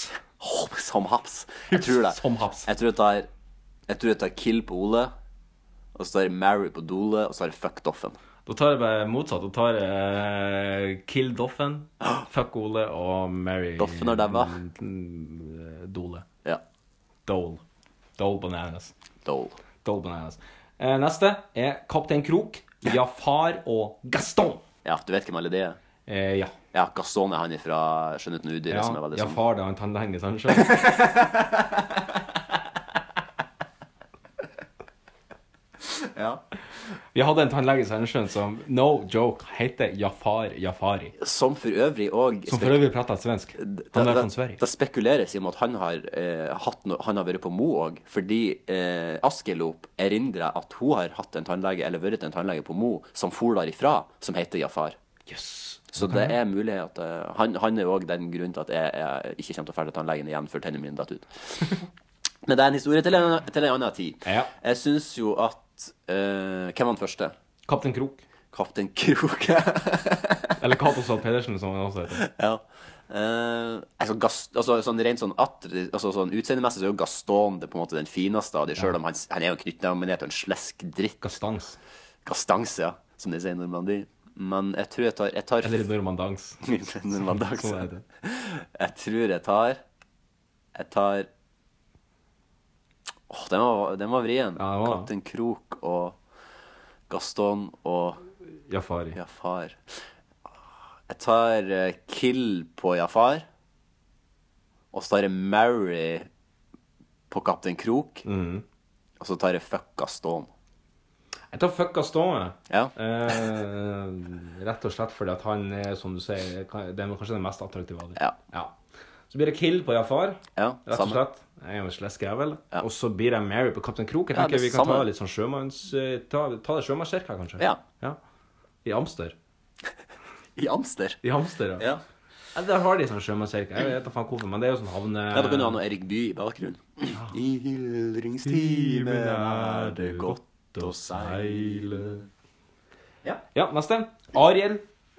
C: som haps. Jeg tror det.
B: Som haps.
C: Jeg tror det tar, jeg tror det tar kill på Ole, og så tar jeg marry på Dole, og så tar jeg fuck Doffen.
B: Da tar jeg bare motsatt. Da tar jeg eh, Kill Doffen, Fuck Ole og Mary
C: Doffen har dabba.
B: Dole.
C: Mm. Ja.
B: Dole. Dole Bananas. Dole. Bananas. Eh, neste er Kaptein Krok, Jafar og Gaston. Eh,
C: Ja, du vet hvem alle de er?
B: ja.
C: Ja, Gaston er han fra Skjønnhet og udyret,
B: Ja,
C: som er veldig
B: ja,
C: sånn.
B: far, det er han tannlegen i Sandnessjøen.
C: Ja.
B: Vi hadde en tannlege i Sandnessjøen som, no joke, heter Jafar Jafari.
C: Som for øvrig òg
B: Som for øvrig prater svensk. Han er fra Sverige.
C: Det spekuleres i om at han har, eh, hatt no han har vært på Mo òg, fordi eh, Askelop erindrer at hun har hatt en tannlege, eller vært en tannlege på Mo, som for derifra, som heter Jafar. Så det er mulig at eh, han, han er òg den grunnen til at jeg, jeg ikke kommer til å dra til tannlegen igjen før tennene mine detter ut. Men det er en historie til en, til en annen tid. Jeg syns jo at eh, Hvem var den første?
B: Kaptein Krok.
C: Kaptein Krok, ja.
B: Eller Cato Zahl Pedersen, som han også heter.
C: Ja. Eh, altså, Gast, altså, sånn rent sånn, attr- altså, sånn utseendemessig så er jo Gaston det på en måte den fineste av dem, sjøl om han, han er jo knyttneveminert og en slesk dritt.
B: Gastans.
C: Gastans, ja, som de sier i Normandie. Men jeg tror jeg tar, jeg tar
B: Eller Normandans.
C: Normandans.
B: Sånn er det.
C: Jeg tror jeg tar Jeg tar Åh, den var, den var vrien. Kaptein Krok og Gaston og
B: Jafari.
C: Jafar. Jeg tar eh, Kill på Jafar. Og så tar jeg Mary på Kaptein Krok. Og så tar jeg Fuck Gaston.
B: Jeg tar fucka stående.
C: Ja.
B: Eh, rett og slett fordi at han er, som du sier, kan- det er kanskje den mest attraktive av dem. Ja. Så blir det Kill på Jafar,
C: Ja,
B: rett og
C: samme.
B: slett. Jeg er jo en sleskjævel. Og så blir det Mary på Kaptein Krok. Jeg
C: Ja,
B: tenker
C: det
B: vi kan ta
C: samme.
B: litt sånn sjømanns... eh, Ta, ta det sjømannskirka, kanskje?
C: Ja.
B: I Amster.
C: I Amster?
B: I Amster, ja. Ja, Der har de sånn sjømannskirke. Jeg vet da faen hvorfor, men det er jo sånn havne...
C: Ja, da kan du ha noe Erik Bye i bakgrunnen. I hildringstimen er det godt å seile
B: Ja. neste. Ariel,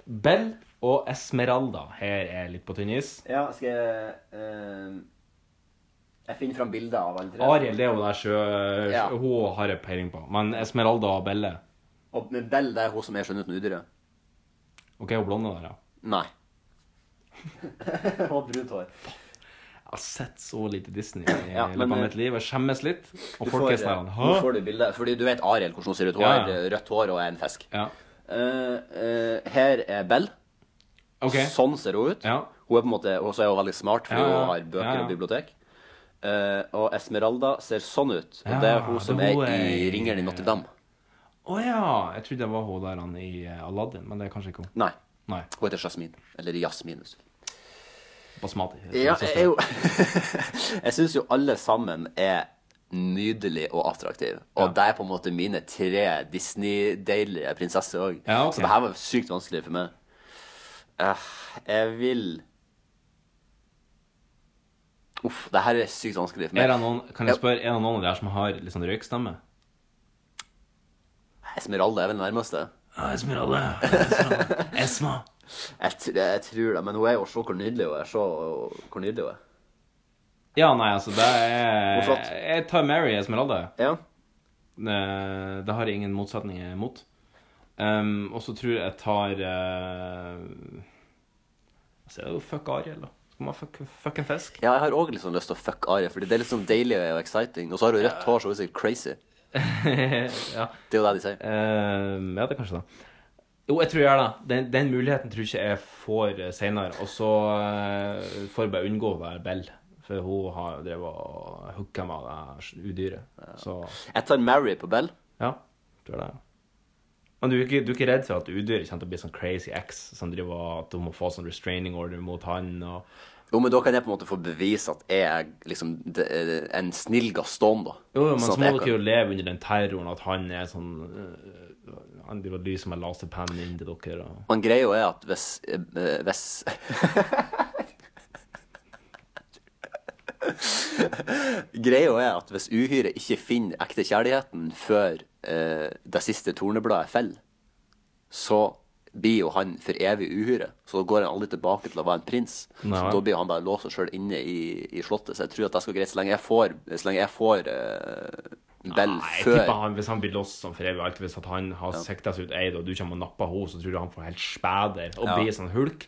B: Bell og Esmeralda. Her er litt på tynn is.
C: Ja, skal jeg eh, Jeg finner fram bilder av alle
B: Ariel det er jo der sjø...
C: Ja.
B: Hun har jeg peiling på. Men Esmeralda og Belle
C: Og med Bell, det er hun som er skjønnheten og udyret?
B: OK, hun blonde der, ja.
C: Nei. hun har brunt hår.
B: Jeg har sett så lite Disney i
C: Ja,
B: løpet av
C: men-
B: mitt liv. Jeg skjemmes litt. Og
C: Du
B: folk
C: får,
B: er sånn
C: eh,
B: Hæ?
C: Nå får du bildet, fordi du vet Ariel hvordan hun ser ut. Hun
B: Ja,
C: har
B: ja.
C: eh, rødt hår og er en fisk.
B: Ja.
C: Eh, eh, her er Bell. Sånn ser hun ut. Hun er på en måte, Og så er hun veldig smart, fordi
B: Ja, ja.
C: hun har bøker
B: Ja, ja.
C: og bibliotek. Eh, og Esmeralda ser sånn ut. Og
B: Ja,
C: det er hun som
B: det
C: er
B: er hun
C: i
B: er-
C: Ringeren i Notre-Dame.
B: Å ja. Jeg trodde det var hun der han i eh, Aladdin, men det er kanskje ikke hun.
C: Nei.
B: Nei.
C: Hun heter Jasmin. Eller Jasmin. husker jeg.
B: Basmati.
C: Ja, jeg, er jo- jeg syns jo alle sammen er nydelige og attraktive. Og det er på en måte mine tre Disney-deilige prinsesser òg.
B: Ja, ok.
C: Så det her var sykt vanskelig for meg. Eh, jeg vil Uff, det her er sykt vanskelig for meg.
B: Er det noen, kan jeg spørre, er det noen av dere som har litt sånn røykstemme?
C: Esmeralda er vel nærmeste.
B: Ja, Esmeralda. Esma.
C: Jeg, tr- jeg tror det, men hun er jo se hvor nydelig hun er. Se hvor nydelig hun er.
B: Ja, nei, altså, det
C: Hun er
B: er
C: flott.
B: Jeg tar Mary Esmeralda.
C: Ja.
B: Det, Eh, det har jeg ingen motsetninger mot. Um, og så tror jeg jeg tar eh, Altså, det er jo fuck Ariel, da. Skal man fuck, fuck en fisk?
C: Ja, jeg har òg liksom lyst til å fuck Aria, fordi det er litt sånn deilig og exciting. Og så har hun rødt hår, så hun er sikkert crazy.
B: ja.
C: Det er jo det de sier.
B: ja, det er kanskje det. Jo, jeg tror jeg gjør det. Den, den muligheten tror jeg ikke jeg får eh, senere. Og så eh, får jeg bare unngå å være Bell, for hun har drevet og hooka meg av det udyret. Så
C: Jeg tar Mary på Bell.
B: ja, tror det. Men du er, ikke, du er ikke redd for at udyret kommer til å bli sånn crazy X som driver og- at hun må få sånn restraining order mot han? og...
C: Jo, men da kan jeg på en måte få bevise at jeg er liksom de, en snill Gaston, da.
B: Jo, jo, men
C: Sånn
B: så
C: at
B: må
C: jeg
B: dere
C: kan-
B: jo leve under den terroren at han er sånn øh, Han driver og lyser med laserpennen inn til dere og
C: Men greia jo er at hvis eh, Hvis Greia er at hvis uhyret ikke finner ekte kjærligheten før eh, det siste tornebladet faller, så blir jo han for evig uhyre. Så da går han aldri tilbake til å være en prins.
B: Nei.
C: Så da blir han bare låst seg sjøl inne i, i slottet. Så jeg tror at det skal gå greit så lenge jeg får, så lenge jeg får eh, Bell
B: Nei, jeg
C: før
B: tipper han, Hvis han blir låst sånn for evig og alltid, hvis at han har
C: Ja.
B: sikta seg ut eid, og du kommer og napper henne, så tror du han får helt spæder og
C: Ja.
B: blir sånn hulk.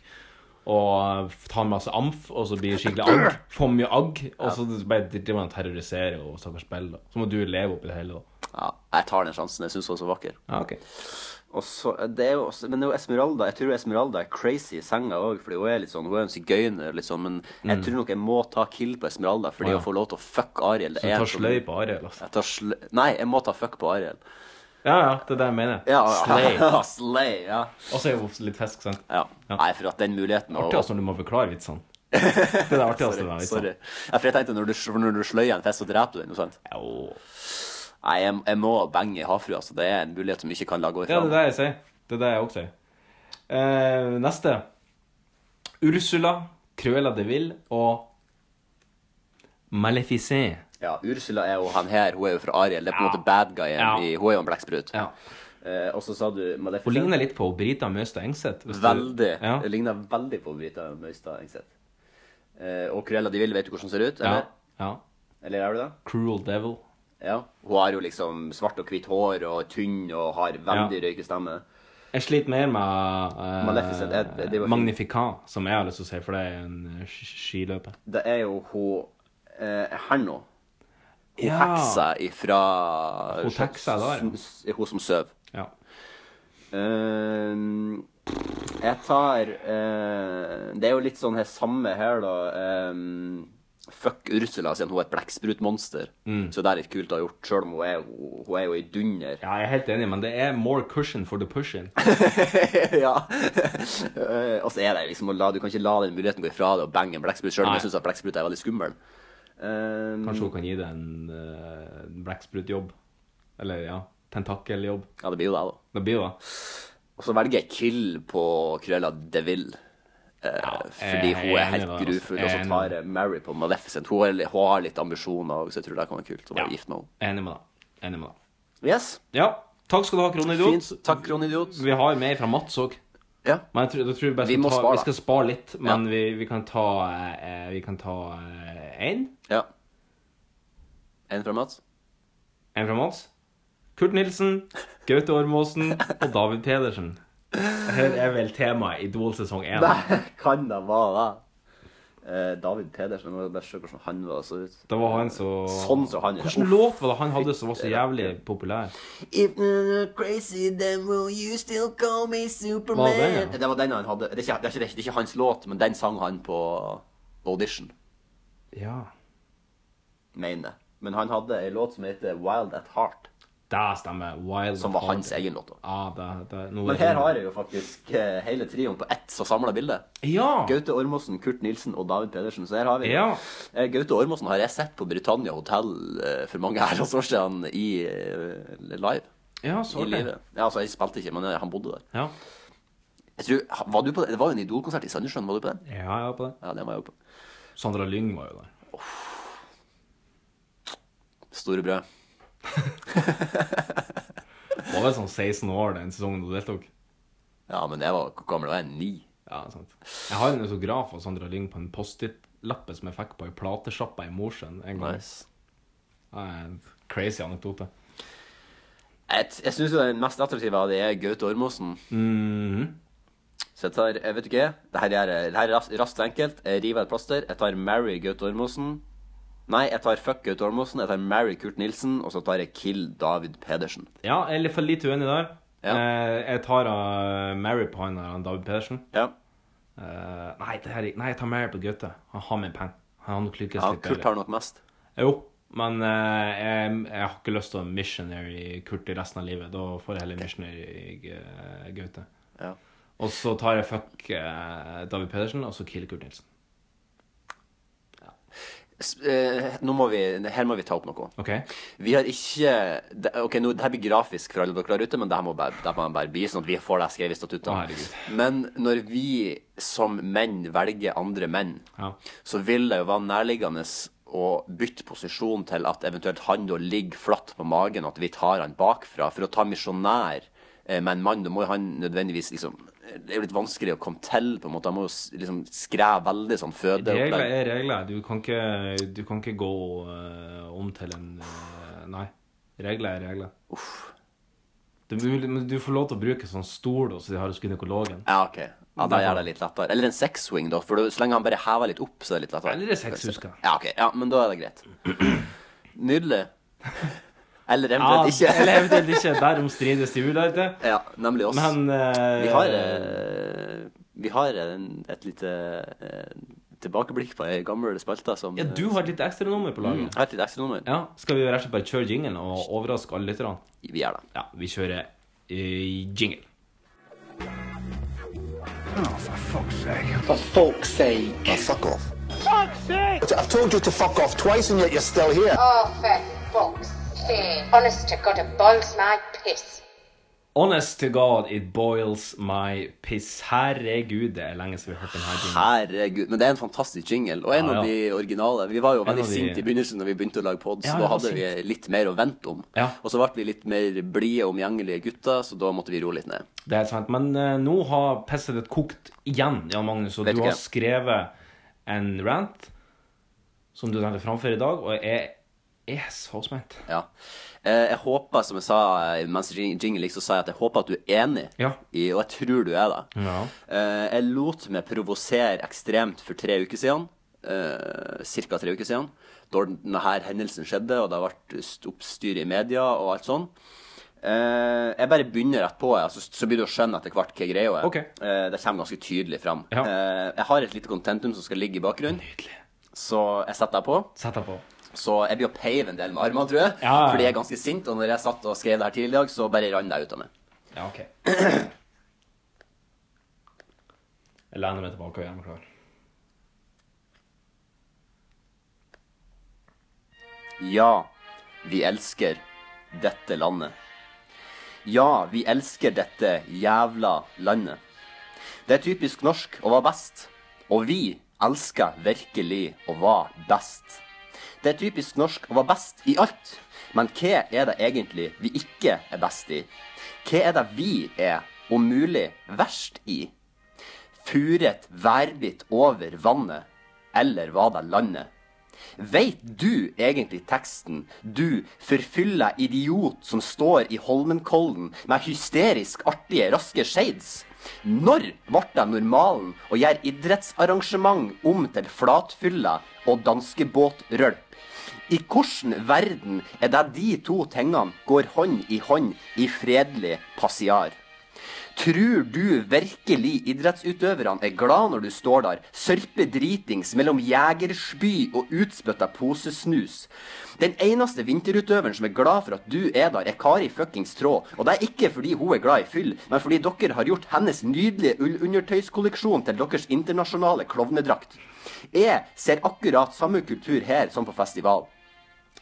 B: Og øh, tar masse amf, og så blir det skikkelig agg. For mye agg. Og så bare driver han og terroriserer og stakkars Bell. da. Så må du leve oppi det hele. da.
C: Ja, jeg tar den sjansen. Jeg syns hun er så vakker.
B: Ja, ok.
C: Og så, eh, det er jo også, men det er jo Esmeralda. Jeg tror Esmeralda er crazy i senga òg, fordi hun er litt sånn, hun er en sigøyner, litt sånn, men jeg
B: Mm.
C: tror nok jeg må ta kill på Esmeralda, fordi
B: Å, ja.
C: å få lov til å fuck Ariel det
B: Så du
C: er
B: tar
C: en sånn-
B: sløy på Ariel, altså.
C: Jeg tar sløy Nei, jeg må ta fuck på Ariel.
B: Ja, ja, det er det jeg mener.
C: Ja, ja.
B: Slay.
C: Slay, ja.
B: Og så er hun litt fisk, sant?
C: Ja. Nei, for at den muligheten
B: Artig altså når du må forklare vitsene. Det er det artigste.
C: Sorry.
B: da, liksom.
C: sorry. Ja, for jeg tenkte når du, for når du sløyer en fisk, så dreper du den, ikke sant? Nei, jeg, jeg må bange i havfrua, så det er en mulighet som ikke kan la gå
B: Ja,
C: ifra.
B: det er det jeg sier. Det er det jeg også sier. Eh, neste. Ursula, Cruella de Vil og Maleficent.
C: Ja, Ursula er jo han her, hun er jo fra Ariel. Det er på en måte bad guyen. I, hun er jo en blekksprut. Eh, og så sa du Maleficent.
B: Hun ligner litt på Brita Møstad Engseth. hvis du-
C: Veldig.
B: Ja.
C: Hun ligner veldig på Brita Møystad Engseth. Eh, og Cruella de Vil, vet du hvordan hun ser ut?
B: Ja.
C: Eller,
B: ja.
C: eller er du det?
B: Cruel Devil.
C: Ja. Hun har jo liksom svart og hvitt hår og tynn og har veldig røykestemme.
B: Jeg sliter mer med eh,
C: Maleficent, jeg- det var fint.
B: Magnificat, som jeg har lyst til å si, for det er en eh, sk- skiløper.
C: Det er jo hun eh, her nå. Hun
B: Ja.
C: heksa ifra
B: Hun heksa der, ja.
C: ja. Hun som søv.
B: Ja.
C: Ehm, jeg tar eh, Det er jo litt sånn her samme her, da. ehm, fuck Ursula, siden hun er et blekksprutmonster.
B: Mm.
C: Så det er litt kult å ha gjort, sjøl om hun er, hun er jo i dunder.
B: Ja, jeg er helt enig, men det er more cushion for the pushing.
C: ja. Eh, og så er det liksom å la Du kan ikke la den muligheten gå ifra deg og bange en blekksprut, sjøl om
B: Nei.
C: jeg syns blekksprut er veldig skummel. Ehm,
B: Kanskje hun kan gi deg en uh, blekksprutjobb. Eller ja, tentakkeljobb.
C: Ja, det blir jo det, da.
B: Det blir jo det.
C: Og så velger jeg kill på Cruella de Vil. eh, fordi
B: jeg
C: hun
B: er
C: er helt
B: enig der, altså.
C: grufull.
B: Jeg
C: Og
B: er
C: så
B: enig
C: tar jeg Mary på Maleficent. Hun, er, hun har litt ambisjoner òg, så jeg tror det kan være kult å være gift med henne.
B: Enig med deg. Enig med deg.
C: Yes.
B: Ja. Takk skal du ha, Kronidiot.
C: Fint. Takk, Kronidiot.
B: Vi har mer fra Mats òg.
C: Ja.
B: Men jeg tror, jeg tror vi, bare
C: Vi
B: skal
C: må
B: ta,
C: spare,
B: vi skal
C: da.
B: spare litt, men vi, vi kan ta eh, Vi kan ta eh, én.
C: ja. En fra Mats.
B: En fra Mats. Kurt Nilsen, Gaute Ormåsen og David Pedersen. Her er vel temaet Idol sesong én.
C: Nei, kan det være det? Eh, David Pedersen. Jeg må bare se hvordan han var så ut.
B: Det var han som
C: Sånn som han er.
B: Hvilken låt var det han hadde som var så jævlig populær?
C: If you're crazy, then will you still call me Superman?
B: Var det den, ja?
C: Det var den han hadde. Det er, ikke, det, er ikke, det er ikke hans låt, men den sang han på audition.
B: Ja.
C: mener jeg. Men han hadde ei låt som heter Wild at Heart,
B: Det stemmer. Wild
C: som var
B: Heart.
C: hans egen låt. da.
B: Ja, det, det, nå
C: Men
B: er
C: her
B: det-
C: har jeg jo faktisk eh, hele trioen på ett så samla bilde.
B: Ja.
C: Gaute Ormåsen, Kurt Nilsen og David Pedersen. Så her har vi det.
B: Ja.
C: Eh, Gaute Ormåsen har jeg sett på Britannia Hotel eh, for mange herrens år siden i eh, live.
B: Ja,
C: I
B: så artig.
C: livet. Ja, altså, jeg spilte ikke, men eh, han bodde der.
B: Ja.
C: Jeg tror, var du på det? det var jo en Idol-konsert i Sandnessjøen, var du på den?
B: Ja, jeg var på det.
C: Ja, den var jeg jo på.
B: Sandra Lyng var jo der.
C: Store brød.
B: Var vel sånn 16 år den sesongen du deltok.
C: Ja, men jeg var hvor gammel, var jeg ni?
B: Ja, sant. Jeg har en autograf av Sandra Lyng på en Post-It-lappe som jeg fikk på ei platesjappe i Mosjøen en gang.
C: Nice.
B: Det er en crazy anekdote.
C: Jeg, jeg syns jo den mest attraktive av det er Gaute Ormåsen.
B: Mhm.
C: Så jeg tar, jeg vet ikke, det her er, det her er raskt, raskt og enkelt. Jeg river et plaster. Jeg tar Mary Gaute Ormåsen. Nei, jeg tar fuck Gaute Ormåsen. Jeg tar Mary Kurt Nilsen. Og så tar jeg kill David Pedersen.
B: Ja, jeg er litt for lite uenig der. Eh, jeg tar av Mary på han der, han David Pedersen.
C: Ja.
B: Eh, nei, det her, er ikke- nei, jeg tar Mary på Gaute. Han har mer penger. Han har nok lykkes
C: Ja,
B: litt
C: Kurt har nok mest.
B: Jo, men eh, jeg, jeg har ikke lyst til å missionary Kurt i resten av livet. Da får jeg heller missionary eh, Gaute.
C: Ja.
B: Og så tar jeg fuck eh, David Pedersen, og så kill Kurt Nilsen.
C: S- eh, Nå må vi, her må vi ta opp noe.
B: Ok.
C: Vi har ikke det, Ok, nå, det her blir grafisk for alle dere der ute, men det her må bare, det her må bare bli sånn at vi får det skrevet i
B: Å,
C: statuttene.
B: herregud.
C: Men når vi som menn velger andre menn, så vil det jo være nærliggende å bytte posisjon til at eventuelt han da ligger flatt på magen, at vi tar han bakfra. For å ta misjonær eh, med en mann, da må jo han nødvendigvis liksom Det er jo litt vanskelig å komme til, på en måte. Han må jo s- liksom skreve veldig sånn fødeopplegg.
B: Regler er regler. Du kan ikke, du kan ikke gå eh, om til en eh, Nei. Regler er regler. Det er mulig, men du får lov til å bruke sånn stol hos de her hos gynekologen.
C: Ja, ok. Ja, Da gjør det litt lettere. Eller en sexswing, da. For så lenge han bare hever litt opp, så er det litt lettere.
B: Eller en sexhuska.
C: Ja, ok. Ja, men da er det greit. Nydelig. Eller
B: Ja,
C: eventuelt ikke.
B: eller eventuelt ikke. Derom strides de ulærte.
C: Ja, nemlig oss.
B: Men eh,
C: Vi har, eh, vi har en, et lite eh, tilbakeblikk på ei gammel spalte som eh,
B: Ja, du har et lite ekstranummer på laget.
C: Mm, jeg har et lite ekstranummer.
B: Ja, Skal vi rett og slett bare kjøre jinglen og overraske alle lytterne?
C: Vi gjør det.
B: Ja, vi kjører eh, jingle.
M: For folk's sake.
E: fuck off.
M: Fuck's sake!
E: I've told you to fuck off twice and yet you're still here.
M: Oh, for fuck's sake. Honest to God, it boils my piss.
B: Honest to God, it boils my piss. Herregud, det er lenge siden vi har hørt den her jinglen.
C: Herregud. Men det er en fantastisk jingle, og en
B: Ja, ja.
C: av de originale. Vi var jo
B: En av
C: veldig
B: de-
C: sinte i begynnelsen når vi begynte å lage pods. da
B: Ja, det var
C: hadde vi litt mer å vente om.
B: Ja.
C: Og så ble vi litt mer blide, omgjengelige gutter, så da måtte vi roe litt ned.
B: Det er helt sant. Men eh, nå har pisset ditt kokt igjen, Jan Magnus, og
C: Vet
B: du
C: ikke.
B: har skrevet en rant som du tenkte framføre i dag, og jeg er så spent.
C: Ja. Eh, Jeg håper, som jeg sa eh, mens jing- jingle gikk, så sa jeg at jeg håper at du er enig,
B: Ja.
C: i, og jeg tror du er det.
B: Ja.
C: Eh, jeg lot meg provosere ekstremt for tre uker siden. Uh, cirka tre uker siden. Da denne her hendelsen skjedde, og det har vært st- oppstyr i media og alt sånn. Eh, jeg bare begynner rett på, jeg, altså, så blir du å skjønne etter hvert hva greia er.
B: Ok.
C: Eh, det kommer ganske tydelig fram.
B: Ja.
C: Eh, jeg har et lite contentum som skal ligge i bakgrunnen. Så jeg setter deg på.
B: Sett deg på.
C: Så jeg blir å peive en del med armene, tror jeg.
B: Ja, ja.
C: Fordi jeg er ganske sint, og når jeg satt og skrev det her tidligere i dag, så bare rann jeg ut av meg.
B: Ja, OK. Jeg lener meg tilbake og gjør meg klar.
C: Ja, vi elsker dette landet. Ja, vi elsker dette jævla landet. Det er typisk norsk å være best, og vi elsker virkelig å være best. Det er typisk norsk å være best i alt, men hva er det egentlig vi ikke er best i? Hva er det vi er, om mulig, verst i? Furet værbitt over vannet, eller var det landet? Veit du egentlig teksten, du forfylla idiot som står i Holmenkollen med hysterisk artige, raske shades? Når ble det normalen å gjøre idrettsarrangement om til flatfylla og danskebåtrølp? I hvilken verden er det de to tingene går hånd i hånd i fredelig passiar? Tror du virkelig idrettsutøverne er glad når du står der, sørpedritings mellom jegerspy og utspytta posesnus? Den eneste vinterutøveren som er glad for at du er der, er Kari fuckings Traa. Og det er ikke fordi hun er glad i fyll, men fordi dere har gjort hennes nydelige ullundertøyskolleksjon til deres internasjonale klovnedrakt. Jeg ser akkurat samme kultur her som på festival.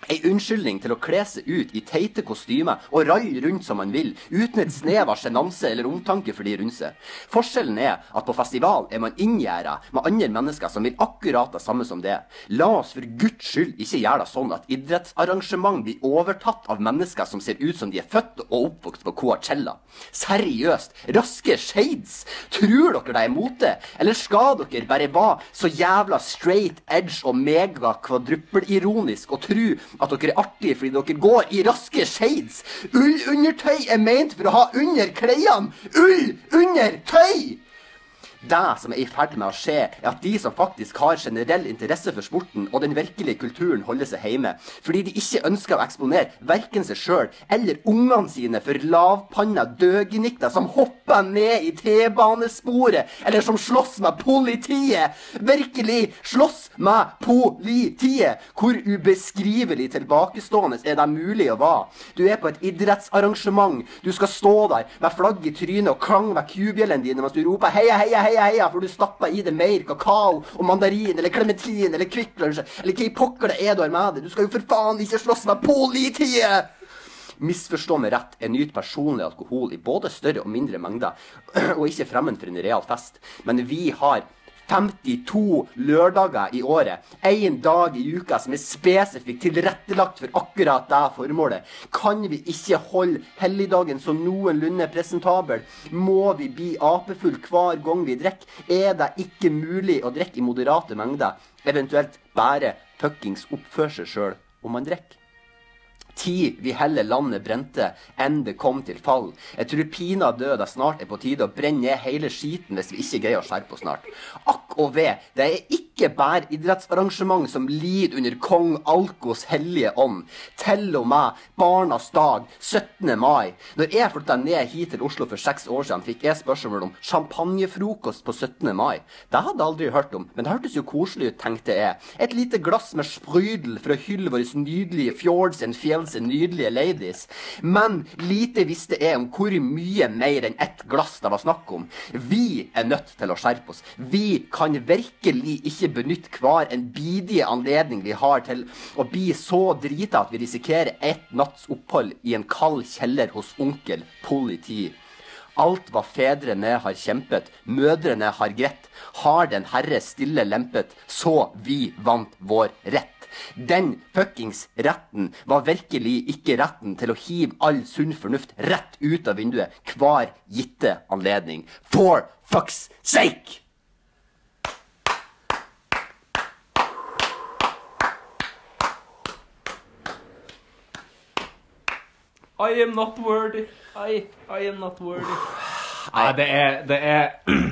C: Ei unnskyldning til å kle seg ut i teite kostymer og raie rundt som man vil, uten et snev av sjenanse eller omtanke for de rundt seg. Forskjellen er at på festival er man inngjerda med andre mennesker som vil akkurat det samme som det. La oss for guds skyld ikke gjøre det sånn at idrettsarrangement blir overtatt av mennesker som ser ut som de er født og oppvokst på Coachella. Seriøst, raske shades! Tror dere det er mote? Eller skal dere bare være så jævla straight edge og mega kvadruppelironisk og tro at dere er artige fordi dere går i raske shades? Ullundertøy er meint for å ha under klærne! Ull under tøy!
E: Det som er i ferd med å skje, er at de som faktisk har generell interesse for sporten og den virkelige kulturen, holder seg hjemme. Fordi de ikke ønsker å eksponere verken seg sjøl eller ungene sine for lavpanna døgnikter som hopper ned i T-banesporet, eller som slåss med politiet. Virkelig slåss med politiet! Hvor ubeskrivelig tilbakestående er det mulig å være? Du er på et idrettsarrangement. Du skal stå der med flagg i trynet og klang med kubjellene dine mens du roper heia, heia, heia, heia, for du stapper i det mer kakao og mandarin eller klementin eller Kvikk Lunsj eller hva i pokker det er du har med deg. Du skal jo for faen ikke slåss med politiet! Misforstå meg rett, jeg nyter personlig alkohol i både større og mindre mengder, og ikke fremmed for en real fest, men vi har 52 lørdager i året. Én dag i uka som er spesifikt tilrettelagt for akkurat det formålet. Kan vi ikke holde helligdagen så noenlunde presentabel? Må vi bli apefull hver gang vi drikker? Er det ikke mulig å drikke i moderate mengder? Eventuelt bare fuckings oppføre seg sjøl om man drikker? Ti vi heller landet brente, enn det kom til fall. Jeg tror pinadø det snart er på tide å brenne ned hele skiten hvis vi ikke greier å skjerpe oss snart. Akk og ve, det er ikke bare idrettsarrangement som lider under kong Alkos hellige ånd. Til og med barnas dag, 17. mai. Når jeg flytta ned hit til Oslo for seks år siden, fikk jeg spørsmål om champagnefrokost på 17. mai. Det hadde jeg aldri hørt om, men det hørtes jo koselig ut, tenkte jeg. Et lite glass med sprudel for å hylle våre nydelige fjords and fjells nydelige ladies. Men lite visste jeg om hvor mye mer enn ett glass det var snakk om. Vi er nødt til å skjerpe oss. Vi kan virkelig ikke benytte hver en bidige anledning vi har til å bli så drita at vi risikerer ett natts opphold i en kald kjeller hos onkel politi. Alt hva fedrene har kjempet, mødrene har grett, har den Herre stille lempet, så vi vant vår rett. Den fuckings retten var virkelig ikke retten til å hive all sunn fornuft rett ut av vinduet hver gitte anledning. For fucks sake!
B: I am not worthy. I, I am not worthy. Nei, det er Det er,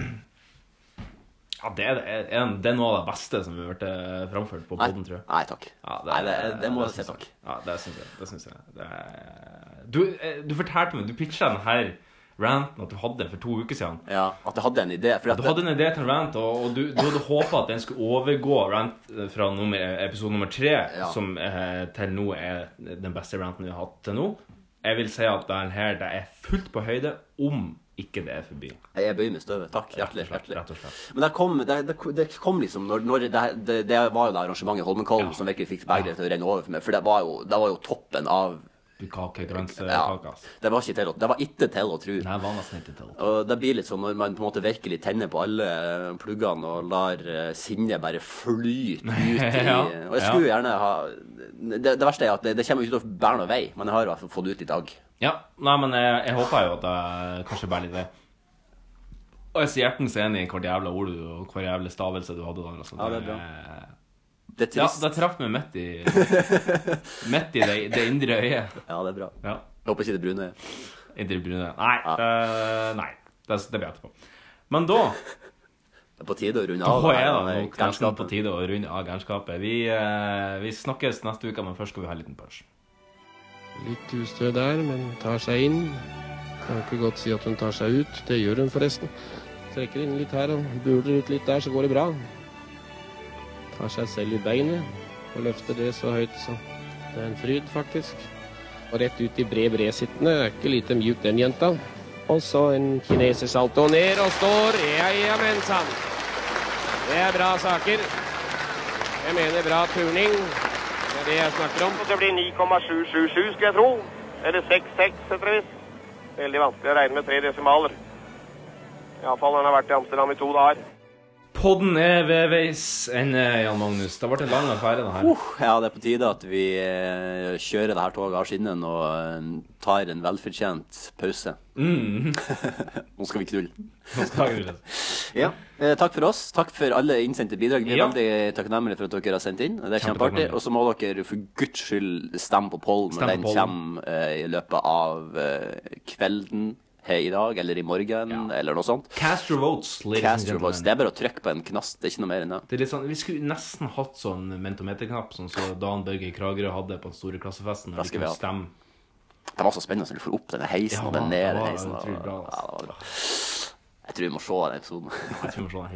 B: ja, det er, det er, en- det er noe av det beste som har vært eh, framført på
E: Nei.
B: poden, tror jeg.
E: Nei takk.
B: Ja,
E: Nei, det- det må jeg si
B: syns
E: takk.
B: Ja, det syns jeg. Det syns jeg. Det er... du, eh, du fortalte meg, du pitcha den her ranten at du hadde for to uker siden.
E: Ja, at jeg hadde en idé. For at
B: Du hadde en idé til en rant, og, og du, du hadde håpa at den skulle overgå rant eh, fra nummer, episode nummer tre,
E: Ja.
B: som eh, til nå er den beste ranten vi har hatt til nå. Jeg vil si at den her det er fullt på høyde, om ikke det er forbi.
E: Jeg bøyer meg i støvet. Takk. Hjertelig. hjertelig.
B: Rett og slett.
E: Men det kom, det, det, det kom liksom når, når det, det, det var jo det arrangementet i Holmenkollen som virkelig fikk begeret til å renne over for meg. For det var jo, det var jo toppen av
B: Bukake-gransekaka.
E: Det var ikke til å, det var ikke til å tro.
B: Nei, var nesten ikke til.
E: Og det blir litt sånn når man på en måte virkelig tenner på alle eh, pluggene og lar eh, sinnet bare flyte ut i
B: Ja,
E: Og jeg skulle gjerne ha Det, det verste er at det, det kommer jo ikke til å bære noe vei, men jeg har i hvert fall fått det ut i dag.
B: Ja, nei, men jeg, jeg håper jo at jeg kanskje bærer litt det. Og jeg er så hjertens enig i hvert jævla ord du og hver jævla stavelse du hadde. Der, altså. og sånt.
E: Ja, det er bra. Det er
B: Ja,
E: trist.
B: det traff meg midt i, midt i det, det indre øyet.
E: Ja, det er bra.
B: Ja.
E: Jeg håper ikke det brune.
B: Indre brune. Nei, eh, nei. Det, det blir etterpå. Men da
E: Det er på tide å runde
B: Da
E: av.
B: er
E: her,
B: det
E: eh,
B: nok nesten
E: gærenskapet.
B: på tide å runde av gærenskapet. Vi, eh, vi snakkes neste uke, men først skal vi ha en liten pause.
D: Litt ustø der, men tar seg inn. Kan ikke godt si at hun tar seg ut. Det gjør hun forresten. Trekker inn litt her og buler ut litt der, så går det bra. Tar seg selv i beinet og løfter det så høyt, så det er en fryd, faktisk. Og rett ut i bred, bred sittende. Er ikke lite mjuk, den jenta. Og så en kineser salto ned og står. Ja, ja, men sann. Det er bra saker. Jeg mener bra turning. Det er det jeg snakker om.
W: Det blir 9,777, skulle jeg tro. Eller 66, etter hvert. Veldig vanskelig å regne med tre desimaler. Iallfall den har vært i Amsterdam i to dager.
B: Podden er ved veis ende, Jan Magnus. Det ble en lang affære, det her.
E: Uh, ja, det er på tide at vi eh, kjører det her toget av skinnen og eh, tar en velfortjent pause.
B: Mm.
E: Nå skal vi knulle.
B: skal vi knulle.
E: ja. eh, Takk for oss. Takk for alle innsendte bidrag. Vi er
B: Ja.
E: veldig takknemlige for at dere har sendt inn. Det er kjempeartig.
B: Kjempetakknemlige.
E: Og så må dere for guds skyld stemme på
B: Stem
E: pollen
B: på
E: når den
B: pollen.
E: kommer eh, i løpet av eh, kvelden.
C: hei i dag eller i morgen eller noe sånt.
B: Cast your votes, ladies and
C: Cast your votes.
B: gentlemen.
C: Det er bare å trykke på en knast, det er ikke noe mer enn det.
B: Det er litt sånn, Vi skulle nesten hatt sånn mentometerknapp som så Dan Børge i Kragerø hadde på den store klassefesten.
C: Da
B: Der vi
C: skal vi ha
B: kunne
C: den.
B: stemme.
C: Det var så spennende når du får opp denne heisen
B: Ja,
C: og den ned
B: det var
C: heisen. Og,
B: utrolig bra,
C: ja, det var bra. Jeg tror vi må se den episoden.
B: den.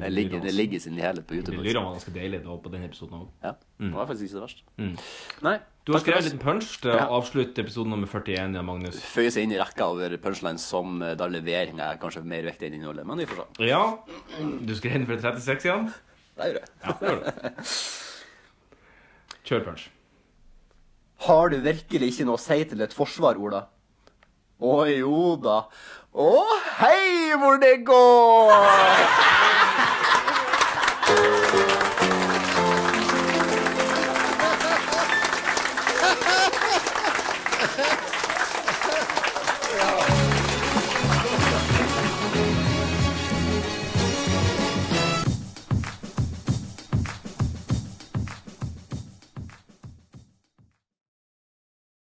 C: Det ligger, det ligger sin helhet på
B: Det
C: YouTube.
B: lyder var ganske deilig da, på den episoden òg.
C: Ja, det var faktisk ikke det verste.
B: Mm.
C: Nei,
B: Du
C: takk
B: har
C: for
B: skrevet en
C: oss.
B: liten punch til å
C: Ja.
B: avslutte episode nummer 41, ja, Magnus.
C: Føyer seg inn i rekka over punchlines som eh, da leveringa er kanskje mer viktig enn innholdet. Men vi får se.
B: Ja, du skrev den for 36 igjen?
C: Det gjorde jeg.
B: Ja, det gjorde du. Kjør punch.
C: Har du virkelig ikke noe å si til et forsvar, Ola? Å jo da. Å hei hvor det går!